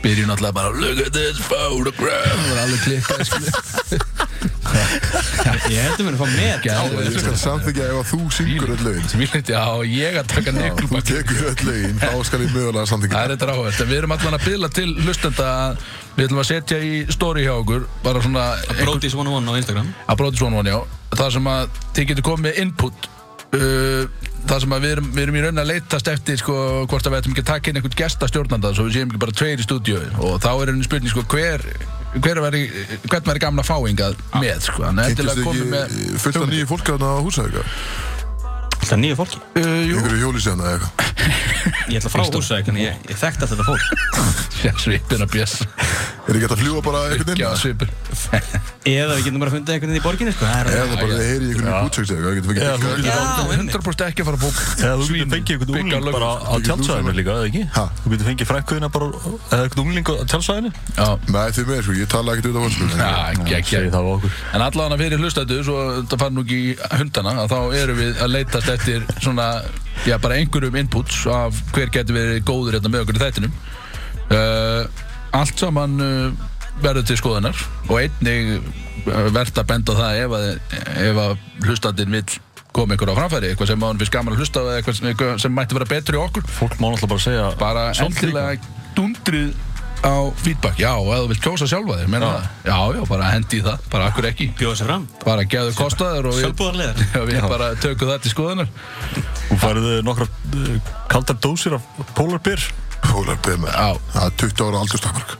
[SPEAKER 3] Byrjum náttúrulega bara Look at this photograph Það var alveg klikkað sko. skilur.
[SPEAKER 2] Ég heldur mér að fá með
[SPEAKER 1] Ég skal samþykja ef að þú syngur öll lögin.
[SPEAKER 3] Sem ég liti á og ég að taka
[SPEAKER 1] Já, Þú
[SPEAKER 3] Nickelback
[SPEAKER 1] tekur öll lögin, þá skal ég mögulega samþykja.
[SPEAKER 3] Það er þetta ráhvert Við erum allan að byðla til hlustenda að Við ætlum að setja í story hjá okkur Bara svona einhver-
[SPEAKER 2] Brodís 101 á Instagram
[SPEAKER 3] Að bróti svona von já Það sem að þið getur komið með input uh, Það sem að við erum, við erum í raun að leitast eftir sko, Hvort að við ætlum ekki að taka inn einhvern gestastjórnanda Svo við séum ekki bara tveir í stúdíu Og þá er einu spurning sko, hver, hver veri, Hvern væri gamla fáingað með sko. Þannig að
[SPEAKER 1] Kynntist
[SPEAKER 3] endilega komið
[SPEAKER 1] þið
[SPEAKER 3] með
[SPEAKER 1] ekki fullt af nýju fólk að það á húsæðu?
[SPEAKER 2] Alltaf nýju fólki
[SPEAKER 3] uh, Jú,
[SPEAKER 1] Ykkur í hjólisefna eða eitthvað?
[SPEAKER 2] Ég ætla frá húsæk en ég, ég þekkt alltaf þetta fólk
[SPEAKER 3] svipin að bjöss
[SPEAKER 1] Er ekki hægt að fljúa bara einhvern veginn?
[SPEAKER 3] Svipin
[SPEAKER 2] Eða við getum bara að funda einhvern veginn í borginni sko. Það er alveg-
[SPEAKER 1] Eða bara þið heyri ykkur í bútsöks eða eitthvað?
[SPEAKER 4] Já, þú
[SPEAKER 1] Getur
[SPEAKER 4] getur-
[SPEAKER 1] fengið
[SPEAKER 2] Já, einmitt.
[SPEAKER 3] 100% ekki að fara að bú
[SPEAKER 4] Eða þú getur fengið einhvern
[SPEAKER 3] bygga
[SPEAKER 4] ungling
[SPEAKER 3] lög-
[SPEAKER 4] bara á
[SPEAKER 1] Þú getur
[SPEAKER 4] tjálsvæðinu
[SPEAKER 1] útsalan.
[SPEAKER 4] líka, eða ekki?
[SPEAKER 1] Ha?
[SPEAKER 4] Þú getur fengið frænkuðina bara, eða einhvern ungling á tjálsvæðinu?
[SPEAKER 3] Já
[SPEAKER 1] Nei því mér sko, ég tala ekkert út af fólksbyrðinu.
[SPEAKER 3] Já, geggja
[SPEAKER 4] Segði það á okkur.
[SPEAKER 3] En allavega fyrir hlustættu, svo þetta fara nú ekki í hundana að þá erum við að leitast eftir svona, já, bara einhverjum inputs af hver getur verið góður hérna með okkur í þættinum uh, Allt saman uh, verður til skoðunar og einnig uh, verðt að benda á það ef að, ef að hlustandinn vill koma ykkur á framfæri, eitthvað sem hann finnst gaman að hlusta á eða eitthvað sem, eitthvað sem mætti vera betri í okkur
[SPEAKER 4] Fólk má náttúrulega bara segja
[SPEAKER 3] bara
[SPEAKER 4] sjálft líka.
[SPEAKER 3] endilega dundrið á feedback, já, og ef þú vilt kjósa sjálfa þér meina það, já, já, bara hendi í það bara akkur ekki,
[SPEAKER 2] Bjóða sér fram
[SPEAKER 3] bara geðu kostaður og við,
[SPEAKER 2] Sjálfbúðarlegar
[SPEAKER 3] og við bara tökum það til skoðunar
[SPEAKER 4] Þú færðu nokkra uh, kaldar dósir af polarbyr
[SPEAKER 1] Hólar beð með.
[SPEAKER 3] Já.
[SPEAKER 1] Það er 20 ára aldurstakmark.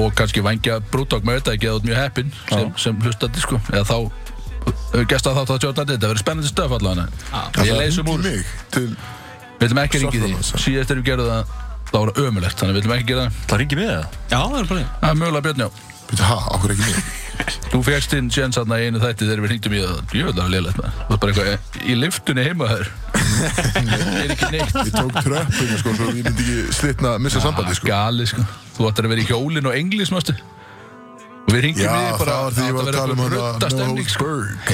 [SPEAKER 3] og kannski vangja brúttók með þetta ekki eða þú ert mjög heppin sem, sem hlustandi sko, eða þá gesta þátt að tjóta þetta, þetta verður spennandi stöf allavega
[SPEAKER 1] Það
[SPEAKER 3] við
[SPEAKER 1] er
[SPEAKER 3] leysum
[SPEAKER 1] hringt
[SPEAKER 3] úr,
[SPEAKER 1] í mig til...
[SPEAKER 3] við viljum ekki ringið því
[SPEAKER 1] Sáttmálansa.
[SPEAKER 3] síðast erum við gerðum það, þá var það ömulegt þannig að við viljum ekki gera það,
[SPEAKER 4] Það ringi mig eða?
[SPEAKER 2] Já, það er bara því
[SPEAKER 3] það er mögulega Björn, já
[SPEAKER 1] Býttu, ha, okkur ekki mig?
[SPEAKER 3] Þú fegst inn sjens aðna í einu þætti þegar við hringdum í það Ég vil það að leilægt maður Það er bara eitthvað í liftunni heima þær Það er ekki neitt
[SPEAKER 1] Ég tók tröppinu sko, svo ég myndi ekki slitna að missa sambandi sko.
[SPEAKER 3] Gali sko Þú ættir að vera í hjólinn og englis mástu Og við hringdum í
[SPEAKER 1] Já,
[SPEAKER 3] þig bara
[SPEAKER 1] það var því ég var að tala um
[SPEAKER 3] Rutta
[SPEAKER 1] þetta
[SPEAKER 3] stemning sko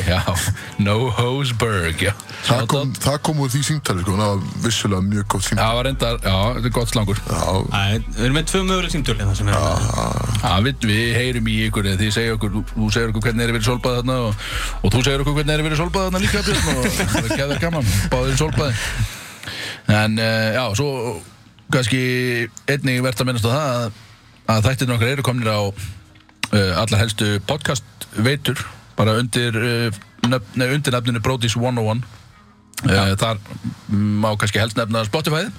[SPEAKER 3] Já, no hoseberg Já,
[SPEAKER 1] Það
[SPEAKER 3] Svona
[SPEAKER 1] kom,
[SPEAKER 3] dót.
[SPEAKER 1] það kom úr því símtali sko, það var vissulega mjög gott símtali.
[SPEAKER 3] Það var reyndar, já, þetta er gott slangur
[SPEAKER 1] Já,
[SPEAKER 2] Æ, Við erum með tvö möguleg símtöl hérna sem er
[SPEAKER 3] Já, við, við heyrum í ykkur eða þið segja okkur, þú- þú segir okkur hvernig er verið solbað þarna og, og þú segir okkur hvernig er verið solbað þarna líka Björn og það er gæður gaman, báðir solbaði En uh, já, svo kannski einnig verðt að minnast á það að, að þættirnir okkar eru komnir á uh, allar helstu podcast veitur bara undir, uh, nöfn, nei, undir nefninu Brodís 101 uh, Þar má kannski helst nefna Spotify-ið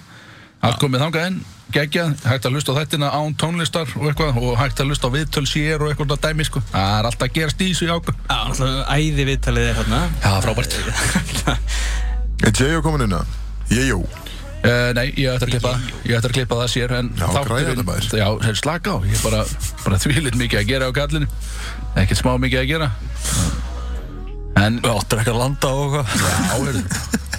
[SPEAKER 3] Allt komið þangað inn, geggjað, hægt að hlusta á þættina án tónlistar og eitthvað og hægt að hlusta á viðtöl sér og eitthvað svona dæmi sko. Það er alltaf að gerast í þessu jáka.
[SPEAKER 2] Já, náttúrulega æði viðtalið er hérna
[SPEAKER 3] Já, frábært.
[SPEAKER 1] er J.O. komin inn að? J.O.
[SPEAKER 3] Uh, nei, ég ætti að klippa, ég ætti að klippa það sér en
[SPEAKER 1] Já, græjarnar maður.
[SPEAKER 3] Já, sem slaka á, ég er bara, bara þvílitt mikið að gera á kallinu. Ekkert smá mikið að gera. En,
[SPEAKER 4] Já, drekka landa og eitthvað
[SPEAKER 3] já, heyrðu.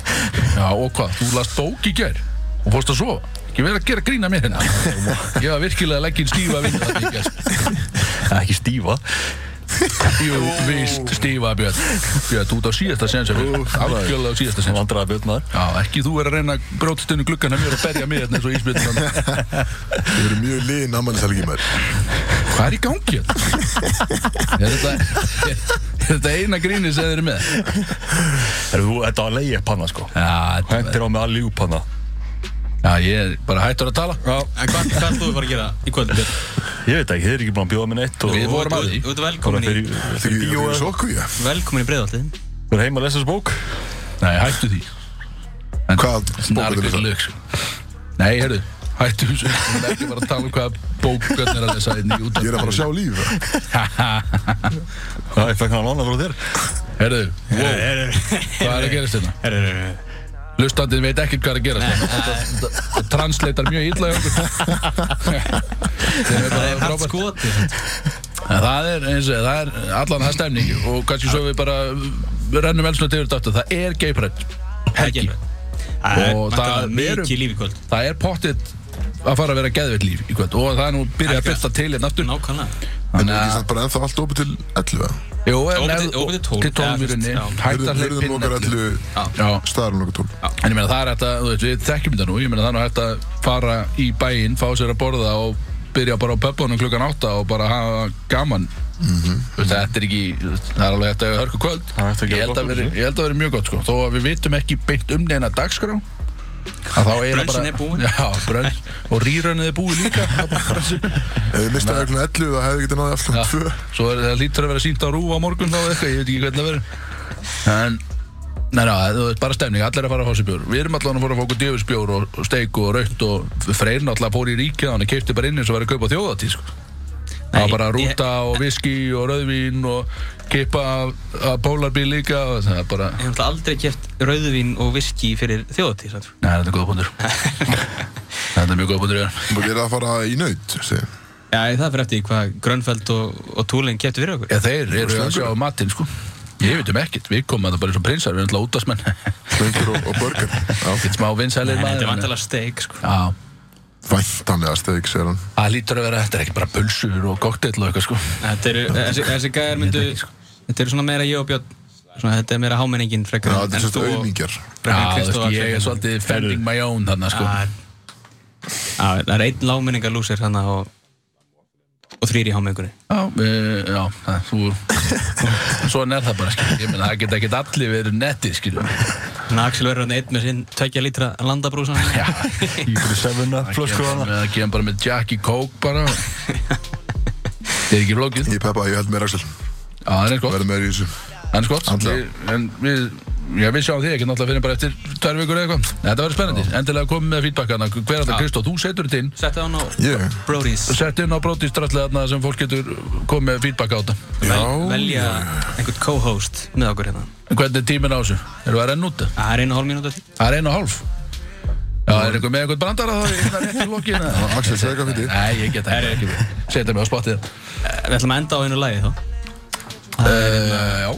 [SPEAKER 3] Já, og hvað, þú last bók í gær og fórst að sofa. Ekki verið að gera grína mér hérna. Ég var virkilega að leggja inn stífa vinnu þarna í gær. sko.
[SPEAKER 4] Ekki stífa
[SPEAKER 3] Jú, víst, stífa Björn Björn, út á síðasta sen sem við Algjörlega á síðasta sen
[SPEAKER 4] Vandræða björnmaður
[SPEAKER 3] Já, ekki þú er að reyna að brótast inn í gluggan að mér og berja mig hérna eins og ísbjörn
[SPEAKER 1] Þið eru mjög liðin ammælishelgi mér.
[SPEAKER 3] Hvað er í gangi hérna? Er þetta, er, er þetta eina gríni sem þeir eru með?
[SPEAKER 4] Herru, þú, þetta var leið panna sko
[SPEAKER 3] Já, þetta,
[SPEAKER 4] Hentir á mig að líf panna
[SPEAKER 3] já, ég er bara hættur að tala
[SPEAKER 4] Já
[SPEAKER 2] En Hvað hvað ætlum við bara að gera í kvöld? Björn?
[SPEAKER 4] Ég veit ekki, þið er ekki búin að bjóða mér neitt og
[SPEAKER 3] Við vorum að því.
[SPEAKER 2] Þú ert
[SPEAKER 4] Bara
[SPEAKER 2] velkomin í
[SPEAKER 4] fyrir,
[SPEAKER 1] Þið
[SPEAKER 4] fyrir
[SPEAKER 1] eru
[SPEAKER 4] bíó
[SPEAKER 1] mjög
[SPEAKER 4] eða
[SPEAKER 1] sokku ég.
[SPEAKER 2] Velkomin í breiðallið
[SPEAKER 4] Við erum heima að lesa þessu bók
[SPEAKER 3] Nei, hættu því
[SPEAKER 1] Hvað bókar þið
[SPEAKER 3] Narkoð
[SPEAKER 1] það?
[SPEAKER 3] lög sko. Nei, heyrðu, hættu þessu Við erum ekki bara að tala um hvað bók Björn er að lesa inn í út
[SPEAKER 1] Ég er að fara að sjá líf það.
[SPEAKER 4] Já, ég fekk hann að lána frá þér
[SPEAKER 3] Heyrðu, wow,
[SPEAKER 2] Herru,
[SPEAKER 3] hvað er að gerast hérna?
[SPEAKER 2] herru, herru
[SPEAKER 3] Lustandinn veit ekkert hvað er að gera sko. Þetta- Þetta translatear mjög illa hjá okkur Þeim er
[SPEAKER 2] Það er
[SPEAKER 3] bara
[SPEAKER 2] hægt
[SPEAKER 3] frábært
[SPEAKER 2] skoti
[SPEAKER 3] En Það er eins og það er allan það er stemning og kannski svo við bara rennum elsnöð yfir þetta aftur. það er geiprætt helgi
[SPEAKER 2] Það er
[SPEAKER 3] Og það
[SPEAKER 2] mættilega
[SPEAKER 3] eru-
[SPEAKER 2] mikið líf í kvöld
[SPEAKER 3] það er pottitt að fara að vera geðveitt líf í kvöld og það er nú byrjað að
[SPEAKER 2] Helga.
[SPEAKER 3] byrta til hérna aftur
[SPEAKER 2] Nákvæmlega
[SPEAKER 1] En
[SPEAKER 3] Þannig
[SPEAKER 1] er
[SPEAKER 3] að-
[SPEAKER 1] ekki samt bara ennþá allt opið til 11
[SPEAKER 3] Jú, en
[SPEAKER 2] Opið
[SPEAKER 3] ef-
[SPEAKER 2] til- opið til 12,
[SPEAKER 3] til 12
[SPEAKER 2] eða
[SPEAKER 3] í rauninni
[SPEAKER 2] fyrst, já.
[SPEAKER 3] hægt að hleypa
[SPEAKER 1] Hörðum
[SPEAKER 3] inn
[SPEAKER 1] okkar
[SPEAKER 3] öllu.
[SPEAKER 1] 11
[SPEAKER 3] Já,
[SPEAKER 1] Staðarum okkar 12
[SPEAKER 3] en ég meina það er hægt að, þú veit, við þekkjum þetta nú ég meina það er nú hægt að fara í bæinn fá sér að borða og byrja bara á pöppunum klukkan 8 og bara hafa gaman Þú veist, þetta er ekki það er alveg hægt að hafa hörku kvöld
[SPEAKER 4] Mhm. Það er hægt að
[SPEAKER 3] ég
[SPEAKER 4] gera
[SPEAKER 3] held að
[SPEAKER 4] gott úr
[SPEAKER 3] veri,
[SPEAKER 4] þessu.
[SPEAKER 3] ég held að veri mjög gott sko þó að við vitum ekki beint um neina dagskrá að þá eiginlega
[SPEAKER 2] Brunchinn er búinn.
[SPEAKER 3] já, brönn og rýrönnið er búið líka Það er bara brunchinn.
[SPEAKER 1] Ef við mistaði öllum 11 það hefði getið náði
[SPEAKER 3] Já.
[SPEAKER 1] alltaf 2
[SPEAKER 3] Svo er það lítur að vera sínt á rúf á morgun þá eða eitthvað, ég veit ekki hvernig það verður En, neina, þú veist, bara stemning, allir að fara að fá sér bjór Við erum allan að fara að fá okkur djöfisbjór og, og steik og raut og Freyr náttúrulega fór í ríkið hann og keipti bara inn eins og verið að kaupa þjóðatí sko. Það var
[SPEAKER 2] Nei,
[SPEAKER 3] bara
[SPEAKER 2] ég-
[SPEAKER 3] rúta og viski og rauðvín og kippa af, af pólarbíl líka og það er bara,
[SPEAKER 2] Ég hef náttúrulega aldrei keft rauðvin og viski fyrir þjóðatíð samt.
[SPEAKER 3] neina, þetta er góða punktur Þetta er mjög góða punktur, Jörn
[SPEAKER 1] Þú gerir það að fara í naut segir.
[SPEAKER 2] Já, ég- það fyrir eftir því hvað Grönfeld og, og Túling keftu fyrir okkur
[SPEAKER 3] Já, þeir eru að sjá matinn, sko Ég veit um ekkert, við komum að það bara eins og prinsar, við erum alltaf útasmenn
[SPEAKER 1] Slöngur og, og burger Já,
[SPEAKER 3] Ekkert smá vinsælir
[SPEAKER 2] En
[SPEAKER 3] maður
[SPEAKER 2] þetta er vantilega steik sko.
[SPEAKER 3] Já,
[SPEAKER 1] Væntanlega steik, segir hann
[SPEAKER 3] það lítur að vera, þetta er ekki bara pulsur og koktel og eitthvað sko
[SPEAKER 2] Þetta eru, þessi, þessi gæjar myndu Þetta eru svona meira ég og Björn svona, Þetta er meira hámenningin frekar
[SPEAKER 1] Já, þetta er svolítið auðmingjar
[SPEAKER 3] Já, þú veist, ég er svolítið fending my own þarna sko
[SPEAKER 2] Já, það er einn lágmenningar lúsir hann og, og þrýr í hámenningunni
[SPEAKER 3] Já, e, já, það, þú Svona er það bara, skil Ég meina, það geta ekkert allir verið netti, skil
[SPEAKER 2] Þannig að Axel verður hann einn með sinn tvekja lítra landabrúsan
[SPEAKER 3] Já,
[SPEAKER 4] Ígur í sefuna, flösku hana
[SPEAKER 3] Það kemur bara með Jack í kók bara Það er ekki flókið Já,
[SPEAKER 1] Ég peppa, ég held meira Axel
[SPEAKER 3] það er eins gott
[SPEAKER 1] Verðum meira í þessu
[SPEAKER 3] Það er eins gott
[SPEAKER 1] Andlega.
[SPEAKER 3] Við- En við Já, við sjáum því ekki náttúrulega fyrir bara eftir tvær vikur eða eitthvað. Þetta verður spennandi. Endilega komið með feedbackana. Hver er þetta, Kristó? Þú setur þetta inn.
[SPEAKER 2] Settu hann á
[SPEAKER 1] Ég,
[SPEAKER 2] Brody's
[SPEAKER 3] sett inn á brótistrallið þarna sem fólk getur komið með feedback á þetta.
[SPEAKER 1] já,
[SPEAKER 2] Vel, Velja einhvern co-host með okkur hérna
[SPEAKER 3] En Hvernig er tíminn á þessu? Erum við að renna út? það?
[SPEAKER 2] Það er einu og hálf mínúti
[SPEAKER 3] Það er einu og hálf. Já, er einhver með einhvern brandara þá? Ég er rétt í lokin. eða?
[SPEAKER 1] Axel, segðu hvað fyrir
[SPEAKER 3] Nei, ég get ekki. ekki. Setja mig á spottið.
[SPEAKER 2] Eh, Við ætlum að enda á einu lagi þá
[SPEAKER 3] Uh, já,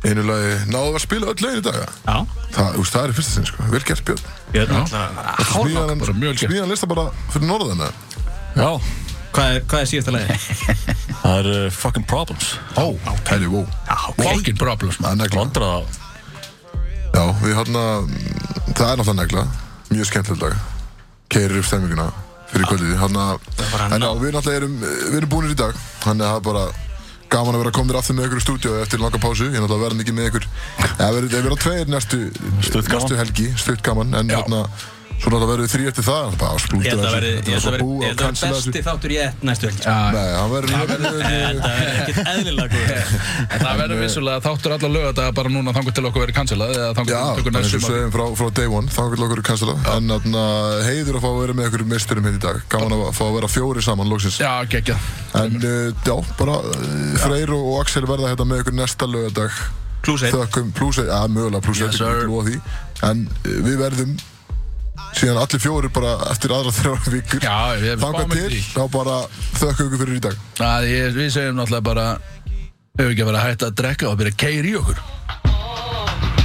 [SPEAKER 1] Einu lagi, náðu að spila öll lögin í dag ja?
[SPEAKER 2] Já,
[SPEAKER 1] Það, úst, það er í fyrsta sinn, sko, vel gert Björn
[SPEAKER 2] Björn ætla
[SPEAKER 1] Smíðan,
[SPEAKER 3] bara mjög vel gert.
[SPEAKER 1] smíðan lista bara fyrir norðan eða?
[SPEAKER 4] Já,
[SPEAKER 2] Hvað er, hvað er síðasta lagi?
[SPEAKER 4] það er uh, fucking problems
[SPEAKER 1] Ó, herri, ó
[SPEAKER 3] fucking problems,
[SPEAKER 1] Það
[SPEAKER 3] man.
[SPEAKER 1] er negla
[SPEAKER 4] Vandra
[SPEAKER 1] Já, við hérna, það er náttúrulega negla Mjög skemmtilegt lag Keirir upp stemminguna fyrir kvöldið Hanna,
[SPEAKER 2] bara
[SPEAKER 1] en
[SPEAKER 2] ná-
[SPEAKER 1] já, við náttúrulega erum, við erum búinir í dag Þannig að það er bara gaman að vera komnir aftur með ykkur í stúdíu eftir langa pásu, ég náttúrulega verðan ekki með ykkur Það verður að vera tveir næstu
[SPEAKER 4] Stutt gaman.
[SPEAKER 1] næstu helgi, stutt gaman en hérna, svo náttúrulega verður við þrý eftir það bara
[SPEAKER 2] Ég
[SPEAKER 1] splútur
[SPEAKER 2] held að verði ég held að
[SPEAKER 1] svo
[SPEAKER 2] verði-
[SPEAKER 1] búið
[SPEAKER 2] ég held að verði besti þáttur ég ett næstu helgi sko.
[SPEAKER 1] Nei, hann verður
[SPEAKER 2] Þetta er ekkert eðlilega góð
[SPEAKER 3] En það verður vissulega þáttur alla lög þetta bara núna þangur til okkur verið cancelað eða þangur
[SPEAKER 1] Já,
[SPEAKER 3] til okkur
[SPEAKER 1] eins
[SPEAKER 3] næstum
[SPEAKER 1] og segjum frá, frá day one, þá vil okkur kansla En þarna heiður að fá að vera með okkur misturum hér í dag Gaman að fá að vera fjóri saman, lóksins
[SPEAKER 3] Já, geggja.
[SPEAKER 1] En uh, já, bara uh, Freyr og og Axel verða hérna með ykkur næsta lögadag
[SPEAKER 2] Plús einn.
[SPEAKER 1] Þökkum plús eitt, að mögulega plús
[SPEAKER 3] Yes,
[SPEAKER 1] eitt,
[SPEAKER 3] sir.
[SPEAKER 1] ekki lúa því En uh, við verðum síðan allir fjóri bara eftir aðra þrjá vikur
[SPEAKER 3] Já, við erum
[SPEAKER 1] Þangað
[SPEAKER 3] spámið
[SPEAKER 1] til,
[SPEAKER 3] því.
[SPEAKER 1] þá bara þökkum ykkur fyrir í dag
[SPEAKER 3] Að ég- Við segjum náttúrulega bara, hefur ekki verið að hætta að drekka og byrja að keira í okkur.